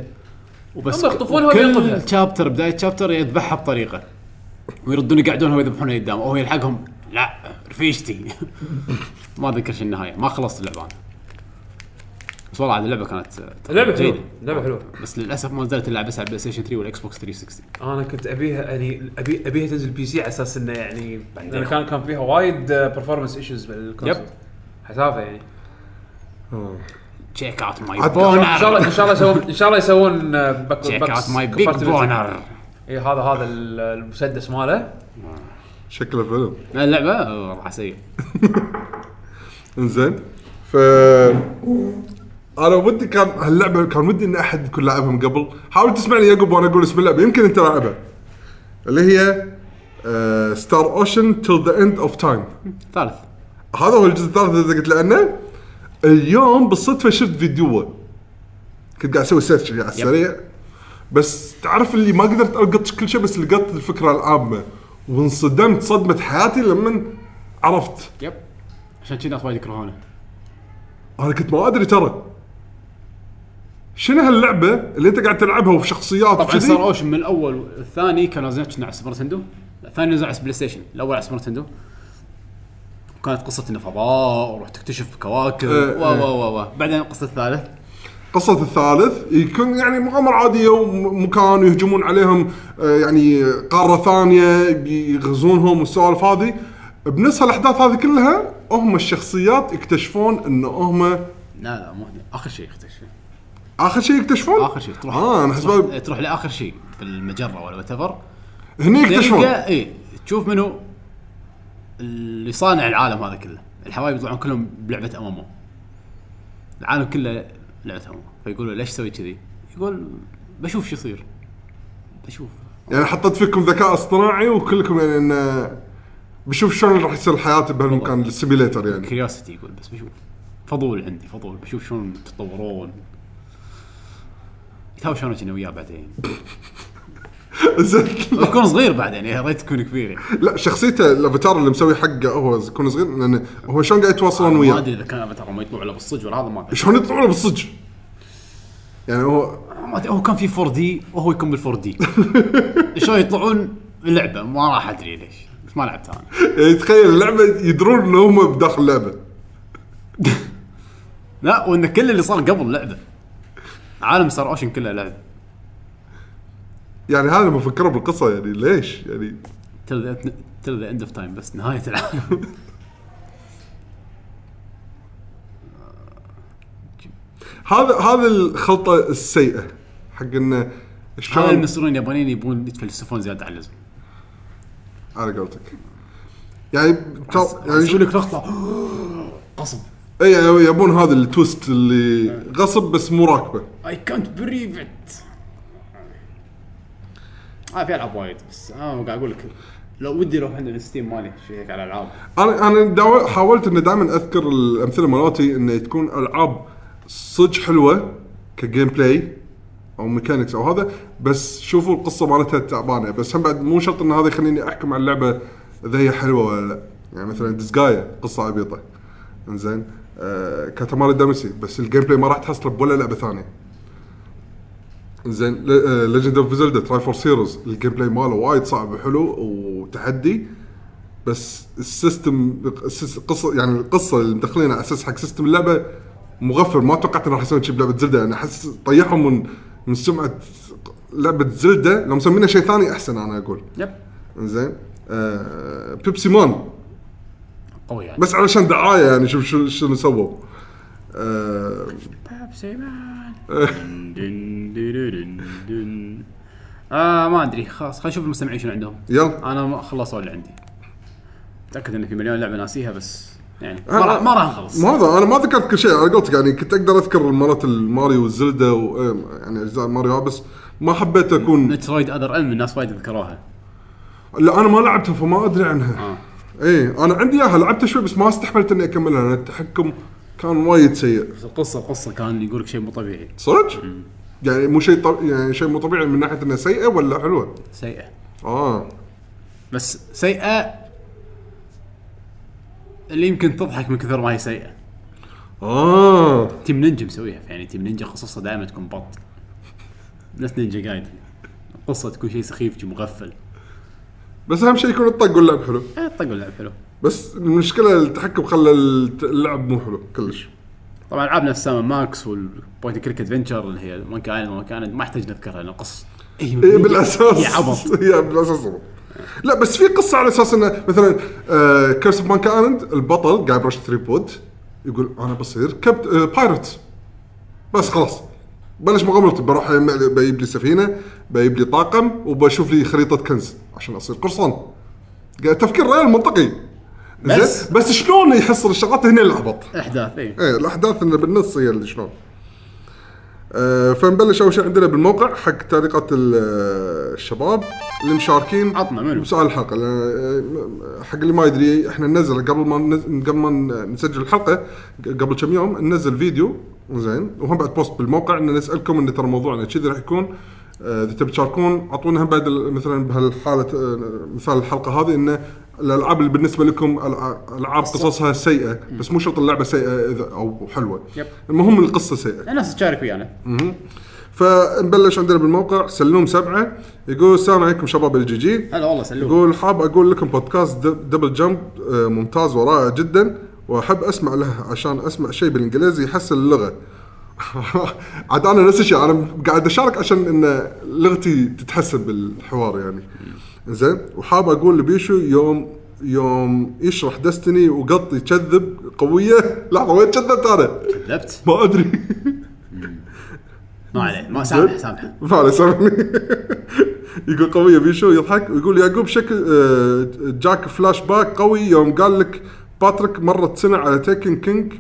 Speaker 1: وبس
Speaker 3: هم يخطفونها ويطلعها.
Speaker 1: كل شابتر بدايه شابتر يذبحها بطريقه ويردون يقعدون هو يذبحونها قدامه وهو يلحقهم لا رفيجتي ما ذكر شو النهايه ما خلصت اللعبه أنا. بس والله عاد اللعبه كانت آه،
Speaker 3: لعبه حلوه
Speaker 1: جيدة.
Speaker 3: لعبه حلوه
Speaker 1: بس للاسف ما نزلت اللعبه بس على البلاي ستيشن 3 والاكس بوكس 360
Speaker 4: انا كنت ابيها يعني ابي ابيها تنزل بي سي على اساس انه يعني بعدين
Speaker 3: لان كان كان فيها وايد برفورمانس ايشوز بالكونسول
Speaker 1: يب.
Speaker 3: حسافه يعني آه.
Speaker 1: تشيك اوت ماي
Speaker 2: عاد
Speaker 3: ان شاء الله ان
Speaker 1: بونر
Speaker 3: شاء الله يسوون ان شاء الله يسوون آه، باك
Speaker 1: تشيك
Speaker 3: باكس
Speaker 1: اوت ماي بيج
Speaker 3: compatibility.
Speaker 1: بونر
Speaker 3: اي إيه، هذا هذا ال- المسدس ماله
Speaker 2: شكله فيلم
Speaker 1: لا، اللعبه آه، والله سيء
Speaker 2: انزين ف انا ودي كان هاللعبه كان ودي ان احد يكون لاعبها من قبل حاول تسمعني يعقوب وانا اقول اسم اللعبه يمكن انت لاعبها اللي هي آه، ستار اوشن تل ذا اند اوف تايم
Speaker 1: ثالث
Speaker 2: هذا هو الجزء الثالث اللي قلت لانه اليوم بالصدفه شفت فيديوه كنت قاعد اسوي سيرش على السريع بس تعرف اللي ما قدرت القط كل شيء بس لقطت الفكره العامه وانصدمت صدمه حياتي لما عرفت
Speaker 1: يب عشان كذا ناس وايد يكرهونه
Speaker 2: انا كنت ما ادري ترى شنو هاللعبه اللي انت قاعد تلعبها وشخصيات
Speaker 1: طبعا
Speaker 2: وكذي؟
Speaker 1: ستار اوشن من الاول والثاني كان نازلين على سوبر نتندو الثاني نزل على بلاي ستيشن الاول على سوبر نتندو كانت قصة انه فضاء وروح تكتشف كواكب
Speaker 2: إيه،
Speaker 1: و
Speaker 2: إيه.
Speaker 1: و و و بعدين القصة الثالث
Speaker 2: قصة الثالث يكون يعني مغامرة عادية ومكان يهجمون عليهم آه، يعني قارة ثانية يغزونهم والسوالف هذه بنفس الاحداث هذه كلها هم الشخصيات يكتشفون ان هم
Speaker 1: لا لا مو هنا. اخر شيء اختشف
Speaker 2: اخر شيء يكتشفون
Speaker 1: اخر شيء تروح
Speaker 2: اه انا
Speaker 1: تروح,
Speaker 2: حسب
Speaker 1: تروح لاخر شيء بالمجرة ولا وات ايفر
Speaker 2: هني يكتشفون
Speaker 1: اي إيه. تشوف منو اللي صانع العالم هذا كله الحبايب يطلعون كلهم بلعبه امامه العالم كله لعبه امامه فيقولوا ليش تسوي كذي؟ يقول بشوف شو يصير بشوف
Speaker 2: يعني حطيت فيكم ذكاء اصطناعي وكلكم يعني انه بشوف شلون راح يصير حياتي بهالمكان السيميليتر يعني
Speaker 1: كريوسيتي يقول بس بشوف فضول عندي فضول بشوف شلون تتطورون يتهاوشون انا وياه بعدين
Speaker 2: زين.
Speaker 1: يكون صغير بعدين يا ريت تكون كبير يعني
Speaker 2: لا شخصيته الافاتار اللي مسوي حقه هو يكون صغير لانه هو شلون قاعد يتواصلون
Speaker 1: آه، ما
Speaker 2: وياه
Speaker 1: ادري اذا كان افاتار ما يطلع له بالصج ولا هذا ما أدري.
Speaker 2: شلون يطلعون بالصج يعني هو
Speaker 1: ما أدري، هو كان في 4 دي وهو يكون بال 4 دي شلون يطلعون اللعبه ما راح ادري ليش بس ما لعبتها انا
Speaker 2: يعني تخيل اللعبه يدرون ان هم بداخل اللعبه
Speaker 1: لا وان كل اللي صار قبل لعبه عالم ستار اوشن كله لعبه
Speaker 2: يعني هذا لما فكروا بالقصه يعني ليش يعني
Speaker 1: تل ذا اند اوف تايم بس نهايه العالم
Speaker 2: هذا هذا الخلطه السيئه حق انه
Speaker 1: هذا
Speaker 2: شلون
Speaker 1: المصريين اليابانيين يبون يتفلسفون زياده عن اللزوم
Speaker 2: على قولتك يعني تر- يعني
Speaker 1: يسوي
Speaker 2: شنو
Speaker 1: لك لقطه قصب
Speaker 2: اي يعني يبون هذا التويست اللي غصب بس مو راكبه
Speaker 1: اي كانت بريف ات آه في العاب وايد بس انا قاعد اقول لك لو ودي اروح عند الستيم مالي شيك على العاب
Speaker 2: انا انا داو- حاولت انه دائما اذكر الامثله مالتي انه تكون العاب صدق حلوه كجيم بلاي او ميكانكس او هذا بس شوفوا القصه مالتها تعبانه بس هم بعد مو شرط ان هذا يخليني احكم على اللعبه اذا هي حلوه ولا لا يعني مثلا ديسجايا قصه عبيطه انزين آه كاتاماري دامسي بس الجيم بلاي ما راح تحصله بولا لعبه ثانيه زين ليجند اوف زلدا تراي فور سيروز الجيم بلاي ماله وايد صعب وحلو وتحدي بس السيستم السيس- القصه يعني القصه اللي مدخلينها على اساس حق سيستم اللعبه مغفل ما توقعت انه راح يسوون شيء بلعبه زلده انا احس طيحهم من من سمعه لعبه زلده لو مسمينها شيء ثاني احسن انا اقول
Speaker 1: يب
Speaker 2: زين آه بيبسي مان
Speaker 1: قوي يعني
Speaker 2: بس علشان دعايه يعني شوف شو شنو سووا آه
Speaker 1: بيبسي مان دن دن دن دن. آه ما ادري خلاص خلينا نشوف المستمعين شنو عندهم
Speaker 2: يلا
Speaker 1: انا ما خلصوا اللي عندي متاكد ان في مليون لعبه ناسيها بس يعني ما
Speaker 2: أنا-
Speaker 1: راح ما راح نخلص
Speaker 2: ما هذا انا ما ذكرت كل شيء على قولتك يعني كنت اقدر اذكر مرات الماريو والزلده و- آه، يعني اجزاء ماريو بس ما حبيت اكون
Speaker 1: مترويد اذر علم الناس وايد ذكروها
Speaker 2: لا انا ما لعبتها فما ادري عنها
Speaker 1: آه.
Speaker 2: ايه انا عندي اياها لعبتها شوي بس ما استحملت اني اكملها لان التحكم كان وايد سيء
Speaker 1: بس القصه القصه كان يقول لك شيء مو طبيعي
Speaker 2: صدق؟ يعني مو شيء طب... يعني شيء مو طبيعي من ناحيه انها سيئه ولا حلوه؟
Speaker 1: سيئه
Speaker 2: اه
Speaker 1: بس سيئه اللي يمكن تضحك من كثر ما هي سيئه
Speaker 2: اه
Speaker 1: تيم نينجا مسويها يعني تيم نينجا قصصها دائما تكون بط نفس نينجا جايد القصه تكون شيء سخيف شيء مغفل
Speaker 2: بس اهم شيء يكون الطق واللعب حلو
Speaker 1: إيه، طق اللعب حلو
Speaker 2: بس المشكله التحكم خلى الت- اللعب مو حلو كلش
Speaker 1: طبعا العاب نفس سام ماكس والبوينت كليك ادفنشر اللي هي مونكي ايلاند وما كانت ما يحتاج نذكرها لان القصه
Speaker 2: إيه بالاساس
Speaker 1: هي عبط
Speaker 2: هي بالاساس عبط. لا بس في قصه على اساس انه مثلا كيرس اوف مانك ايلاند البطل قاعد يرش ثري بوت يقول انا بصير كابت بايرت بس خلاص بلش مغامرتي بروح أجمع لي- بجيب لي سفينه بجيب لي طاقم وبشوف لي خريطه كنز عشان اصير قرصان قاعد تفكير غير منطقي
Speaker 1: بس-
Speaker 2: زين؟ بس شلون يحصل الشغلات هنا العبط
Speaker 1: الاحداث اي
Speaker 2: ايه الاحداث اللي بالنص هي اللي شلون آه فنبلش اول شيء عندنا بالموقع حق تعليقات ال- آه، الشباب اللي مشاركين
Speaker 1: عطنا منو؟
Speaker 2: بسؤال الحلقه لأن، آه، حق اللي ما يدري احنا ننزل قبل ما ننز- قبل ما ن- نسجل الحلقه قبل كم يوم ننزل فيديو زين وهم بعد بوست بالموقع ان نسالكم ان ترى موضوعنا كذي راح يكون آه، اذا تبي تشاركون اعطونا هم بعد ال- مثلا بهالحاله آه، مثال الحلقه هذه انه الالعاب اللي بالنسبه لكم ألع- العاب قصصها سيئه بس مو شرط اللعبه سيئه إذا- او حلوه
Speaker 1: يب.
Speaker 2: المهم القصه سيئه
Speaker 1: الناس تشارك ويانا
Speaker 2: فنبلش عندنا بالموقع سلوم سبعه يقول السلام عليكم شباب الجي جي
Speaker 1: هلا والله سلوك
Speaker 2: يقول حاب اقول لكم بودكاست دب- دبل جمب آه، ممتاز ورائع جدا واحب اسمع له عشان اسمع شيء بالانجليزي يحسن اللغه عاد انا نفس الشيء انا قاعد اشارك عشان ان لغتي تتحسن بالحوار يعني زين وحاب اقول لبيشو يوم يوم يشرح دستني وقط يكذب قويه لحظه وين كذبت انا؟
Speaker 1: كذبت
Speaker 2: ما ادري
Speaker 1: ما عليه ما سامح سامح
Speaker 2: فعلا سامحني يقول قوية بيشو يضحك ويقول يعقوب شكل آه، جاك فلاش باك قوي يوم قال لك باتريك مرت سنة على تيكن كينج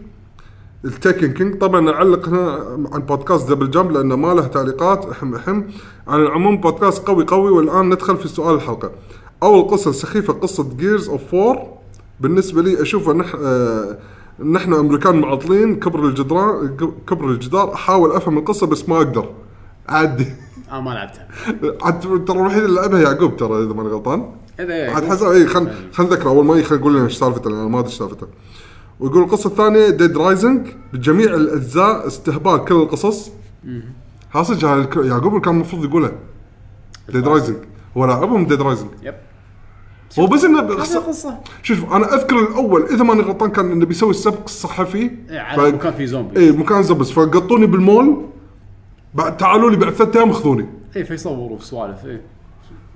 Speaker 2: التيكن كينج طبعا اعلق هنا عن بودكاست دبل جمب لانه ما له تعليقات احم احم على العموم بودكاست قوي قوي والان ندخل في سؤال الحلقه اول قصه سخيفه قصه جيرز اوف 4 بالنسبه لي اشوفها نح آه نحن امريكان معطلين كبر الجدران كبر الجدار احاول افهم القصه بس ما اقدر عادي
Speaker 1: اه ما لعبتها
Speaker 2: عاد ترى الوحيد اللي لعبها يعقوب ترى اذا ماني غلطان
Speaker 1: هذا
Speaker 2: عاد حسب اي خل خل نذكره اول ما يخل يقول لنا ايش سالفته لان أنا ما ادري ايش سالفته ويقول القصه الثانيه ديد رايزنج بجميع الاجزاء استهبال كل القصص ها صدق هذا الك- يعقوب اللي كان المفروض يقوله ديد رايزنج هو لاعبهم ديد رايزنج
Speaker 1: يب
Speaker 2: هو بس انه
Speaker 1: هذه
Speaker 2: بخص-
Speaker 1: قصه
Speaker 2: شوف انا اذكر الاول اذا ماني غلطان كان انه بيسوي السبق الصحفي
Speaker 1: إيه،
Speaker 2: ف-
Speaker 1: على مكان في زومبي
Speaker 2: اي إيه، مكان زبس فقطوني بالمول بعد تعالوا لي بعد ثلاث ايام خذوني
Speaker 1: اي إيه، فيصوروا سوالف اي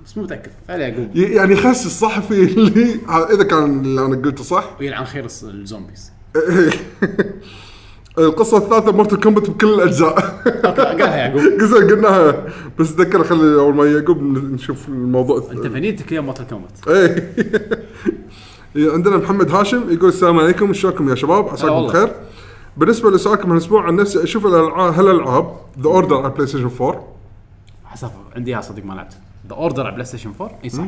Speaker 1: بس مو متاكد خليه يعقوب
Speaker 2: ي- يعني خس الصحفي اللي اذا كان اللي انا قلته صح
Speaker 1: ويلعن خير الس- الزومبيز
Speaker 2: القصه الثالثه مورتل كومبات بكل الاجزاء
Speaker 1: قالها يعقوب
Speaker 2: قصه قلناها بس ذكر خلي اول ما يعقوب نشوف الموضوع
Speaker 1: انت فنيتك اليوم مالت الكومنت
Speaker 2: ايه إيه، عندنا محمد هاشم يقول السلام عليكم شلونكم يا شباب
Speaker 1: هلا
Speaker 2: عساكم
Speaker 1: والله.
Speaker 2: بخير بالنسبه لسؤالكم هالاسبوع عن نفسي اشوف الالعاب هالالعاب ذا اوردر على بلاي ستيشن 4
Speaker 1: حسب عندي اياها صدق ما لعبت ذا اوردر على بلاي ستيشن 4 اي صح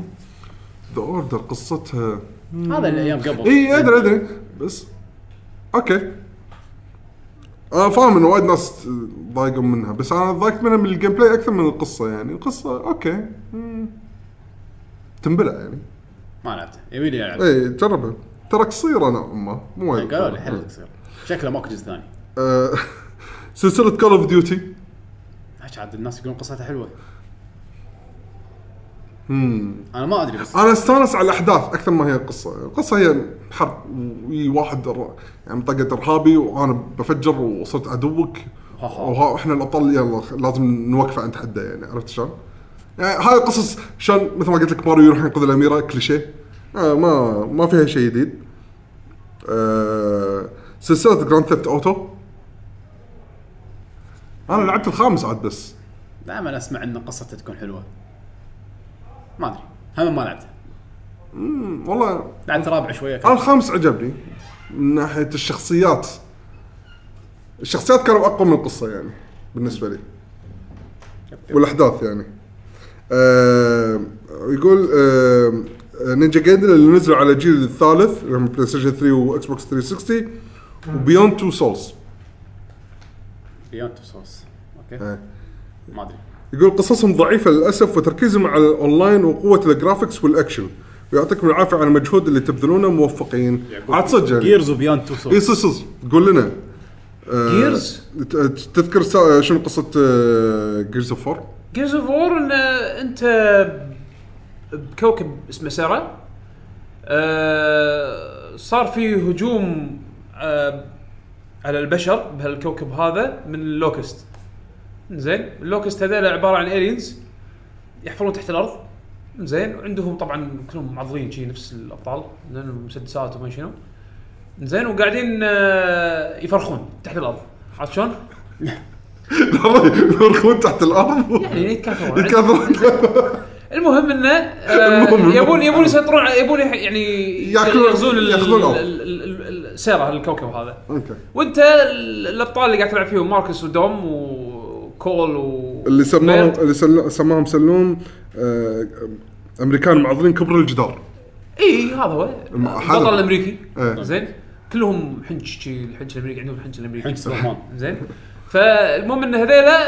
Speaker 2: ذا اوردر قصتها
Speaker 1: هذا الايام قبل
Speaker 2: اي ادري ادري إيه، بس اوكي انا فاهم ان وايد ناس ضايقوا منها بس انا ضايقت منها من الجيم بلاي اكثر من القصه يعني القصه اوكي مم. تنبلع يعني
Speaker 1: ما لعبته يبي لي العب
Speaker 2: اي جربها ترى قصيره نوعا ما مو وايد
Speaker 1: قالوا لي حلقه تصير شكله ماكو جزء ثاني
Speaker 2: آه، سلسله كول اوف ديوتي
Speaker 1: هاش عاد الناس يقولون قصتها حلوه انا ما ادري بس
Speaker 2: انا استانس على الاحداث اكثر ما هي القصه، القصه هي حرب وي واحد ر- يعني طقت ارهابي وانا بفجر وصرت عدوك
Speaker 1: ها ها.
Speaker 2: وها احنا الابطال يلا خ- لازم نوقفه عند حده يعني عرفت شلون؟ يعني هاي القصص شلون مثل ما قلت لك ماريو يروح ينقذ الاميره كليشيه آه ما ما فيها شيء جديد. آه سلسله جراند ثيفت اوتو انا لعبت الخامس عاد بس
Speaker 1: دائما اسمع ان قصته تكون حلوه ما ادري هم ما لعبته
Speaker 2: والله
Speaker 1: لعبت رابع شويه
Speaker 2: أنا الخامس عجبني من ناحيه الشخصيات الشخصيات كانوا اقوى من القصه يعني بالنسبه لي والاحداث يعني آه يقول آه نينجا جايدن اللي نزلوا على الجيل الثالث اللي هم بلاي ستيشن 3 واكس بوكس 360 وبيوند تو سولز
Speaker 1: بيونت سورس اوكي
Speaker 2: أه.
Speaker 1: ما ادري
Speaker 2: يقول قصصهم ضعيفة للأسف وتركيزهم على الأونلاين وقوة الجرافكس والأكشن ويعطيكم العافية على المجهود اللي تبذلونه موفقين عاد صدق يعني.
Speaker 1: جيرز وبيونت تو
Speaker 2: اي
Speaker 1: سورس
Speaker 2: صدق صدق قول لنا آه،
Speaker 3: Gears؟
Speaker 2: ت- تذكر سا- آه، شنو آه، قصه جيرز اوف 4
Speaker 3: جيرز اوف وور ان انت بكوكب اسمه سارة آه، صار في هجوم آه، على البشر بهالكوكب هذا من اللوكست زين اللوكست هذول عباره عن الينز يحفرون تحت الارض زين وعندهم طبعا كلهم معضلين شي نفس الابطال زين مسدسات وما شنو زين وقاعدين آه، يفرخون تحت الارض عرفت شلون؟
Speaker 2: يرخون تحت الارض
Speaker 3: يعني يتكاثرون
Speaker 2: يكثرون
Speaker 3: المهم انه آه،
Speaker 2: المهم إنه-
Speaker 3: يبون يبون يسيطرون يبون يح- يعني
Speaker 2: ياكلون-
Speaker 3: يغزون ال-
Speaker 2: ياخذون الأرض.
Speaker 3: ال- ال- ال- السيره الكوكب هذا
Speaker 2: اوكي
Speaker 3: وانت ال- الابطال اللي قاعد تلعب فيهم ماركس ودوم وكول و
Speaker 2: اللي سماهم
Speaker 3: بيرد.
Speaker 2: اللي سل- سماهم سلوم آه، امريكان معضلين كبر الجدار
Speaker 3: اي هذا هو
Speaker 2: الم-
Speaker 3: البطل
Speaker 2: حلو.
Speaker 3: الامريكي
Speaker 2: إيه.
Speaker 3: زين كلهم حنج شي الحنج الامريكي عندهم الحنج الامريكي
Speaker 1: حنج سلمان
Speaker 3: زين فالمهم ان هذيلا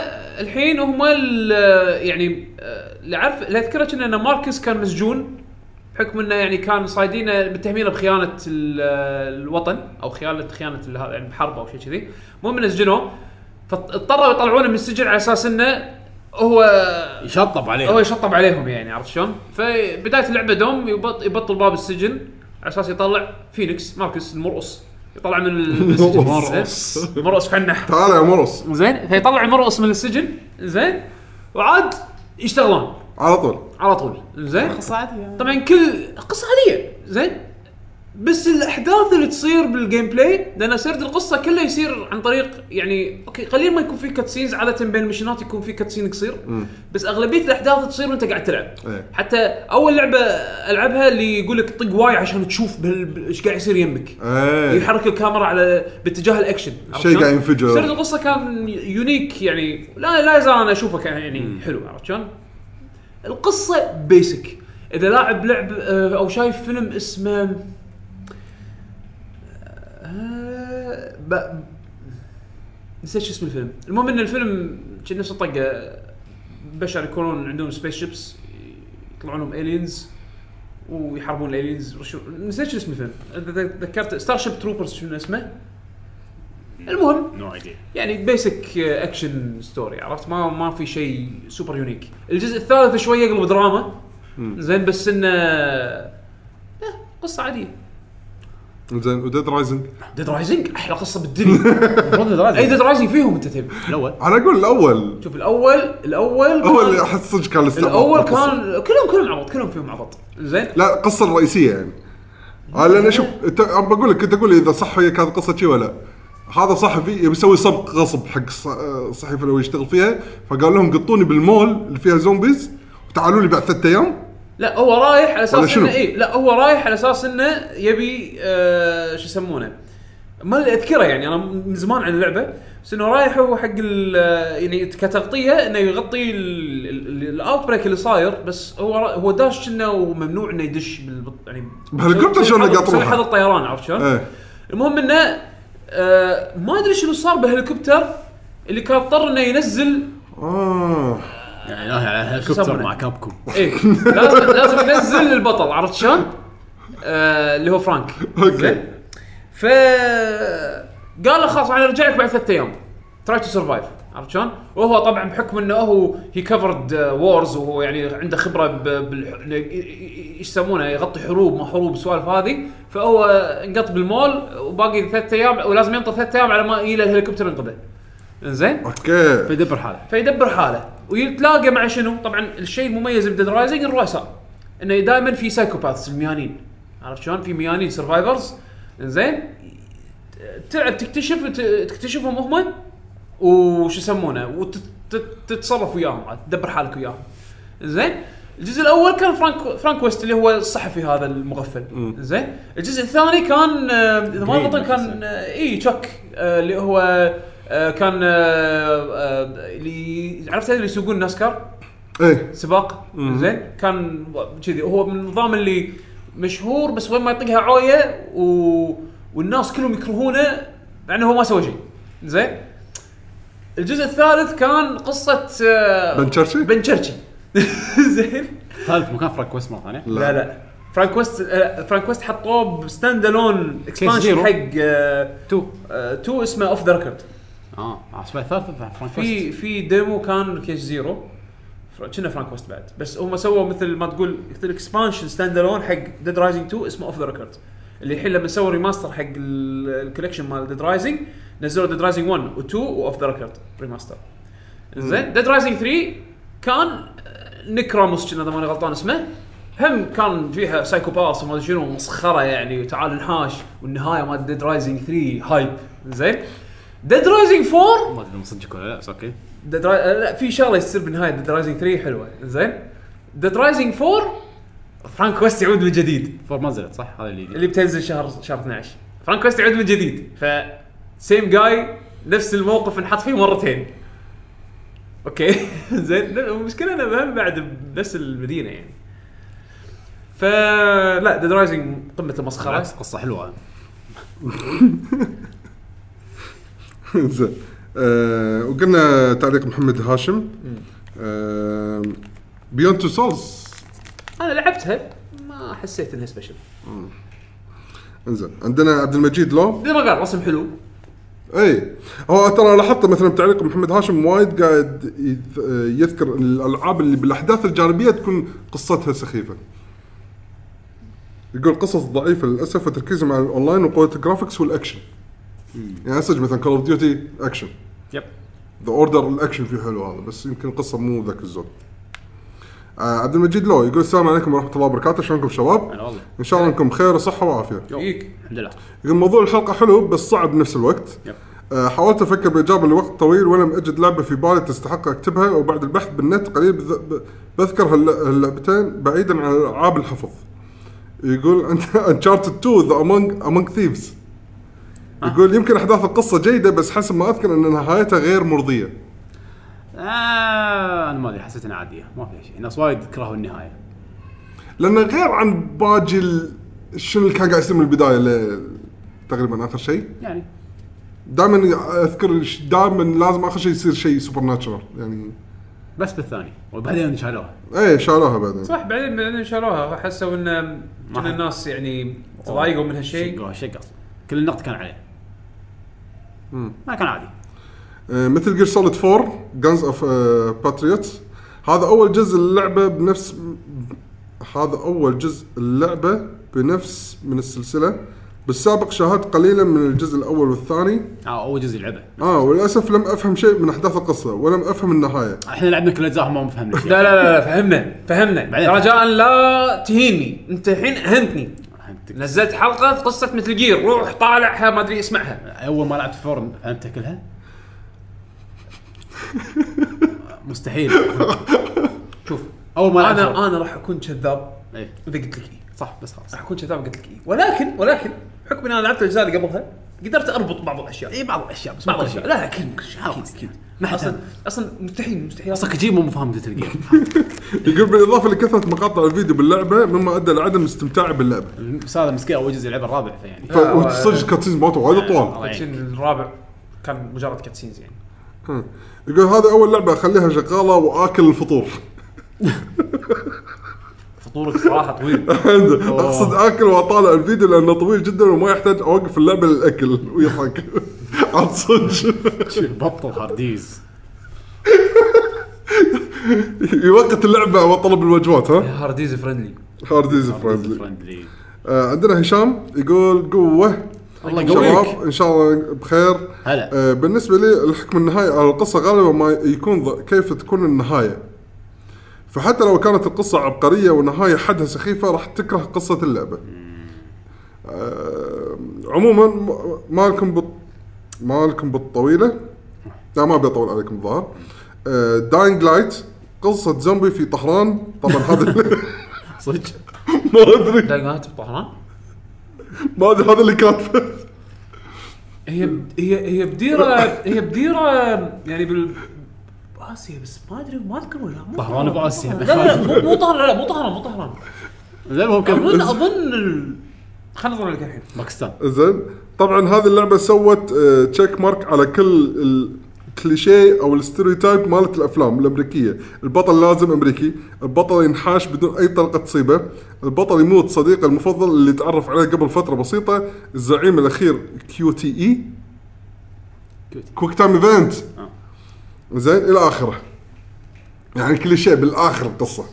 Speaker 3: الحين هم ال- يعني آه، اللي عارف اللي اذكره كنا ان ماركس كان مسجون بحكم انه يعني كان صايدينه متهمينه بخيانه ال- الوطن او خيانه خيانه ال- هذا يعني بحرب او شيء كذي المهم انه سجنوه فاضطروا يطلعونه من السجن على اساس انه هو
Speaker 1: يشطب عليه
Speaker 3: هو يشطب عليهم يعني عرفت شلون؟ فبدايه اللعبه دوم يبط يبطل باب السجن على اساس يطلع فينيكس ماركس المرقص يطلع من ال- السجن
Speaker 1: مرقص.
Speaker 3: زين؟ مرقص فنح
Speaker 2: تعال يا مرس
Speaker 3: زين فيطلع المرقص من السجن زين وعاد يشتغلون
Speaker 2: على طول
Speaker 3: على طول زين
Speaker 1: صعد
Speaker 3: طبعا كل قصه عاديه زين بس الاحداث اللي تصير بالجيم بلاي لان سرد القصه كله يصير عن طريق يعني اوكي قليل ما يكون في كاتسينز عاده بين المشينات يكون في كاتسين قصير بس اغلبيه الاحداث تصير وانت قاعد تلعب
Speaker 2: إيه.
Speaker 3: حتى اول لعبه العبها اللي يقول لك طق واي عشان تشوف بال- ايش قاعد يصير يمك
Speaker 2: ايه
Speaker 3: يحرك الكاميرا على باتجاه الاكشن عرفت
Speaker 2: شيء
Speaker 3: شلون؟
Speaker 2: قاعد ينفجر.
Speaker 3: سرد القصه كان يونيك يعني لا لا يزال انا اشوفه كان يعني حلو عرفت شلون؟ القصه بيسك اذا لاعب لعب آه، او شايف فيلم اسمه آه، ب... نسيت شو اسم الفيلم المهم ان الفيلم كان نفس الطقه بشر يكونون عندهم سبيس شيبس يطلعون لهم الينز ويحاربون الالينز وشو- نسيت شو اسم الفيلم أذ- ذكرت ستار شيب تروبرز شنو اسمه المهم
Speaker 1: نو ايديا
Speaker 3: يعني بيسك اكشن ستوري عرفت ما ما في شيء سوبر يونيك الجزء الثالث شويه يقلب دراما زين بس انه آه، قصه عاديه
Speaker 2: زين وديد رايزنج
Speaker 3: ديد رايزنج احلى قصه بالدنيا
Speaker 1: إيه،
Speaker 3: اي ديد رايزنج فيهم انت تبي
Speaker 1: الاول
Speaker 2: انا اقول الاول
Speaker 3: شوف الاول الاول
Speaker 2: هو
Speaker 3: كان-
Speaker 2: اللي احس صدق كان الاستعراض
Speaker 3: الاول
Speaker 2: بالقصة.
Speaker 3: كان كلهم كلهم عبط كلهم فيهم عبط زين
Speaker 2: لا القصه الرئيسيه يعني آه، لان شوف انت عم بقول لك كنت اقول اذا صح هي كانت قصه شي ولا هذا صحفي يبي يسوي سبق غصب حق ص- آه، الصحيفه اللي هو يشتغل فيها فقال لهم قطوني بالمول اللي فيها زومبيز وتعالوا لي بعد ثلاثة ايام
Speaker 3: لا هو رايح على
Speaker 2: ولا
Speaker 3: اساس
Speaker 2: شنو؟
Speaker 3: انه اي لا هو رايح على اساس انه يبي آه شو يسمونه ما اللي اذكره يعني انا من زمان عن اللعبه بس انه رايح هو حق ال- يعني كتغطيه انه يغطي الاوت بريك اللي صاير بس هو را- هو داش كنا وممنوع انه يدش بال يعني
Speaker 2: بهليكوبتر شلون
Speaker 3: بسبب-
Speaker 2: يقاطروها؟
Speaker 3: بسبب حظر الطيران عرفت شلون؟
Speaker 2: ايه
Speaker 3: المهم انه آه ما ادري شنو صار بهليكوبتر اللي كان اضطر انه ينزل
Speaker 2: اه
Speaker 1: يعني ناهي على هليكوبتر
Speaker 3: يسمونه؟
Speaker 1: مع كابكم
Speaker 3: ايه لازم لازم ينزل البطل عرفت شلون؟ آه اللي هو فرانك
Speaker 2: اوكي
Speaker 3: ف قال له خلاص انا ارجع لك بعد ثلاث ايام تراي تو سرفايف عرفت شلون؟ وهو طبعا بحكم انه هو هي كفرد وورز وهو يعني عنده خبره ب- بالح- إنه ي- ي- ايش يسمونه يغطي حروب ما حروب السوالف هذه فهو انقط بالمول وباقي ثلاث ايام ولازم ينطر ثلاث ايام على ما يجي له الهليكوبتر ينقذه. زين؟
Speaker 2: اوكي
Speaker 1: فيدبر حاله
Speaker 3: فيدبر حاله ويتلاقى مع شنو؟ طبعا الشيء المميز بديد رايزنج الرؤساء انه دائما في سايكوباثس الميانين عرفت شلون؟ في ميانين سرفايفرز زين تلعب تكتشف وت- تكتشفهم هم وشو يسمونه وتتصرف وياهم عاد تدبر حالك وياهم زين الجزء الاول كان فرانك فرانك ويست اللي هو الصحفي هذا المغفل زين الجزء الثاني كان آه، اذا ما
Speaker 1: جرين
Speaker 3: غلطان كان
Speaker 1: مثلاً.
Speaker 3: آه، اي تشك آه، اللي هو آه، كان آه، آه، اللي عرفت اللي يسوقون ناسكار
Speaker 2: ايه
Speaker 3: سباق زين كان كذي هو من النظام اللي مشهور بس وين ما يطقها عويه و... والناس كلهم يكرهونه مع انه هو ما سوى شيء زين الجزء الثالث كان قصه آه،
Speaker 2: بن تشرشي؟
Speaker 3: بن تشرشي زين
Speaker 1: ثالث مكان فرق كويس مره ثانيه
Speaker 3: لا لا فرانك ويست آه، فرانك ويست حطوه بستاند الون اكسبانشن
Speaker 1: زيرو.
Speaker 3: حق آه،
Speaker 1: تو
Speaker 3: آه، تو اسمه اوف ذا ريكورد
Speaker 1: اه عصبه ثالث فرانك
Speaker 3: في
Speaker 1: في
Speaker 3: في ديمو كان كيش زيرو فر- كنا فرانك ويست بعد بس هم سووا مثل ما تقول مثل اكسبانشن ستاند الون حق ديد رايزنج 2 اسمه اوف ذا ريكورد اللي الحين لما سووا ريماستر حق ال- الكوليكشن مال ديد رايزنج نزلوا ديد رايزنج 1 و2 واوف ذا ريكورد ريماستر زين ديد رايزنج 3 كان آه، نيك راموس كنا اذا ماني غلطان اسمه هم كان فيها سايكو باس وما ادري شنو مسخره يعني وتعال نحاش والنهايه مال ديد رايزنج 3 هايب زين ديد رايزنج 4
Speaker 1: ما ادري إنه مصدقك ولا لا بس اوكي
Speaker 3: ديد را... uh, لا في شغله تصير بالنهايه ديد رايزنج 3 حلوه زين ديد رايزنج 4 فرانك ويست يعود من جديد
Speaker 1: فور ما نزلت صح هذا اللي يجي
Speaker 3: اللي بتنزل شهر شهر 12 فرانك ويست يعود من جديد ف سيم جاي نفس الموقف انحط فيه مرتين اوكي زين المشكله انه مهم بعد بس المدينه يعني فلا ديد رايزنج قمه المسخره
Speaker 1: بالعكس قصه حلوه
Speaker 2: زين آه، وقلنا تعليق محمد هاشم آه، بيوند تو سولز
Speaker 3: انا لعبتها ما حسيت انها سبيشل
Speaker 2: انزين عندنا عبد المجيد لو
Speaker 3: زي ما قال رسم حلو
Speaker 2: اي إيه. هو ترى لاحظت مثلا بتعليق محمد هاشم وايد قاعد يذ- يذكر الالعاب اللي بالاحداث الجانبيه تكون قصتها سخيفه يقول قصص ضعيفه للاسف وتركيزهم على الاونلاين وقوه الجرافكس والاكشن يعني اسج مثلا كول اوف ديوتي اكشن
Speaker 1: يب
Speaker 2: ذا اوردر الاكشن فيه حلو هذا بس يمكن القصه مو ذاك الزود آه عبد المجيد لو يقول السلام عليكم ورحمه الله وبركاته شلونكم شباب؟
Speaker 1: انا والله
Speaker 2: ان شاء الله انكم بخير وصحه وعافيه
Speaker 3: فيك
Speaker 1: الحمد لله
Speaker 2: يقول موضوع الحلقه حلو بس صعب بنفس الوقت
Speaker 1: يب.
Speaker 2: آه، حاولت افكر بالاجابه لوقت طويل ولم اجد لعبه في بالي تستحق اكتبها وبعد البحث بالنت قليل بذ- ب- بذكر هال- هاللعبتين بعيدا عن العاب الحفظ يقول انشارتد 2 ذا امونج امونج ثيفز يقول يمكن احداث القصه جيده بس حسب ما اذكر ان نهايتها غير مرضيه
Speaker 1: آه انا ما ادري حسيت انها عاديه ما فيها شيء ناس وايد كرهوا النهايه
Speaker 2: لانه غير عن باقي ال- شنو اللي كان قاعد يصير من البدايه ل- تقريبا اخر شيء
Speaker 1: يعني
Speaker 2: دائما اذكر دائما لازم اخر شيء يصير شيء سوبر ناتشرال يعني
Speaker 1: بس بالثاني وبعدين شالوها
Speaker 2: ايه شالوها بعدين
Speaker 3: صح بعدين بعدين شالوها حسوا ان ان
Speaker 1: حد-
Speaker 3: الناس يعني تضايقوا من هالشيء
Speaker 1: شقوها شق اصلا كل النقد كان عليه ما كان عادي
Speaker 2: آه، مثل جير سوليد 4 جانز اوف باتريوت آه، هذا اول جزء اللعبه بنفس هذا اول جزء اللعبه بنفس من السلسله بالسابق شاهدت قليلا من الجزء الاول والثاني
Speaker 1: آه اول جزء لعبه
Speaker 2: اه وللاسف لم افهم شيء من احداث القصه ولم افهم النهايه
Speaker 1: احنا لعبنا كل اجزاء ما فهمنا شيء
Speaker 3: لا لا لا, لا فهمنا
Speaker 1: بعدين.
Speaker 3: فهمنا رجاء لا تهيني انت الحين اهنتني
Speaker 1: فهمتك.
Speaker 3: نزلت حلقه قصه مثل جير روح طالعها ما ادري اسمعها
Speaker 1: اول ما لعبت فورن فهمتها كلها مستحيل
Speaker 3: شوف
Speaker 1: اول ما لعبت
Speaker 3: انا
Speaker 1: فورن.
Speaker 3: انا راح اكون كذاب
Speaker 1: إيه.
Speaker 3: اذا قلت لك ايه
Speaker 1: صح بس خلاص
Speaker 3: راح اكون كذاب قلت لك ايه ولكن ولكن بحكم ان انا لعبت الاجزاء اللي قبلها قدرت اربط بعض الاشياء
Speaker 1: اي بعض الاشياء إيه، بس
Speaker 3: بعض
Speaker 1: بعض
Speaker 3: الاشياء
Speaker 1: الاشياء لا
Speaker 3: لا اكيد كل شيء
Speaker 1: خلاص،
Speaker 3: اكيد
Speaker 1: ما حد
Speaker 3: اصلا
Speaker 1: فهم.
Speaker 3: اصلا مستحيل مستحيل
Speaker 1: اصلا كجيب مو فاهم مثل الجيم
Speaker 2: يقول بالاضافه لكثره مقاطع الفيديو باللعبه مما ادى لعدم استمتاعي باللعبه
Speaker 1: بس هذا مسكين اول جزء لعبه الرابع فيعني
Speaker 2: ف- وصدق كاتسينز مالته وايد طوال
Speaker 1: الله يعينك.
Speaker 3: كاتسين الرابع كان مجرد كاتسينز يعني
Speaker 2: ها. يقول هذا اول لعبه اخليها شغاله واكل الفطور
Speaker 3: فطورك صراحه طويل
Speaker 2: اقصد اكل واطالع الفيديو لانه طويل جدا وما يحتاج اوقف اللعبه للاكل ويضحك عاد صدق
Speaker 1: بطل هارديز
Speaker 2: يوقت اللعبه وطلب الوجبات ها
Speaker 3: هارديز فريندلي
Speaker 2: هارد از فريندلي
Speaker 1: فرندلي
Speaker 2: آه، عندنا هشام يقول قوه
Speaker 1: الله يقويك
Speaker 2: شباب ان شاء الله بخير
Speaker 1: هلا.
Speaker 2: آه، بالنسبه لي الحكم النهائي على القصه غالبا ما يكون ض- كيف تكون النهايه فحتى لو كانت القصه عبقريه ونهايه حدها سخيفه راح تكره قصه اللعبه آه، عموما م- مالكم بط... مالكم بالطويله لا ما بيطول عليكم الظاهر آه، داينج لايت قصه زومبي في طهران طبعا هذا
Speaker 1: صدق
Speaker 2: ما ادري
Speaker 3: دايجنات بطهران
Speaker 2: ما ادري هذا اللي كاتبه
Speaker 3: هي هي هي بديره هي بديره يعني بال باسيا بس ما ادري ما اذكر ولا مو
Speaker 1: طهران بآسيا.
Speaker 3: لا لا لا، مو مو طهران لا مو طهران مو طهران
Speaker 1: زين المهم
Speaker 3: اظن
Speaker 1: كمل
Speaker 3: اظن ال... خلينا نظر لك الحين
Speaker 1: باكستان
Speaker 2: زين طبعا هذه اللعبه سوت تشيك مارك على كل الكليشيه او الستيريوتايب مالت الافلام الامريكيه، البطل لازم امريكي، البطل ينحاش بدون اي طريقه تصيبه، البطل يموت صديقه المفضل اللي تعرف عليه قبل فتره بسيطه، الزعيم الاخير كيو تي اي
Speaker 1: كيوتي.
Speaker 2: كويك تايم ايفنت
Speaker 1: آه.
Speaker 2: زين الى اخره يعني كل شيء بالاخر القصه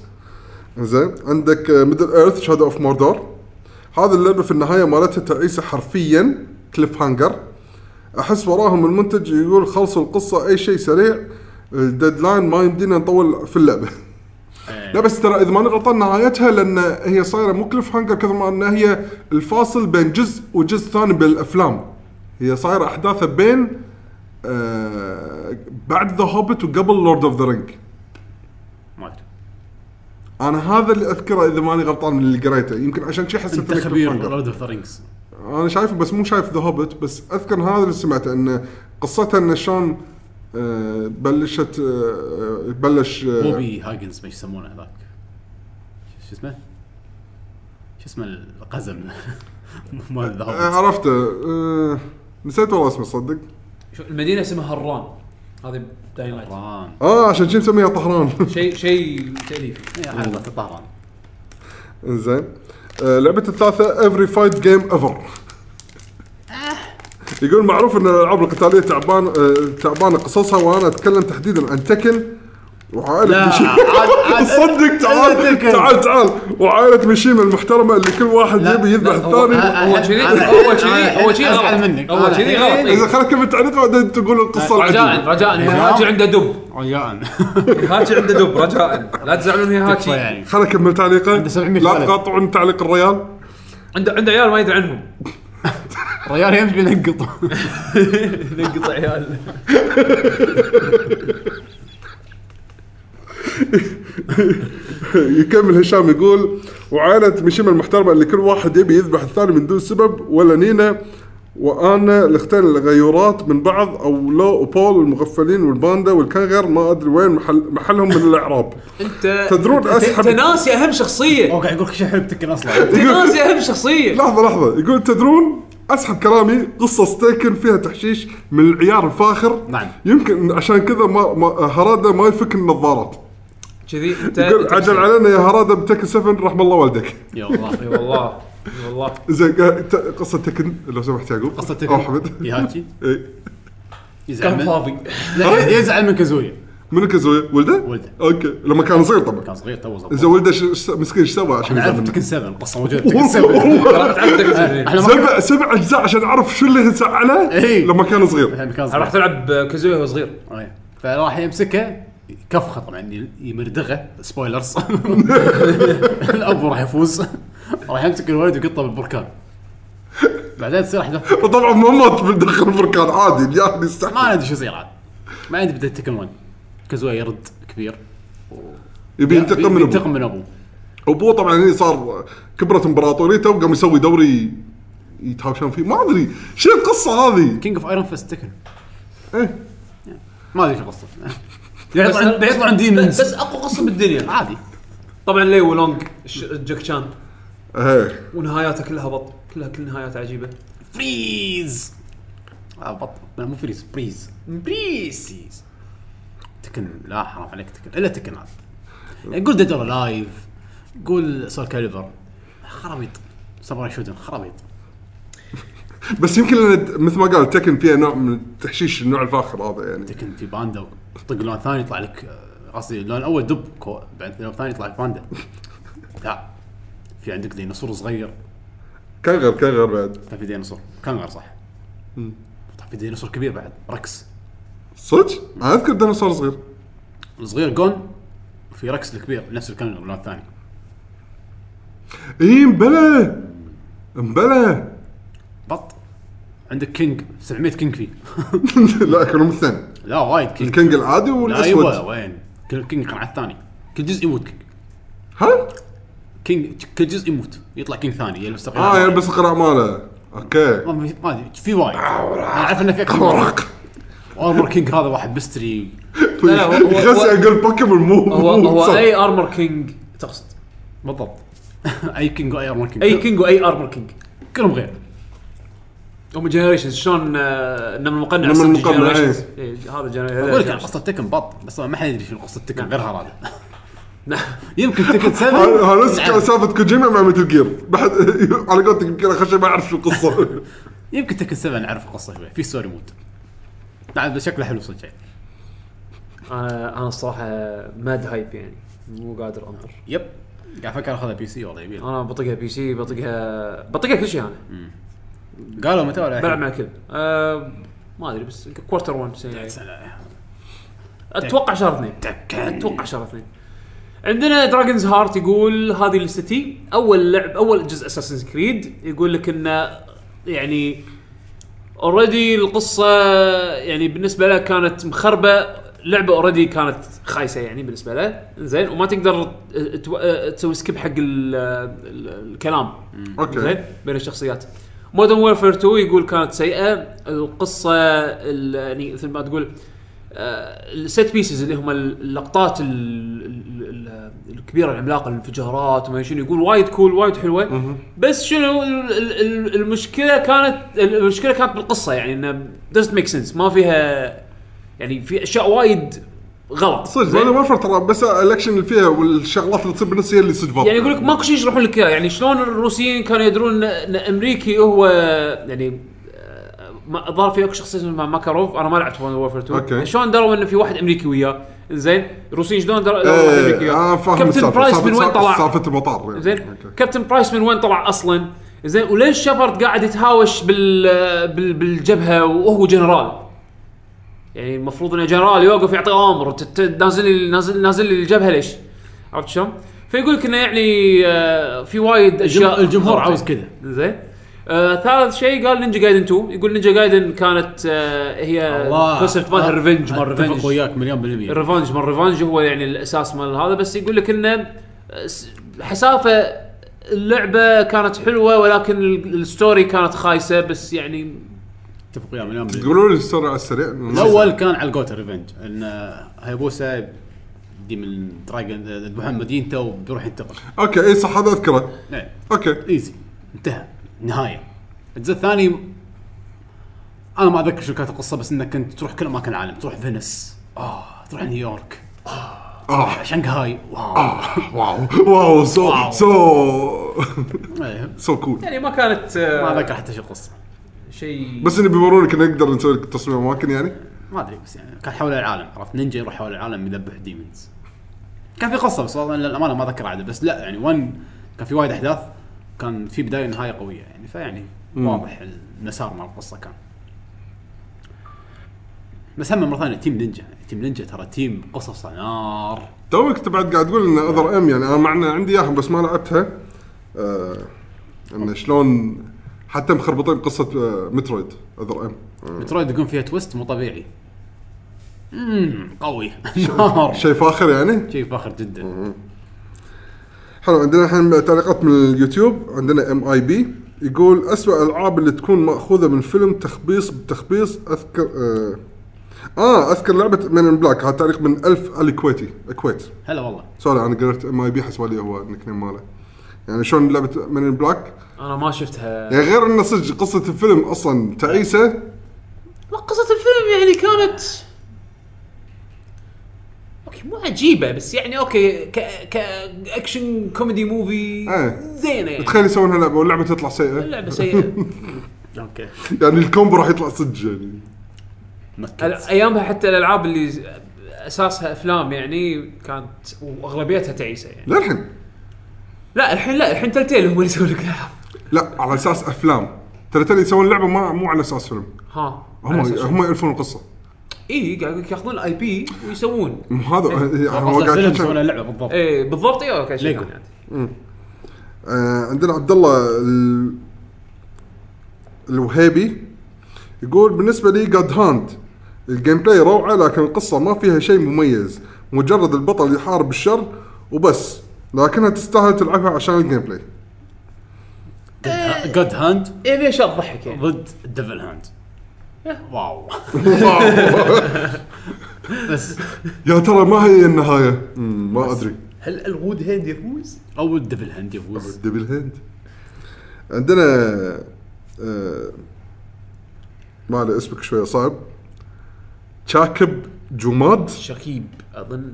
Speaker 2: زين عندك آه، ميدل ايرث شادو اوف موردور هذه اللعبه في النهايه مالتها تعيسه حرفيا كليف هانجر احس وراهم المنتج يقول خلصوا القصه اي شيء سريع الديدلاين ما يمدينا نطول في اللعبه
Speaker 1: آه،
Speaker 2: لا بس ترى اذا ماني غلطان نهايتها لان هي صايره مو كليف هانجر كثر ما انها هي الفاصل بين جزء وجزء ثاني بالافلام هي صايره احداثها بين آه بعد ذا هوبت وقبل لورد اوف ذا رينج
Speaker 1: ما ادري
Speaker 2: انا هذا اللي اذكره اذا ماني غلطان من اللي قريته يمكن عشان شي حسيت
Speaker 1: انت
Speaker 2: إنه
Speaker 1: خبير
Speaker 2: cliffhanger.
Speaker 1: لورد اوف ذا رينجز
Speaker 2: انا شايفه بس مو شايف ذا هوبت بس اذكر هذا اللي سمعته ان قصته ان شلون آه، بلشت آه، بلش آه،
Speaker 1: بوبي هاجنز ما يسمونه هذاك شو اسمه؟ شو اسمه القزم مال
Speaker 2: آه،
Speaker 1: الذهب
Speaker 2: عرفته آه، نسيت والله اسمه صدق
Speaker 3: شو- المدينه اسمها هران هذه دايلايت
Speaker 1: طهران
Speaker 2: اه عشان كذي مسميها طهران
Speaker 3: شيء شيء تاليفي
Speaker 1: إيه، حلقه طهران
Speaker 2: زين آه، لعبة الثالثة افري فايت جيم ايفر يقول معروف ان الالعاب القتالية تعبان آه، تعبانة قصصها وانا اتكلم تحديدا عن تكن وعائلة
Speaker 1: لا،
Speaker 2: ميشيما
Speaker 1: عاد- عاد-
Speaker 2: صدق تعال
Speaker 1: تكن.
Speaker 2: تعال تعال وعائلة ميشيما المحترمة اللي كل واحد
Speaker 1: لا،
Speaker 2: يبي يذبح
Speaker 1: لا، هو-
Speaker 2: الثاني
Speaker 1: آه،
Speaker 3: اول
Speaker 1: أنا-
Speaker 3: شيء
Speaker 1: أنا-
Speaker 3: اول شيء اول شيء
Speaker 1: أنا
Speaker 3: غلط
Speaker 1: أزعل منك.
Speaker 3: اول
Speaker 1: أنا-
Speaker 3: شيء
Speaker 1: إيه، آه، نعم.
Speaker 2: اذا
Speaker 3: غلط
Speaker 2: خلك كمل تعريف بعدين تقول القصة
Speaker 3: رجاء
Speaker 2: العجيبة
Speaker 3: رجاء هيهاتشي عنده دب
Speaker 1: رجاء
Speaker 4: هاتشي عنده دب رجاء لا تزعلون
Speaker 1: تكفى
Speaker 4: هيهاتشي
Speaker 1: يعني
Speaker 2: خلك كمل تعليقه
Speaker 1: عنده 700
Speaker 2: لا
Speaker 1: ولد.
Speaker 2: تقاطعون تعليق الريال
Speaker 4: عنده عنده عيال ما يدري عنهم
Speaker 1: رجال يمشي ينقط
Speaker 4: ينقطع عيال
Speaker 2: يكمل هشام يقول وعائلة ميشيما المحترمة اللي كل واحد يبي يذبح الثاني من دون سبب ولا نينا وانا لختين الغيورات من بعض او لو وبول والمغفلين والباندا والكنغر ما ادري وين محل محلهم من الاعراب
Speaker 4: انت
Speaker 2: تدرون
Speaker 4: أنت-
Speaker 2: أسحب-
Speaker 4: أنت ناسي اهم شخصيه
Speaker 1: هو قاعد يقول شو حلو تكن اصلا
Speaker 4: أنت ناسي اهم شخصيه
Speaker 2: لحظه لحظه يقول تدرون اسحب كلامي قصه ستيكن فيها تحشيش من العيار الفاخر
Speaker 1: نعم.
Speaker 2: يمكن عشان كذا ما, ما هراده ما يفك النظارات
Speaker 4: كذي انت
Speaker 2: يقول
Speaker 4: أنت-
Speaker 2: عجل علينا يا هراده بتكن 7 رحم الله والدك
Speaker 1: يا الله
Speaker 4: اي والله اي والله
Speaker 2: زين آه، ت- قصه تكن لو سمحت يعقوب
Speaker 1: قصه تكن
Speaker 2: او حمد
Speaker 1: يهاتي
Speaker 2: إيه.
Speaker 1: يزعل
Speaker 3: كان
Speaker 1: من
Speaker 3: فاضي
Speaker 1: لا، يزعل من كازويا
Speaker 2: منو كازويا؟ ولده؟
Speaker 1: ولده.
Speaker 2: اوكي لما كان صغير طبعا
Speaker 1: كان صغير تو
Speaker 2: زين
Speaker 1: زين
Speaker 2: ولده ش- ش- مسكين ايش سوى عشان يزعل
Speaker 1: نعرف
Speaker 2: منه؟
Speaker 1: تكن 7 القصه موجوده في تكن 7
Speaker 4: ترى تعبتك زين.
Speaker 1: احنا ما كنا-
Speaker 2: سبع سبع اجزاء عشان اعرف شو اللي زعله
Speaker 1: إيه.
Speaker 2: لما كان صغير
Speaker 1: إحنا كان صغير.
Speaker 4: راح تلعب كازويا وهو صغير
Speaker 1: أي. فراح يمسكه يكفخه طبعا ي- يمردغه سبويلرز الاب راح يفوز راح يمسك الولد ويقطه بالبركان بعدين تصير احداث
Speaker 2: طبعا ما مات بالدخل البركان عادي يعني
Speaker 1: ما
Speaker 2: يستحمل
Speaker 1: ادري شو يصير عاد ما عندي بدايه تكن 1 كازويا يرد كبير
Speaker 2: يبي ينتقم من
Speaker 1: ينتقم
Speaker 2: ابوه
Speaker 1: من ابوه
Speaker 2: ابوه طبعا هني صار كبرت امبراطوريته وقام يسوي دوري يتهاوشون فيه ما ادري شو القصه هذه؟
Speaker 1: كينج اوف ايرون فيست تكن
Speaker 2: ايه
Speaker 1: ما ادري شو القصه بيطلع- بيطلع ديمونز
Speaker 4: بس اقوى قصه بالدنيا
Speaker 1: عادي
Speaker 4: طبعا ليو لونج ش- جاك شان
Speaker 2: ايه
Speaker 4: ونهاياته كلها بط كلها كل نهايات عجيبه
Speaker 1: فريز آه، بط لا مو فريز بريز بريز تكن لا حرام عليك تكن الا تكن هذا يعني قول ديد اور لايف قول سول كاليبر خرابيط ساموراي شودن خرابيط
Speaker 2: بس يمكن لأن مثل ما قال تكن فيها نوع من التحشيش النوع الفاخر هذا يعني
Speaker 1: تكن في باندا طق لون ثاني يطلع لك آه، قصدي اللون الاول دب كو بعد اللون الثاني يطلع لك باندا لا في عندك ديناصور صغير
Speaker 2: كان غير كان غير بعد
Speaker 1: طلع في ديناصور كانغر صح طلع في ديناصور كبير بعد ركس
Speaker 2: صدق؟ انا اذكر ديناصور صغير
Speaker 1: الصغير جون وفي ركس الكبير نفس الكانغر اللون الثاني
Speaker 2: اي إيه، مبلى مبلى
Speaker 1: بط عندك كينج 700 كينج فيه
Speaker 2: لا كانوا مثلين
Speaker 1: لا وايد كينج
Speaker 2: الكنج العادي
Speaker 1: لا ايوه
Speaker 4: أيوة.
Speaker 2: والاسود
Speaker 1: وين كل كينج كان على الثاني كل جزء يموت كينج
Speaker 2: ها؟
Speaker 1: كينج كل جزء يموت يطلع كينج ثاني يلبس القناع
Speaker 2: اه يلبس القناع ماله اوكي
Speaker 1: ما في- ما ادري في وايد انا اعرف انه في اكثر ارمر كينج هذا واحد بستري
Speaker 4: لا، هو- هو-
Speaker 2: غسل يقول بوكيمون مو
Speaker 4: هو
Speaker 2: مو
Speaker 4: هو
Speaker 2: صح.
Speaker 4: اي ارمر كينج تقصد
Speaker 1: بالضبط اي كينج واي ارمر كينج
Speaker 4: اي كينج واي ارمر كينج
Speaker 1: كلهم غير
Speaker 4: هم جنريشنز شلون آه، نمر المقنع
Speaker 2: نمر
Speaker 4: صدق
Speaker 2: المقنع،
Speaker 4: generations. إيه، هذا
Speaker 1: اقول لك عن
Speaker 4: جنريشن
Speaker 1: قصه تكن بط بس ما حد يدري شنو قصه تكن غير هذا يمكن نعم. تكن 7
Speaker 3: نعم.
Speaker 2: هذا نفس سالفه كوجيما مع متل جير بعد على قولتك يمكن اخش ما اعرف شو القصه
Speaker 1: يمكن تكن 7 نعرف القصه شوي في ستوري مود نعم شكله حلو صدق يعني.
Speaker 4: انا انا الصراحه ماد هايب يعني مو قادر انطر
Speaker 1: يب قاعد افكر اخذها بي سي والله يبي
Speaker 4: انا بطقها بي سي بطقها بطقها كل شيء انا
Speaker 1: قالوا متى ولا
Speaker 4: بلعب
Speaker 1: الحين؟
Speaker 4: مع الكل أه
Speaker 3: ما ادري بس كوارتر 1 السنه
Speaker 4: يعني.
Speaker 3: الجاية. اتوقع شهر اثنين اتوقع شهر اثنين عندنا دراجونز هارت يقول هذه السيتي اول لعب اول جزء اساسن كريد يقول لك انه يعني اوريدي القصه يعني بالنسبه له كانت مخربه لعبه اوريدي كانت خايسه يعني بالنسبه له زين وما تقدر تو- تسوي سكيب حق ال- ال- الكلام
Speaker 2: اوكي
Speaker 3: زين بين الشخصيات مودرن وورفير 2 يقول كانت سيئه القصه ال- يعني مثل ما تقول آه، الست بيسز اللي هم اللقطات ال- ال- ال- الكبيره العملاقه الانفجارات وما شنو يقول وايد كول وايد حلوه بس شنو ال- ال- ال- المشكله كانت المشكله كانت بالقصه يعني انه دزنت ميك سنس ما فيها يعني في اشياء وايد غلط
Speaker 2: صدق
Speaker 3: زين؟
Speaker 2: مودرن وورفير ترى بس الاكشن اللي فيها والشغلات اللي تصير بالنص هي اللي صدق بطل.
Speaker 3: يعني يقول لك ماكو شيء يشرحون لك اياه يعني شلون الروسيين كانوا يدرون ان إن امريكي هو يعني آه، ما- ظهر في اكو شخصيه اسمها ماكاروف انا ما لعبت مودرن وورفير 2
Speaker 2: أوكي.
Speaker 3: يعني شلون دروا انه في واحد امريكي وياه زين الروسيين شلون دروا إنه واحد امريكي
Speaker 2: ايه انا
Speaker 3: وياه
Speaker 2: فاهم
Speaker 3: كابتن
Speaker 2: السالفة.
Speaker 3: برايس
Speaker 2: سالفة-
Speaker 3: من وين
Speaker 2: سالفة-
Speaker 3: طلع
Speaker 2: سالفة المطار يعني.
Speaker 3: زين
Speaker 2: أوكي.
Speaker 3: كابتن برايس من وين طلع اصلا زين وليش شيبرد قاعد يتهاوش بال بال- بالجبهه وهو جنرال يعني المفروض انه جنرال يوقف يعطي اوامر ت- ت- نازل لي- نازل نازل لي الجبهه ليش؟ عرفت شلون؟ فيقول لك انه يعني آه، في وايد اشياء
Speaker 1: الجمهور
Speaker 3: غلط.
Speaker 1: عاوز كذا
Speaker 3: زين آه ثالث شيء قال نينجا جايدن 2 يقول نينجا جايدن كانت آه هي كونسبت مالها ريفنج مال
Speaker 1: اتفق
Speaker 3: ريفنج
Speaker 1: آه، وياك مليون بالمية
Speaker 3: الريفانج ما الريفانج هو يعني الاساس مال هذا بس يقول لك انه س- حسافه اللعبه كانت حلوه ولكن ال- الستوري كانت خايسه بس يعني
Speaker 1: اتفق وياك مليون بالمية
Speaker 2: تقولوا لي السرعه على السريع نعم.
Speaker 1: الاول كان على الجوتا ريفنج ان آه، هيبوسا دي من دراجون يذبحون مدينته وبيروح ينتقم
Speaker 2: اوكي اي صح هذا اذكره
Speaker 1: إيه.
Speaker 2: اوكي
Speaker 1: ايزي انتهى نهايه الجزء الثاني انا ما اتذكر شو كانت القصه بس انك كنت تروح كل اماكن العالم تروح فينس اه تروح نيويورك
Speaker 2: اه
Speaker 1: شنغهاي
Speaker 2: آه.
Speaker 1: واو
Speaker 2: واو واو سو سو
Speaker 1: إيه.
Speaker 2: سو كول
Speaker 3: يعني ما كانت
Speaker 1: ما
Speaker 3: آه،
Speaker 1: اتذكر حتى شو القصه
Speaker 3: شيء
Speaker 2: بس انه بيورونك إن نقدر نسوي لك تصميم اماكن يعني
Speaker 1: ما ادري بس يعني كان حول العالم عرفت نينجا يروح حول العالم يذبح ديمونز كان في قصه بس والله للامانه ما اذكر عدد بس لا يعني 1 كان في وايد احداث كان في بدايه ونهايه قويه يعني فيعني واضح المسار مال القصه كان بس هم مره ثانيه تيم نينجا يعني تيم نينجا ترى تيم قصص نار
Speaker 2: توك انت بعد قاعد تقول ان اذر ام يعني انا معنا عندي اياهم بس ما لعبتها آه انه شلون حتى مخربطين بقصه آه، مترويد اذر ام
Speaker 1: مترويد يقوم فيها تويست مو طبيعي امم قوي نار
Speaker 2: شيء فاخر يعني
Speaker 1: شيء فاخر جدا
Speaker 2: حلو عندنا الحين تعليقات من اليوتيوب عندنا ام اي بي يقول أسوأ الالعاب اللي تكون ماخوذه من فيلم تخبيص بتخبيص اذكر آه, اه اذكر لعبه من بلاك هذا تعليق من الف الكويتي الكويت
Speaker 1: هلا والله
Speaker 2: سوري انا قريت ام اي بي حسب هو النك نيم ماله يعني شلون لعبه من بلاك
Speaker 3: انا ما شفتها
Speaker 2: يعني غير انه صدق قصه الفيلم اصلا تعيسه
Speaker 3: لا قصه الفيلم يعني كانت اوكي مو عجيبه بس يعني اوكي ك كاكشن كوميدي موفي
Speaker 2: إيه.
Speaker 3: زينه يعني
Speaker 2: تخيل يسوونها لعبه واللعبه تطلع سيئه
Speaker 3: اللعبه سيئه
Speaker 1: اوكي
Speaker 2: يعني الكومبو راح يطلع صدق يعني
Speaker 3: ال- ايامها حتى الالعاب اللي ز- اساسها افلام يعني كانت واغلبيتها تعيسه يعني
Speaker 2: للحين
Speaker 3: لا الحين لا الحين تلتيل هم اللي يسوون لك الالعاب
Speaker 2: لا على اساس افلام ترى ترى يسوون لعبه ما مو على اساس فيلم
Speaker 3: ها
Speaker 2: هم هم يالفون القصه
Speaker 3: اي قاعد يقولك ياخذون الاي بي ويسوون
Speaker 2: مو هذا هو
Speaker 1: قصة
Speaker 2: قاعد
Speaker 1: إيه. فيلم
Speaker 2: يتكلم-
Speaker 1: سوينا اللعبه بالضبط
Speaker 3: اي بالضبط اي اوكي شيء
Speaker 1: ليجو.
Speaker 3: يعني.
Speaker 2: آه، عندنا عبد الله ال- الوهيبي يقول بالنسبه لي جاد هاند الجيم بلاي روعه لكن القصه ما فيها شيء مميز مجرد البطل يحارب الشر وبس لكنها تستاهل تلعبها عشان الجيم بلاي
Speaker 1: جود هاند
Speaker 3: اي في اشياء تضحك يعني
Speaker 1: ضد الديفل هاند واو بس
Speaker 2: يا ترى ما هي النهايه مم، ما ادري
Speaker 1: هل الوود هاند يفوز؟ او الديفل هاند يفوز
Speaker 2: دبل هند عندنا آه، ما له اسمك شويه صعب شاكب جماد
Speaker 3: شكيب اظن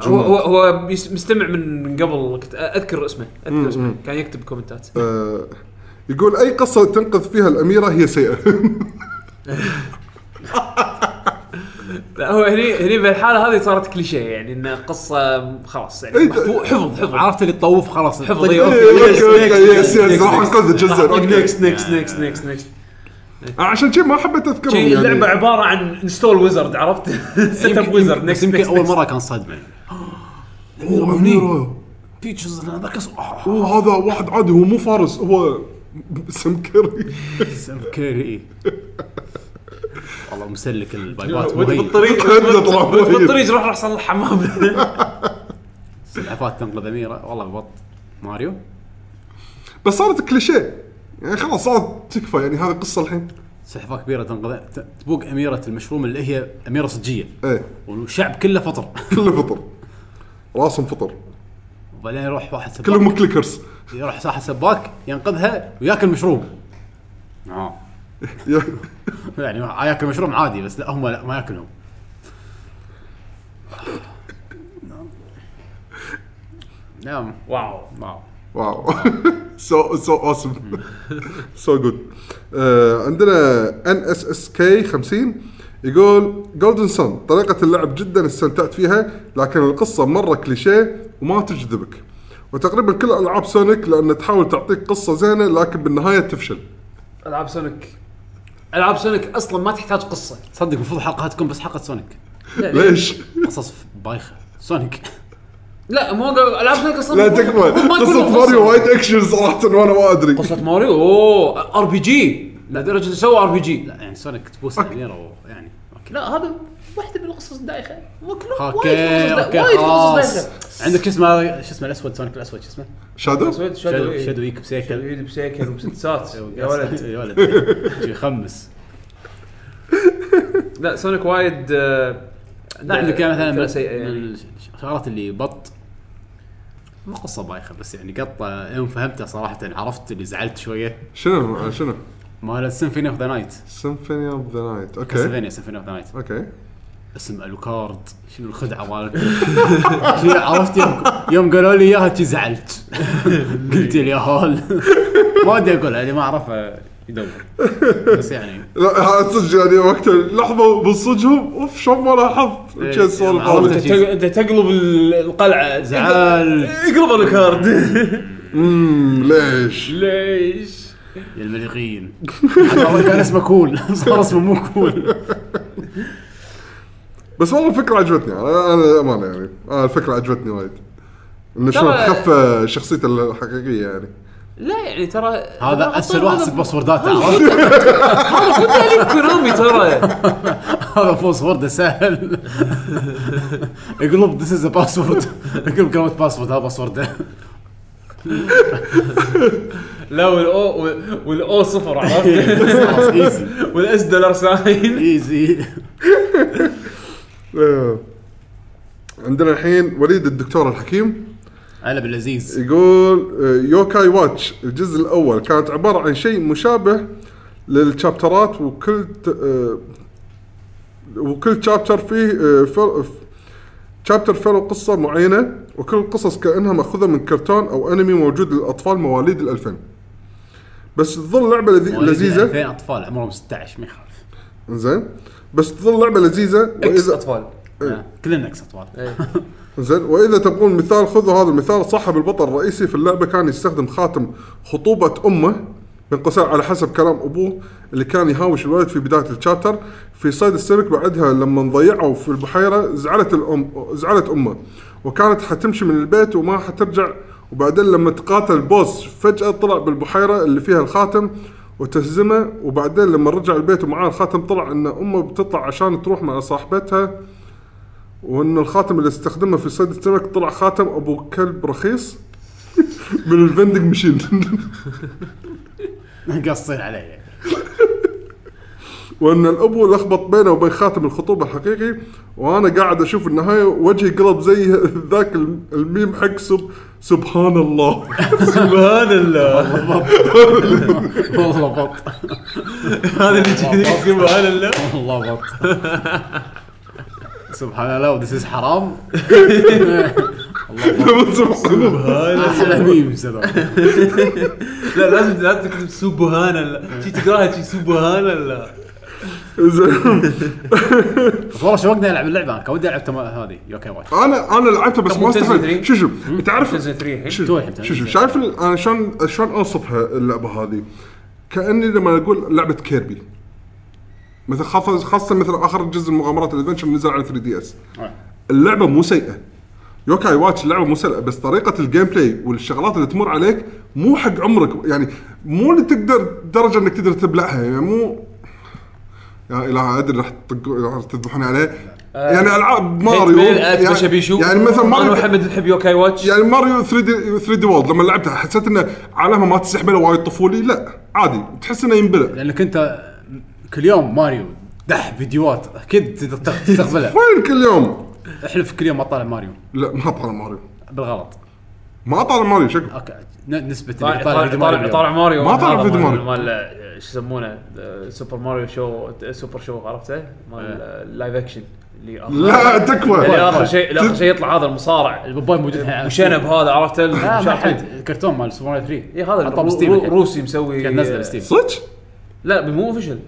Speaker 3: هو هو, هو يس- مستمع من من قبل كنت اذكر اسمه اذكر اسمه كان يكتب كومنتات
Speaker 2: آه، يقول اي قصه تنقذ فيها الاميره هي سيئه
Speaker 3: لا هو هني هني بالحاله هذه صارت كليشيه يعني ان قصه خلاص يعني
Speaker 2: إيه،
Speaker 3: محفو- حفظ حفظ
Speaker 1: عرفت اللي تطوف خلاص
Speaker 3: حفظ، إيه،
Speaker 2: أوكي، أوكي، يس، يس، راح أنقذ الجزء،
Speaker 1: نكست
Speaker 2: أوكي.
Speaker 1: نكست نكست نكست نكست
Speaker 2: عشان كذي ما حبيت اذكرهم
Speaker 3: شي
Speaker 2: يعني
Speaker 3: اللعبه عباره عن انستول ويزرد عرفت؟ سيت اب ويزرد
Speaker 1: بس
Speaker 3: نكست
Speaker 1: يمكن اول مره كان صدمه يعني
Speaker 2: اوه هني
Speaker 1: فيتشرز انا ذاك أص-
Speaker 2: اوه هذا واحد عادي هو مو فارس هو سمكري
Speaker 1: كيري والله مسلك البايبات
Speaker 3: وانت
Speaker 1: مهيب
Speaker 3: بالطريق
Speaker 2: كله طلع
Speaker 3: وأنت
Speaker 2: مهيب.
Speaker 3: بالطريق روح روح صلح الحمام
Speaker 1: سلحفات تنقذ اميره والله بط ماريو
Speaker 2: بس صارت كليشيه يعني خلاص صارت تكفى يعني هذه قصه الحين
Speaker 1: سلحفاه كبيره تنقذ ت- تبوق اميره المشروم اللي هي اميره صجيه
Speaker 2: ايه
Speaker 1: والشعب كله فطر
Speaker 2: كله فطر راسهم فطر
Speaker 1: وبعدين يروح واحد سباك
Speaker 2: كلهم كليكرز
Speaker 1: يروح صاحب سباك ينقذها وياكل مشروب اه
Speaker 2: يا-
Speaker 1: يعني ما- ياكل مشروب عادي بس لا هم لا ما ياكلهم نعم
Speaker 3: واو
Speaker 1: واو
Speaker 2: واو سو سو اوسم سو جود آه، عندنا ان اس اس كي 50 يقول جولدن سن طريقة اللعب جدا استمتعت فيها لكن القصة مرة كليشيه وما تجذبك وتقريبا كل العاب سونيك لان تحاول تعطيك قصة زينة لكن بالنهاية تفشل
Speaker 3: العاب سونيك العاب سونيك اصلا ما تحتاج قصه
Speaker 1: تصدق المفروض حلقه تكون بس حلقه سونيك
Speaker 2: ليش؟
Speaker 1: قصص بايخه سونيك
Speaker 3: لا مو قال- العاب سونيك اصلا
Speaker 2: لا
Speaker 3: مو-
Speaker 2: تكفى
Speaker 3: ما يكون
Speaker 2: قصة
Speaker 3: لهم
Speaker 2: ماريو وايد اكشن صراحة وانا ما ادري
Speaker 3: قصه ماريو اوه ار بي جي لدرجه إنه سوى ار بي جي
Speaker 1: لا يعني سونيك تبوس الاميره يعني اوكي
Speaker 3: لا هذا واحده من القصص الدايخه مو كلهم
Speaker 1: اوكي اوكي
Speaker 3: وايد قصص
Speaker 1: خلاص
Speaker 3: دايخه
Speaker 1: عندك شو اسمه شو اسمه الاسود سونيك الاسود شو اسمه؟
Speaker 2: شادو؟
Speaker 3: سويت شادو
Speaker 1: شادو
Speaker 3: إيه.
Speaker 1: شادو يك بسيكل
Speaker 3: شادو بسيكل ومسدسات يا ولد
Speaker 1: يا ولد شو يخمس
Speaker 3: لا سونيك وايد آه،
Speaker 1: لا عندك يعني مثلا
Speaker 3: أمثلة
Speaker 1: من
Speaker 3: سيئة يعني.
Speaker 1: من الشغلات اللي بط مو قصه بايخه بس يعني قطه يوم فهمتها صراحه عرفت اللي زعلت شويه
Speaker 2: شنو شنو؟
Speaker 1: مال سيمفوني اوف ذا نايت
Speaker 2: سيمفوني اوف ذا نايت اوكي
Speaker 1: كاسلفينيا سيمفوني اوف ذا نايت
Speaker 2: اوكي
Speaker 1: اسم الوكارد شنو الخدعه مالك شنو عرفت يوم, يوم قالوا لي اياها شي زعلت قلت يا هول ما ودي اقولها اللي ما اعرفه يدور بس يعني
Speaker 2: لا ها، صدق يعني وقتها لحظه بالصجهم اوف شو ما لاحظت
Speaker 1: إيه،
Speaker 2: كان السوالف
Speaker 1: يعني
Speaker 2: هذه.
Speaker 1: عرفت.
Speaker 3: انت تق- انت تقلب ال- القلعه
Speaker 1: زعلت
Speaker 3: اقلب الكارد
Speaker 2: امم ليش؟
Speaker 3: ليش؟
Speaker 1: يا المليقين كان اسمه كول صار اسمه مو كول
Speaker 2: بس والله الفكره عجبتني انا انا امانه يعني انا الفكره عجبتني وايد انه شلون
Speaker 3: ترى-
Speaker 2: تخفى شخصيته الحقيقيه يعني
Speaker 3: لا يعني ترى
Speaker 1: هذا اسهل واحد يصير باسوردات عرفت
Speaker 3: هذا مو تاليف كونامي ترى
Speaker 1: هذا باسورد سهل اقلب ذيس از باسورد اقلب كلمه باسورد هذا باسورد
Speaker 3: لا والاو والاو صفر عرفت
Speaker 1: ايزي
Speaker 3: والاس دولار ساين
Speaker 1: ايزي
Speaker 2: آه. عندنا الحين وليد الدكتور الحكيم
Speaker 1: هلا باللذيذ
Speaker 2: يقول آه، يوكاي واتش الجزء الاول كانت عباره عن شيء مشابه للشابترات وكل ت- آه، وكل شابتر فيه آه، فر- ف- شابتر فيه قصه معينه وكل القصص كانها ماخوذه من كرتون او انمي موجود للاطفال مواليد ال2000 بس تظل لعبه لذي- لذيذه
Speaker 1: 2000 اطفال عمرهم 16 ما يخالف
Speaker 2: زين بس تظل لعبه لذيذه
Speaker 3: اكس
Speaker 2: واذا
Speaker 3: اطفال
Speaker 1: آه، كلنا اكس اطفال
Speaker 3: إيه.
Speaker 2: زين واذا تبغون مثال خذوا هذا المثال صاحب البطل الرئيسي في اللعبه كان يستخدم خاتم خطوبه امه من قوسين على حسب كلام ابوه اللي كان يهاوش الولد في بدايه الشابتر في صيد السيرك بعدها لما ضيعوا في البحيره زعلت الام زعلت امه وكانت حتمشي من البيت وما حترجع وبعدين لما تقاتل بوس فجاه طلع بالبحيره اللي فيها الخاتم وتهزمه وبعدين لما رجع البيت ومعاه الخاتم طلع ان امه بتطلع عشان تروح مع صاحبتها وان الخاتم اللي استخدمه في صيد السمك طلع خاتم ابو كلب رخيص من الفندق مشين
Speaker 1: قاصين علي يعني.
Speaker 2: وان الابو لخبط بينه وبين خاتم الخطوبه الحقيقي وانا قاعد اشوف النهايه وجهي قلب زي ذاك الم- الميم حق سب سبحان الله
Speaker 3: سبحان الله
Speaker 1: والله بط
Speaker 3: هذا اللي جديد سبحان الله
Speaker 1: والله بط سبحان الله وذيس از حرام
Speaker 2: سبحان الله
Speaker 1: احلى ميمز هذول.
Speaker 3: لا لازم لازم تكتب سبحان الله شي تقراها شي سبحان الله
Speaker 2: زين.
Speaker 1: بس والله شوقني العب اللعبه انا كان ودي العب تما- هذه يوكي واتش
Speaker 2: انا انا لعبتها بس
Speaker 3: طب
Speaker 2: ما
Speaker 3: ممتاز
Speaker 2: استحيت
Speaker 3: مدري.
Speaker 2: شو شو تعرف
Speaker 3: تنزل 3 الحين
Speaker 2: شو
Speaker 1: توي الحين
Speaker 2: شو شو
Speaker 1: تنزل.
Speaker 2: شايف ال- انا شلون شلون اوصفها اللعبه هذه؟ كاني لما اقول لعبه كيربي مثل خاصه خاصه مثل اخر جزء مغامرات الادفنشر نزل على 3 دي اس اللعبه مو سيئه يوكاي واتش اللعبه مو سيئه بس طريقه الجيم بلاي والشغلات اللي تمر عليك مو حق عمرك يعني مو اللي تقدر درجه انك تقدر تبلعها يعني مو يا اله ادري راح تطق- راح تذبحون عليه يعني العاب ماريو
Speaker 3: اتمشى بيشو
Speaker 2: يعني مثلا
Speaker 3: انا
Speaker 2: ماريو
Speaker 3: وحمد نحب يوكاي واتش
Speaker 2: يعني ماريو 3 دي 3 دي وورد لما لعبتها حسيت انه عالمها ما تستحمله وايد طفولي لا عادي تحس انه ينبلع
Speaker 1: لانك انت كل يوم ماريو دح فيديوهات اكيد تستغ- تستقبلها
Speaker 2: وين كل يوم؟
Speaker 1: احلف كل يوم ما طالع ماريو
Speaker 2: لا ما طالع ماريو
Speaker 1: بالغلط
Speaker 2: ما طالع ماريو شكل
Speaker 1: اوكي ن- نسبه
Speaker 3: طالع
Speaker 1: اللي طالع
Speaker 3: طالع
Speaker 1: فيديو ماريو
Speaker 3: طالع,
Speaker 1: اليوم.
Speaker 3: طالع ماريو
Speaker 2: ما طالع
Speaker 3: هذا
Speaker 2: فيديو
Speaker 3: مال-
Speaker 2: ماريو.
Speaker 3: مال آه، شو يسمونه آه، سوبر ماريو شو آه، سوبر شو عرفته مال آه،
Speaker 1: إيه.
Speaker 3: لايف اكشن اللي آخر-
Speaker 2: لا تكفى
Speaker 3: اللي اخر شيء اللي اخر شيء يطلع هذا المصارع
Speaker 1: البوباي موجود الحين.
Speaker 3: وشنب هذا عرفته
Speaker 1: لا ما حد
Speaker 3: المشاحن
Speaker 1: الكرتون مال سوبر ماريو 3
Speaker 3: اي إيه؟ هذا
Speaker 1: عطوا
Speaker 3: الرو-
Speaker 1: بستيم الحين.
Speaker 3: روسي مسوي آه،
Speaker 1: كان نزله بستيم
Speaker 2: صدق؟
Speaker 3: لا مو اوفشل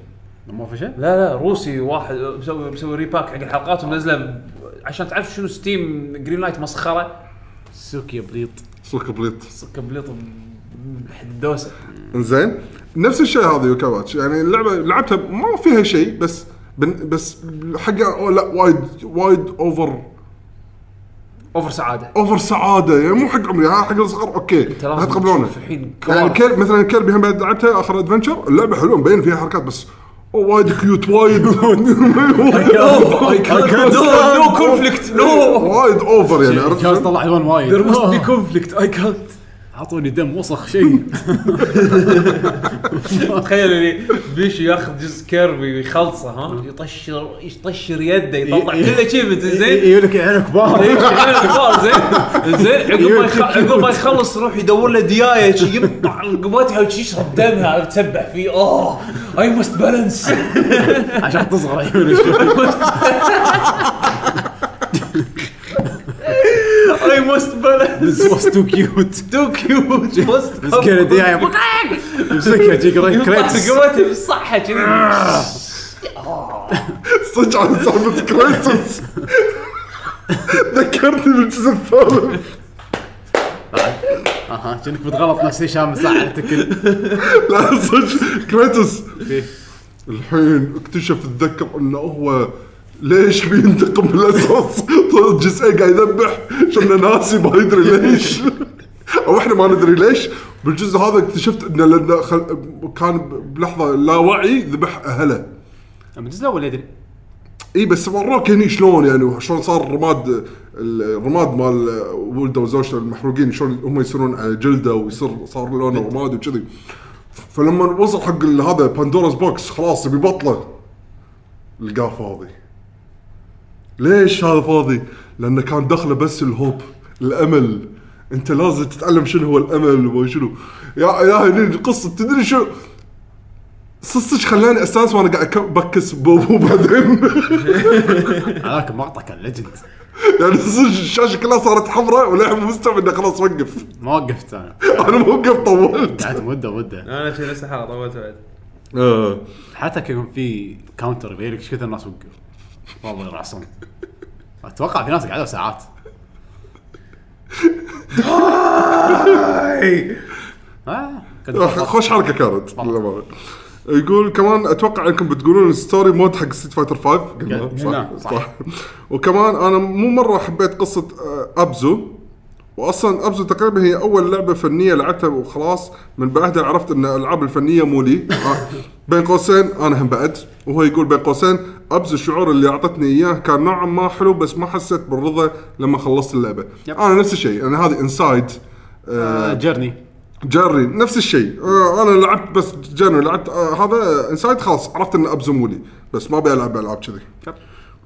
Speaker 1: مو في شيء
Speaker 3: لا لا روسي واحد آه، مسوي مسوي ريباك حق الحلقات ومنزله ب- عشان تعرف شنو ستيم جرين لايت مسخره
Speaker 1: سوكي بليط
Speaker 2: صدق بليط
Speaker 3: كبليط حد الدوسه
Speaker 2: انزين نفس الشيء هذا يوكا واتش يعني اللعبه لعبتها ما فيها شيء بس بن بس حقها لا وايد وايد اوفر
Speaker 3: اوفر سعاده
Speaker 2: اوفر سعاده يعني مو حق عمري ها حق الصغار اوكي
Speaker 3: انت
Speaker 2: لا
Speaker 3: لازم
Speaker 2: تقبلونه
Speaker 3: تشوف الحين
Speaker 2: يعني
Speaker 3: كوارث.
Speaker 2: كير مثلا كيربي هم بعد لعبتها اخر ادفنشر اللعبه حلوه مبين فيها حركات بس أوه، وايد كيوت وايد
Speaker 1: Oh,
Speaker 3: نو كونفليكت نو
Speaker 2: وايد اوفر يعني عرفت
Speaker 1: الجهاز
Speaker 2: شلون؟
Speaker 1: طلع الوان وايد
Speaker 3: ذير ماست بي
Speaker 1: آه.
Speaker 3: كونفليكت اي كانت
Speaker 1: اعطوني دم وسخ شيء
Speaker 3: تخيل اللي بيشو ياخذ جزء كيربي ويخلصه ها يطشر يطشر يده يطلع
Speaker 1: إي- إي.
Speaker 3: كل اتشيفمنت زين
Speaker 1: إيه.
Speaker 3: إيه.
Speaker 1: يقول لك عينك كبار
Speaker 3: الكبار زين زين عقب ما يخ- عقب ما يخلص يروح يدور له ديايه شي يقطع رقبتها ويشرب دمها عرفت؟ تسبح فيه اوه اي ماست بالانس
Speaker 1: عشان تصغر عيونك شوي
Speaker 3: اي ماست بالانس
Speaker 1: This was too cute
Speaker 3: تو كيوت
Speaker 1: مسكينه ديايه يمسكها جي كري- كريتس آه.
Speaker 3: رقبتها بالصحه كذي
Speaker 2: صدق عن سالفه كريتوس ذكرتني بالجزء الثالث
Speaker 1: اها كأنك بتغلط نفس هشام من ساعه تكل
Speaker 2: لا صدق كريتوس الحين اكتشف تذكر انه هو ليش بينتقم بالاساس؟ طلع جزئين قاعد يذبح شفنا ناسي ما يدري ليش او احنا ما ندري ليش بالجزء هذا اكتشفت انه لانه خل... كان بلحظه لا وعي ذبح اهله
Speaker 1: من الجزء الاول يدري
Speaker 2: اي بس وروك هني شلون يعني شلون صار الرماد الرماد مال ولده وزوجته المحروقين شلون هم يصيرون على جلده ويصير صار لونه رماد وكذي فلما وصل حق ال- هذا باندورا's بوكس خلاص يبي بطله لقاه فاضي ليش هذا فاضي؟ لانه كان دخله بس الهوب الامل انت لازم تتعلم شنو هو الامل وشنو يا يا هني القصه تدري شو صدق صدق خلاني استانس وانا قاعد أك- بكس بوبو بعدين
Speaker 1: هذاك المقطع كان ليجند
Speaker 2: يعني صدق الشاشه كلها صارت حمراء وللحين مو مستوعب انه خلاص وقف
Speaker 1: ما وقفت انا
Speaker 2: انا موقف طولت
Speaker 1: قعدت مده مده
Speaker 5: انا نفسي نفس الحاله طولت بعد
Speaker 2: آه.
Speaker 1: حتى كان في كاونتر يبين لك ايش كثر الناس وقفوا والله يرعصون اتوقع في ناس قعدوا ساعات آه، كنت
Speaker 2: آه، خوش حركه كانت للأمانة. يقول كمان اتوقع انكم بتقولون الستوري مود حق ستيت فايتر 5 قلنا
Speaker 1: قلنا،
Speaker 2: صح,
Speaker 1: صح.
Speaker 2: صح. وكمان انا مو مره حبيت قصه آه، ابزو واصلا ابزو تقريبا هي اول لعبه فنيه لعبتها وخلاص من بعدها عرفت ان الالعاب الفنيه مو لي آه، بين قوسين انا هم بعد وهو يقول بين قوسين ابزو الشعور اللي اعطتني اياه كان نوعا ما حلو بس ما حسيت بالرضا لما خلصت اللعبه
Speaker 1: يب.
Speaker 2: انا نفس الشيء انا هذه انسايد
Speaker 1: آه، جيرني
Speaker 2: جري نفس الشيء آه انا لعبت بس جري لعبت آه هذا انسايد خلاص عرفت ان ابزمولي بس ما ابي العب العاب كذي
Speaker 1: يب.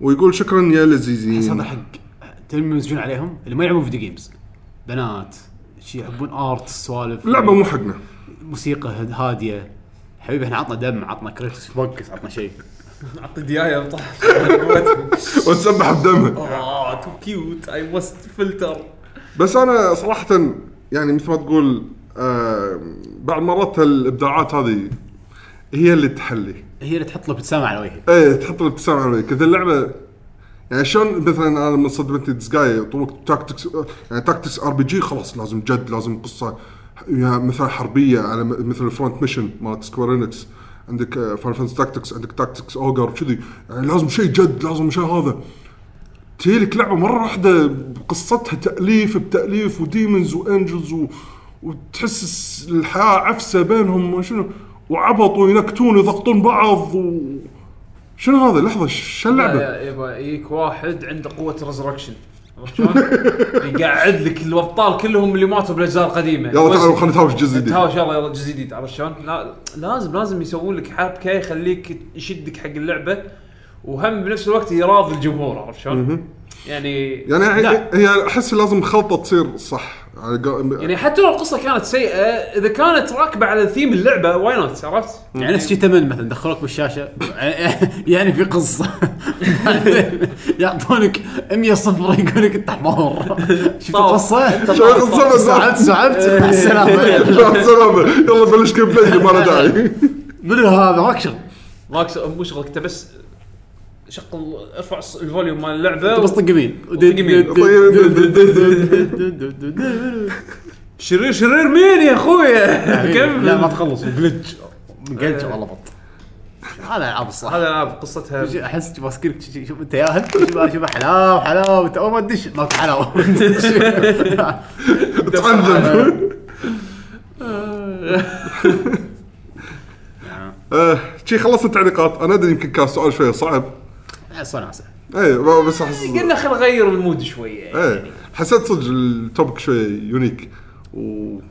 Speaker 2: ويقول شكرا يا
Speaker 1: بس هذا
Speaker 2: لذيذين
Speaker 1: حق تلمي مسجون عليهم اللي ما يلعبون فيديو جيمز بنات شي يحبون ارت سوالف
Speaker 2: اللعبه مو حقنا
Speaker 1: موسيقى هاد- هاديه حبيبي احنا عطنا دم عطنا كريتوس فوكس عطنا شيء
Speaker 5: عطي ديايه وطاح
Speaker 2: وتسبح بدمها
Speaker 5: اه تو كيوت اي ماست فلتر
Speaker 2: بس انا صراحه يعني مثل ما تقول آه بعض مرات الابداعات هذه هي اللي تحلي
Speaker 1: هي اللي تحط له ابتسامه على وجهك
Speaker 2: ايه تحط الابتسامه على وجهك اذا اللعبه يعني شلون مثلا انا من صدمتني ديسجاي طوك تاكتكس يعني تاكتكس ار بي جي خلاص لازم جد لازم قصه يا مثلا حربيه على م- مثل الفرونت ميشن مالت سكوير انكس عندك آه، فان فانز تاكتكس عندك تاكتكس اوجر كذي يعني لازم شيء جد لازم شيء هذا تجيلك لعبه مره واحده بقصتها تاليف بتاليف وديمونز وانجلز و... وتحس الس- الحياه عفسه بينهم وشنو وعبط وينكتون ويضغطون بعض و... شنو هذا لحظه شو اللعبه؟
Speaker 3: لا، يبا يجيك واحد عنده قوه ريزركشن عرفت شلون؟ يقعد لك الابطال كلهم اللي ماتوا بالاجزاء القديمه
Speaker 2: يلا تعالوا خلينا نتهاوش جزء جديد
Speaker 3: تهاوش يلا يلا جزء جديد عرفت شلون؟ لا لازم لازم يسوون لك حبكه يخليك يشدك حق اللعبه وهم بنفس الوقت يراضي الجمهور عرفت شلون؟ يعني
Speaker 2: يعني
Speaker 3: لا.
Speaker 2: هي- هي احس لازم خلطه تصير صح على قا-
Speaker 3: يعني حتى لو القصه كانت سيئه اذا كانت راكبه على ثيم اللعبه واي نوت عرفت؟
Speaker 1: يعني نفس شي تمن مثلا دخلوك بالشاشه يعني في قصه يعطونك 100 صفر يقول لك انت حمار شفت القصه؟
Speaker 2: شو القصة بس؟
Speaker 1: سحبت سحبت مع السلامه
Speaker 2: شو السلامة يلا بلش جيم بلاي ما له داعي
Speaker 1: منو هذا ماكشن
Speaker 3: ماكس مو شغلك انت بس شغل ارفع الص- الفوليوم مال اللعبه
Speaker 1: بس طق يمين
Speaker 2: طيب.
Speaker 3: شرير شرير مين يا اخويا؟
Speaker 1: يعني لا ما تخلص جلتش جلتش والله بط هذا العاب الصح
Speaker 3: هذا العاب قصتها
Speaker 1: احس ماسكينك شي- شي- شوف انت ياهل شوف شوف حلاوه حلاوه انت اول ما تدش ماكو حلاوه
Speaker 2: تعذب آه، شي خلصت التعليقات انا ادري يمكن كان سؤال شويه صعب
Speaker 1: صنعسه
Speaker 2: اي ب- بس احس
Speaker 3: قلنا خل نغير المود شويه
Speaker 1: إيه.
Speaker 2: اي حسيت صدق التوبك شويه يونيك وذك-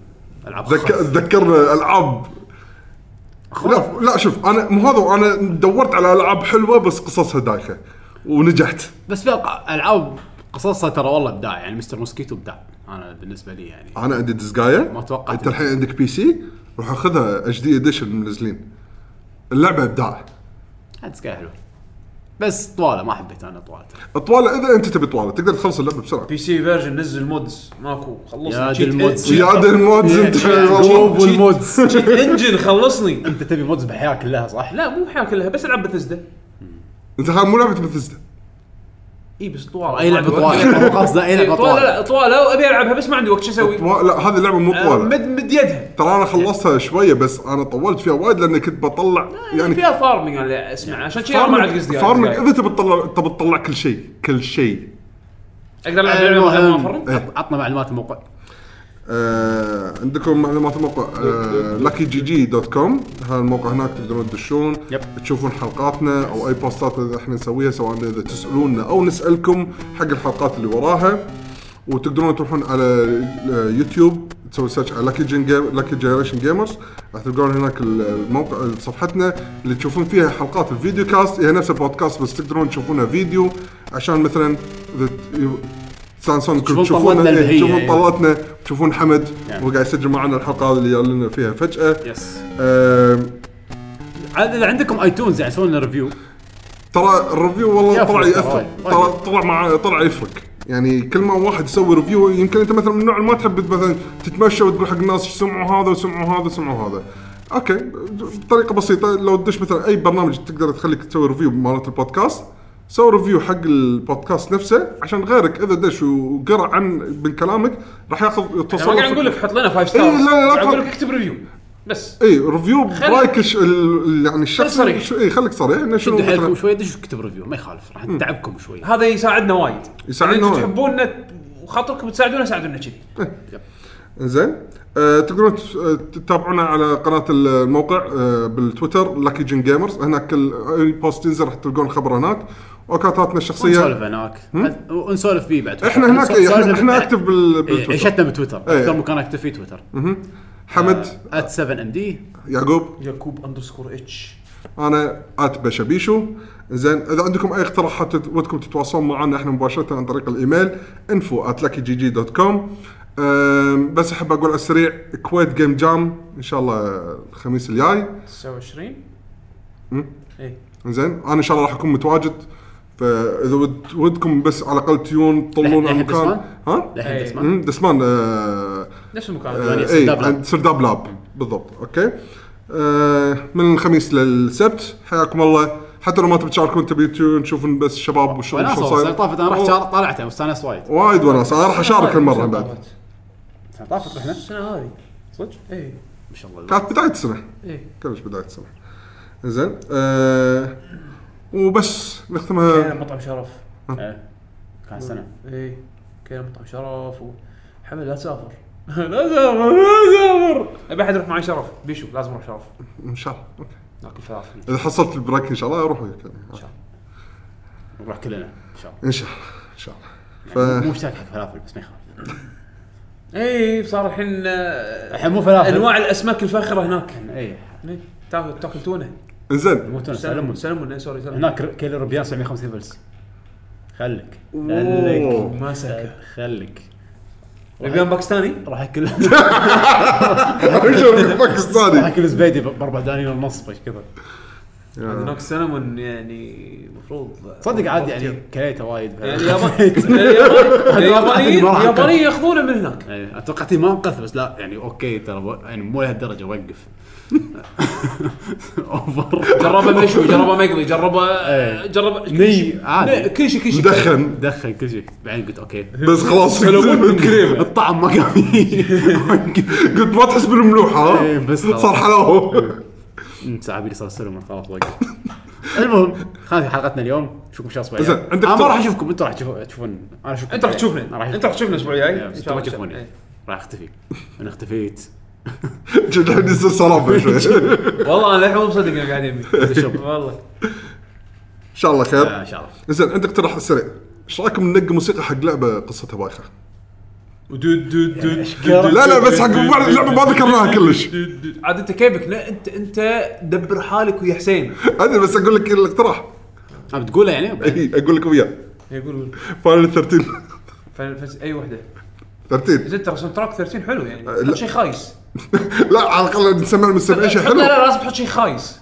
Speaker 1: العاب
Speaker 2: ذكرنا العاب لا لا شوف انا مو هذا انا دورت على العاب حلوه بس قصصها دايخه ونجحت
Speaker 1: بس في ألع- العاب قصصها ترى والله ابداع يعني مستر موسكيتو ابداع انا بالنسبه لي يعني
Speaker 2: انا عندي دزقايه
Speaker 1: ما توقعت.
Speaker 2: انت الحين عندك بي سي روح خذها اتش دي اديشن منزلين اللعبه ابداع
Speaker 1: هاد سكاي حلو بس طواله ما حبيت انا طوالته
Speaker 2: طوال اذا انت تبي طواله تقدر تخلص اللعبه بسرعه
Speaker 3: بي سي فيرجن نزل مودز ماكو خلصنا
Speaker 1: يا
Speaker 3: تشيت
Speaker 1: دي المودز.
Speaker 3: إنجن.
Speaker 2: يا دي المودز انت والله.
Speaker 1: والمودز
Speaker 3: تشيت انجن خلصني
Speaker 1: انت تبي مودز بالحياه كلها صح؟
Speaker 3: لا مو حياه كلها بس العب بثزدا
Speaker 2: انت هاي مو لعبه بثزدا
Speaker 3: اي بس طوال
Speaker 1: اي لعبه طواله مو قصده اي لعبه
Speaker 3: طوال
Speaker 1: طواله
Speaker 3: لا طوال وابي العبها بس ما عندي وقت شو اسوي؟
Speaker 2: طوا- لا هذه اللعبه مو
Speaker 3: آه،
Speaker 2: طواله
Speaker 3: مد مد يدها
Speaker 2: ترى انا خلصتها شويه بس انا طولت فيها وايد لان كنت بطلع
Speaker 3: يعني
Speaker 2: يعني
Speaker 3: فيها فارمنج انا اسمع عشان كذا ما عاد
Speaker 2: فارمك
Speaker 3: قصدي يعني.
Speaker 2: فارمك
Speaker 3: اقدر
Speaker 2: اذا تبي تطلع تبي تطلع كل شيء كل شيء
Speaker 3: العب
Speaker 1: أيوة،
Speaker 3: لعبه من غير ما
Speaker 1: المهم
Speaker 3: افرم؟
Speaker 1: عط- عطنا معلومات الموقع
Speaker 2: آه، عندكم معلومات آه، الموقع
Speaker 1: إيه،
Speaker 2: لاكي جي جي دوت كوم هذا الموقع هناك تقدرون تدشون
Speaker 1: يب.
Speaker 2: تشوفون حلقاتنا او اي بوستات اللي احنا نسويها سواء اذا تسالونا او نسالكم حق الحلقات اللي وراها وتقدرون تروحون على آه، يوتيوب تسوي سيرش على لاكي جين جيم لاكي جنريشن جيمرز راح تلقون هناك الموقع صفحتنا اللي تشوفون فيها حلقات الفيديو كاست هي نفس البودكاست بس تقدرون تشوفونها فيديو عشان مثلا اذا تستانسون
Speaker 1: تشوفون
Speaker 2: تشوفون
Speaker 1: طلتنا البهية،
Speaker 2: تشوفون
Speaker 1: يعني.
Speaker 2: طلعتنا تشوفون حمد
Speaker 1: نعم.
Speaker 2: هو قاعد يسجل معنا الحلقه اللي يعلنا فيها فجاه
Speaker 1: يس
Speaker 2: آم،
Speaker 1: عاد اذا عندكم ايتونز يعني سووا لنا ريفيو
Speaker 2: ترى الريفيو والله
Speaker 1: يا
Speaker 2: طلع
Speaker 1: فلوس
Speaker 2: ياثر
Speaker 1: وايد.
Speaker 2: طلع طلع مع طلع يفرق يعني كل ما واحد يسوي ريفيو يمكن انت مثلا من النوع اللي ما تحب مثلا تتمشى وتقول حق الناس "إيش سمعوا هذا وسمعوا هذا وسمعوا هذا اوكي بطريقه بسيطه لو تدش مثلا اي برنامج تقدر تخليك تسوي ريفيو مالت البودكاست سوي ريفيو حق البودكاست نفسه عشان غيرك اذا دش وقرا عن من كلامك راح ياخذ
Speaker 3: أنا يعني ما قاعد
Speaker 2: يتصور
Speaker 3: نقول لك حط لنا فايف
Speaker 2: إي، إيه، لا، لا، لا،
Speaker 3: ستار اقول
Speaker 2: لا.
Speaker 3: لك اكتب ريفيو بس
Speaker 2: اي ريفيو برايك الش- ال- ال- يعني الشخص
Speaker 3: صريح.
Speaker 2: شو- اي خليك صريح انه شنو
Speaker 1: شدوا حيلكم
Speaker 2: مثلا
Speaker 1: شويه دشوا اكتب ريفيو ما يخالف راح نتعبكم شوي
Speaker 3: هذا يساعدنا وايد يعني
Speaker 2: يساعدنا
Speaker 3: إذا أنتم
Speaker 2: وايد.
Speaker 3: تحبونا وخاطركم تساعدونا ساعدونا كذي
Speaker 2: زين آه، تقدرون تس- آه، تتابعونا على قناه الموقع آه، بالتويتر لاكي جين جيمرز هناك كل اي بوست ينزل راح تلقون خبر هناك واكونتاتنا
Speaker 1: ونسولف
Speaker 2: الشخصيه
Speaker 1: هناك ونسولف فيه بعد
Speaker 2: احنا هناك إي، احنا احنا اكتف بال-
Speaker 1: إيه،
Speaker 2: بالتويتر
Speaker 1: عيشتنا بتويتر
Speaker 2: إيه.
Speaker 1: اكثر مكان اكتب فيه تويتر
Speaker 2: حمد
Speaker 1: ات 7 ام دي
Speaker 2: يعقوب
Speaker 3: يعقوب اندرسكور اتش
Speaker 2: انا ات بشبيشو زين اذا عندكم اي اقتراحات تت- ودكم تتواصلون معنا احنا مباشره عن طريق الايميل info at luckygg.com أم، بس احب اقول على السريع كويت جيم جام ان شاء الله الخميس الجاي
Speaker 3: 29 اي
Speaker 2: زين انا ان شاء الله راح اكون متواجد فاذا ود- ودكم بس على الاقل تيون تطلعون
Speaker 1: لح-
Speaker 2: على
Speaker 1: لحد
Speaker 2: المكان
Speaker 1: دسمان؟
Speaker 2: ها؟
Speaker 1: لحين
Speaker 3: إيه.
Speaker 1: تسمع
Speaker 2: أم، دسمان آه،
Speaker 3: نفس المكان
Speaker 1: ثانية،
Speaker 2: آه،
Speaker 1: سرداب
Speaker 2: اي
Speaker 1: لاب.
Speaker 2: عند سرداب لاب بالضبط اوكي آه، من الخميس للسبت حياكم الله حتى لو ما تبي تشاركون تبي تيون تشوفون بس الشباب وشو
Speaker 1: وناسه
Speaker 2: شو
Speaker 1: والله، طافت انا رحت
Speaker 2: والله
Speaker 1: شار- طالعتها واستانست وايد
Speaker 2: وايد وناس انا راح اشارك هالمره بعد
Speaker 1: طافت رحنا
Speaker 3: السنه هذه
Speaker 5: صدق؟
Speaker 3: اي
Speaker 1: ما شاء الله
Speaker 2: كانت بدايه السنه
Speaker 3: اي
Speaker 2: كلش بدايه السنه زين آه وبس
Speaker 3: كان
Speaker 2: نختمها
Speaker 3: مطعم شرف
Speaker 1: إيه. كان سنه
Speaker 2: آه.
Speaker 3: اي كان مطعم شرف وحمد لا تسافر لا تسافر لا تسافر ابي احد يروح معي شرف بيشو لازم اروح شرف
Speaker 2: ان شاء الله أوكي.
Speaker 3: ناكل فلافل
Speaker 2: اذا حصلت البريك ان شاء الله اروح وياك
Speaker 3: شاء الله.
Speaker 1: نروح كلنا ان شاء الله
Speaker 2: ان شاء الله ان شاء الله
Speaker 1: يعني مو
Speaker 2: ف
Speaker 1: مشتاق حق فلافل بس ما يخالف
Speaker 3: اي إيه، صار الحين آه،
Speaker 1: الحين مو فلافل
Speaker 3: انواع الاسماك الفاخره هناك
Speaker 1: اي
Speaker 3: إيه، تاكل تاكل تونه
Speaker 2: زين
Speaker 1: مو تونس
Speaker 3: سلمون
Speaker 1: سلمون
Speaker 3: سلمون إيه، سوري سلمون
Speaker 1: هناك كيلو ربيان 750 فلس خلك
Speaker 2: أوه.
Speaker 1: خلك
Speaker 3: ما سكه
Speaker 1: خلك
Speaker 3: ربيان باكستاني
Speaker 1: راح اكل
Speaker 2: شوف
Speaker 1: راح
Speaker 2: باكستاني
Speaker 1: اكل زبيدي ب- باربع دنانير ونص بش كذا
Speaker 3: هناك سلمون يعني المفروض
Speaker 1: صدق عادي يعني كليته وايد
Speaker 3: يعني اليابان- اليابان- اليابانيين
Speaker 1: ما راح أكل.
Speaker 3: اليابانيين ياخذونه من هناك
Speaker 1: يعني توقعت ما انقذ بس لا يعني اوكي ترى و- يعني مو لهالدرجه وقف اوفر
Speaker 3: جربه مشوي جربه مقلي جربه
Speaker 1: إيه.
Speaker 3: جربه كل
Speaker 1: ني،
Speaker 3: شيء.
Speaker 1: عادي.
Speaker 3: ني، كل شيء كل شيء
Speaker 2: مدخن
Speaker 1: دخل كل شيء بعدين قلت اوكي
Speaker 2: بس خلاص قلت
Speaker 1: الطعم ما كان فيه.
Speaker 2: ما تحس بالملوحه
Speaker 1: إيه،
Speaker 2: ها
Speaker 1: بس خلاص.
Speaker 2: صار حلاوه
Speaker 1: أمم، ساعه بيلي صار سلم خلاص وقف المهم هذه حلقتنا اليوم نشوفكم شهر اسبوع
Speaker 2: زين، عندك
Speaker 1: انا ما
Speaker 2: تر-
Speaker 1: راح اشوفكم انتم راح تشوفون تشوفون انا اشوفكم
Speaker 5: انت راح
Speaker 1: أنا راح
Speaker 5: تشوفنا انت راح تشوفنا الاسبوع الجاي
Speaker 1: انتم ما تشوفوني إيه. راح اختفي انا اختفيت
Speaker 2: جد الحين يصير سرابه شوي
Speaker 1: إيه.
Speaker 5: والله انا للحين مو مصدق انه قاعد يمي
Speaker 1: شوف.
Speaker 5: والله
Speaker 2: ان شاء الله
Speaker 1: آه،
Speaker 2: خير
Speaker 1: ان شاء الله
Speaker 2: زين عندك اقتراح سريع ايش رايكم ننقي موسيقى حق لعبه قصتها بايخه؟
Speaker 3: يعني
Speaker 2: لا لا بس حق بعض- لعبه ما ذكرناها كلش
Speaker 3: عاد انت كيفك لا، انت انت دبر حالك ويا حسين
Speaker 2: انا بس اقول لك الاقتراح
Speaker 1: عم بتقوله يعني
Speaker 2: إي، اقول لكم اياه
Speaker 3: يقول
Speaker 2: فاينل 13
Speaker 3: اي وحده
Speaker 2: 13
Speaker 3: زين ترى ساوند تراك 13 حلو يعني
Speaker 2: لا.
Speaker 3: حط شيء خايس
Speaker 2: لا على الاقل نسمع المستمعين شيء
Speaker 3: حط- لا
Speaker 2: حلو
Speaker 3: لا لازم تحط شيء خايس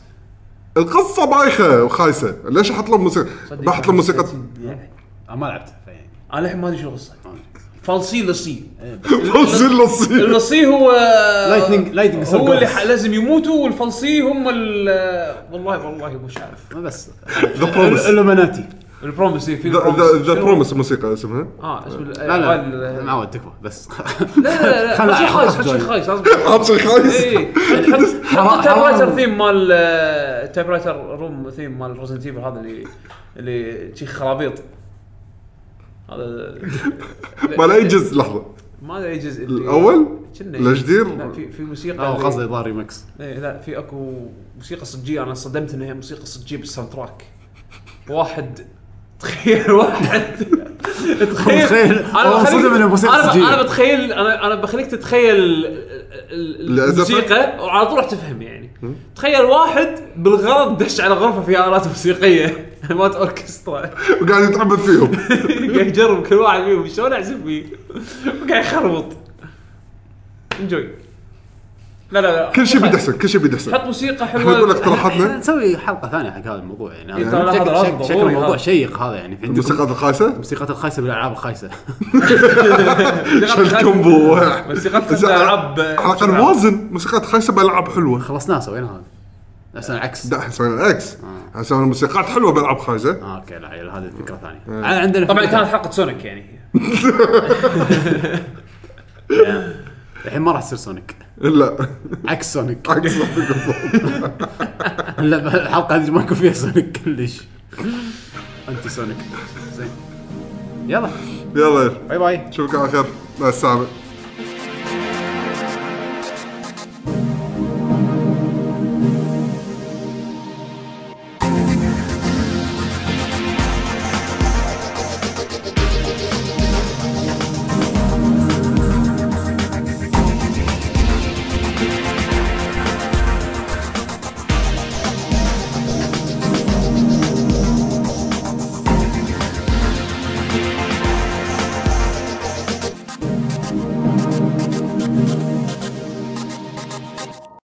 Speaker 2: القصه بايخه وخايسه ليش احط لهم موسيقى؟ بحط لهم موسيقى
Speaker 1: أنا ما لعبت يعني، فيعني
Speaker 3: انا يعني الحين ما ادري شو القصه فالسي لصي
Speaker 2: فوزين للصين
Speaker 3: النصي هو
Speaker 1: Lightning- Lightning
Speaker 3: هو اللي
Speaker 1: Circles.
Speaker 3: ح- لازم يموتوا والفلصي هم ال والله والله مش عارف
Speaker 1: ما بس
Speaker 2: ذا بروميس
Speaker 1: الومناتي
Speaker 3: البروميس إيه، في
Speaker 2: ذا
Speaker 3: شنو؟
Speaker 2: بروميس الموسيقى اسمها
Speaker 3: اه اسم ال-
Speaker 1: لا
Speaker 3: آه،
Speaker 1: لا
Speaker 3: ال-
Speaker 1: معود تكفى بس
Speaker 3: لا لا لا
Speaker 1: خلنا-
Speaker 3: حط شيء خايس حط شيء
Speaker 1: خلنا-
Speaker 3: خايس لازم
Speaker 2: عرفت شيء خايس
Speaker 3: اي
Speaker 1: إيه.
Speaker 3: حط- حط
Speaker 1: حرام.
Speaker 3: التايب رايتر ثيم مال آه، تايب رايتر روم ثيم مال ريزنت ايفل هذا اللي اللي شي خرابيط هذا
Speaker 2: ما لا يجز لحظه
Speaker 3: ما ادري اي جزء اللي-
Speaker 2: الاول
Speaker 3: كنا-
Speaker 2: الجدير؟
Speaker 3: لا، في في موسيقى
Speaker 1: او
Speaker 3: اللي-
Speaker 1: قصدي ضاري مكس
Speaker 3: ايه لا في اكو موسيقى صجيه انا صدمت انها هي موسيقى صجيه بالساوند تراك واحد تخيل واحد
Speaker 1: متخيل- هو
Speaker 3: بخليك-
Speaker 1: منصدم إنها موسيقى
Speaker 3: أنا-
Speaker 1: صجية.
Speaker 3: انا بتخيل انا انا بخليك تتخيل ال- ال-
Speaker 2: الأزفة؟
Speaker 3: الموسيقى وعلى طول راح تفهم يعني تخيل واحد بالغلط دش على غرفه فيها الات موسيقيه مات اوركسترا
Speaker 2: وقاعد يتعبد فيهم
Speaker 3: قاعد يجرب كل واحد فيهم شلون اعزف فيه وقاعد يخربط انجوي لا لا لا
Speaker 2: كل شيء بده احسن كل شيء بده احسن
Speaker 3: حط موسيقى
Speaker 2: احنا
Speaker 3: حلوه
Speaker 2: نقول اقتراحاتنا
Speaker 1: إيه، نسوي حلقه ثانيه حق هذا الموضوع يعني
Speaker 3: إيه، طبعاً
Speaker 1: هذا
Speaker 3: هذا
Speaker 1: شكل-
Speaker 3: لازم
Speaker 1: شكل- شكل
Speaker 3: ضروري
Speaker 1: الموضوع
Speaker 3: هذا.
Speaker 1: شيق هذا يعني عندكم
Speaker 2: الموسيقى الخايسه
Speaker 1: موسيقات الخايسه بالالعاب الخايسه
Speaker 2: شل كومبو
Speaker 3: موسيقى
Speaker 2: زين،
Speaker 3: العاب
Speaker 2: على الاقل وازن موسيقات خايسه بالعاب حلوه
Speaker 1: خلصناه سوينا هذا بس أنا العكس
Speaker 2: لا احنا سوينا العكس احنا سوينا موسيقات حلوه بالعاب خايسه
Speaker 1: آه، اوكي لا عيل، هذه فكره ثانيه أنا عندنا
Speaker 3: طبعا
Speaker 1: فكرة
Speaker 3: كانت حلقه سونيك يعني
Speaker 1: ثانية. يعني الحين ما راح تصير سونيك
Speaker 2: لا
Speaker 1: عكس سونيك
Speaker 2: عكس
Speaker 1: اللعبة- الحلقه هذه ما يكون فيها سونيك كلش انتي سونيك زين يلا
Speaker 2: يلا
Speaker 1: باي باي
Speaker 2: نشوفك على خير مع السلامه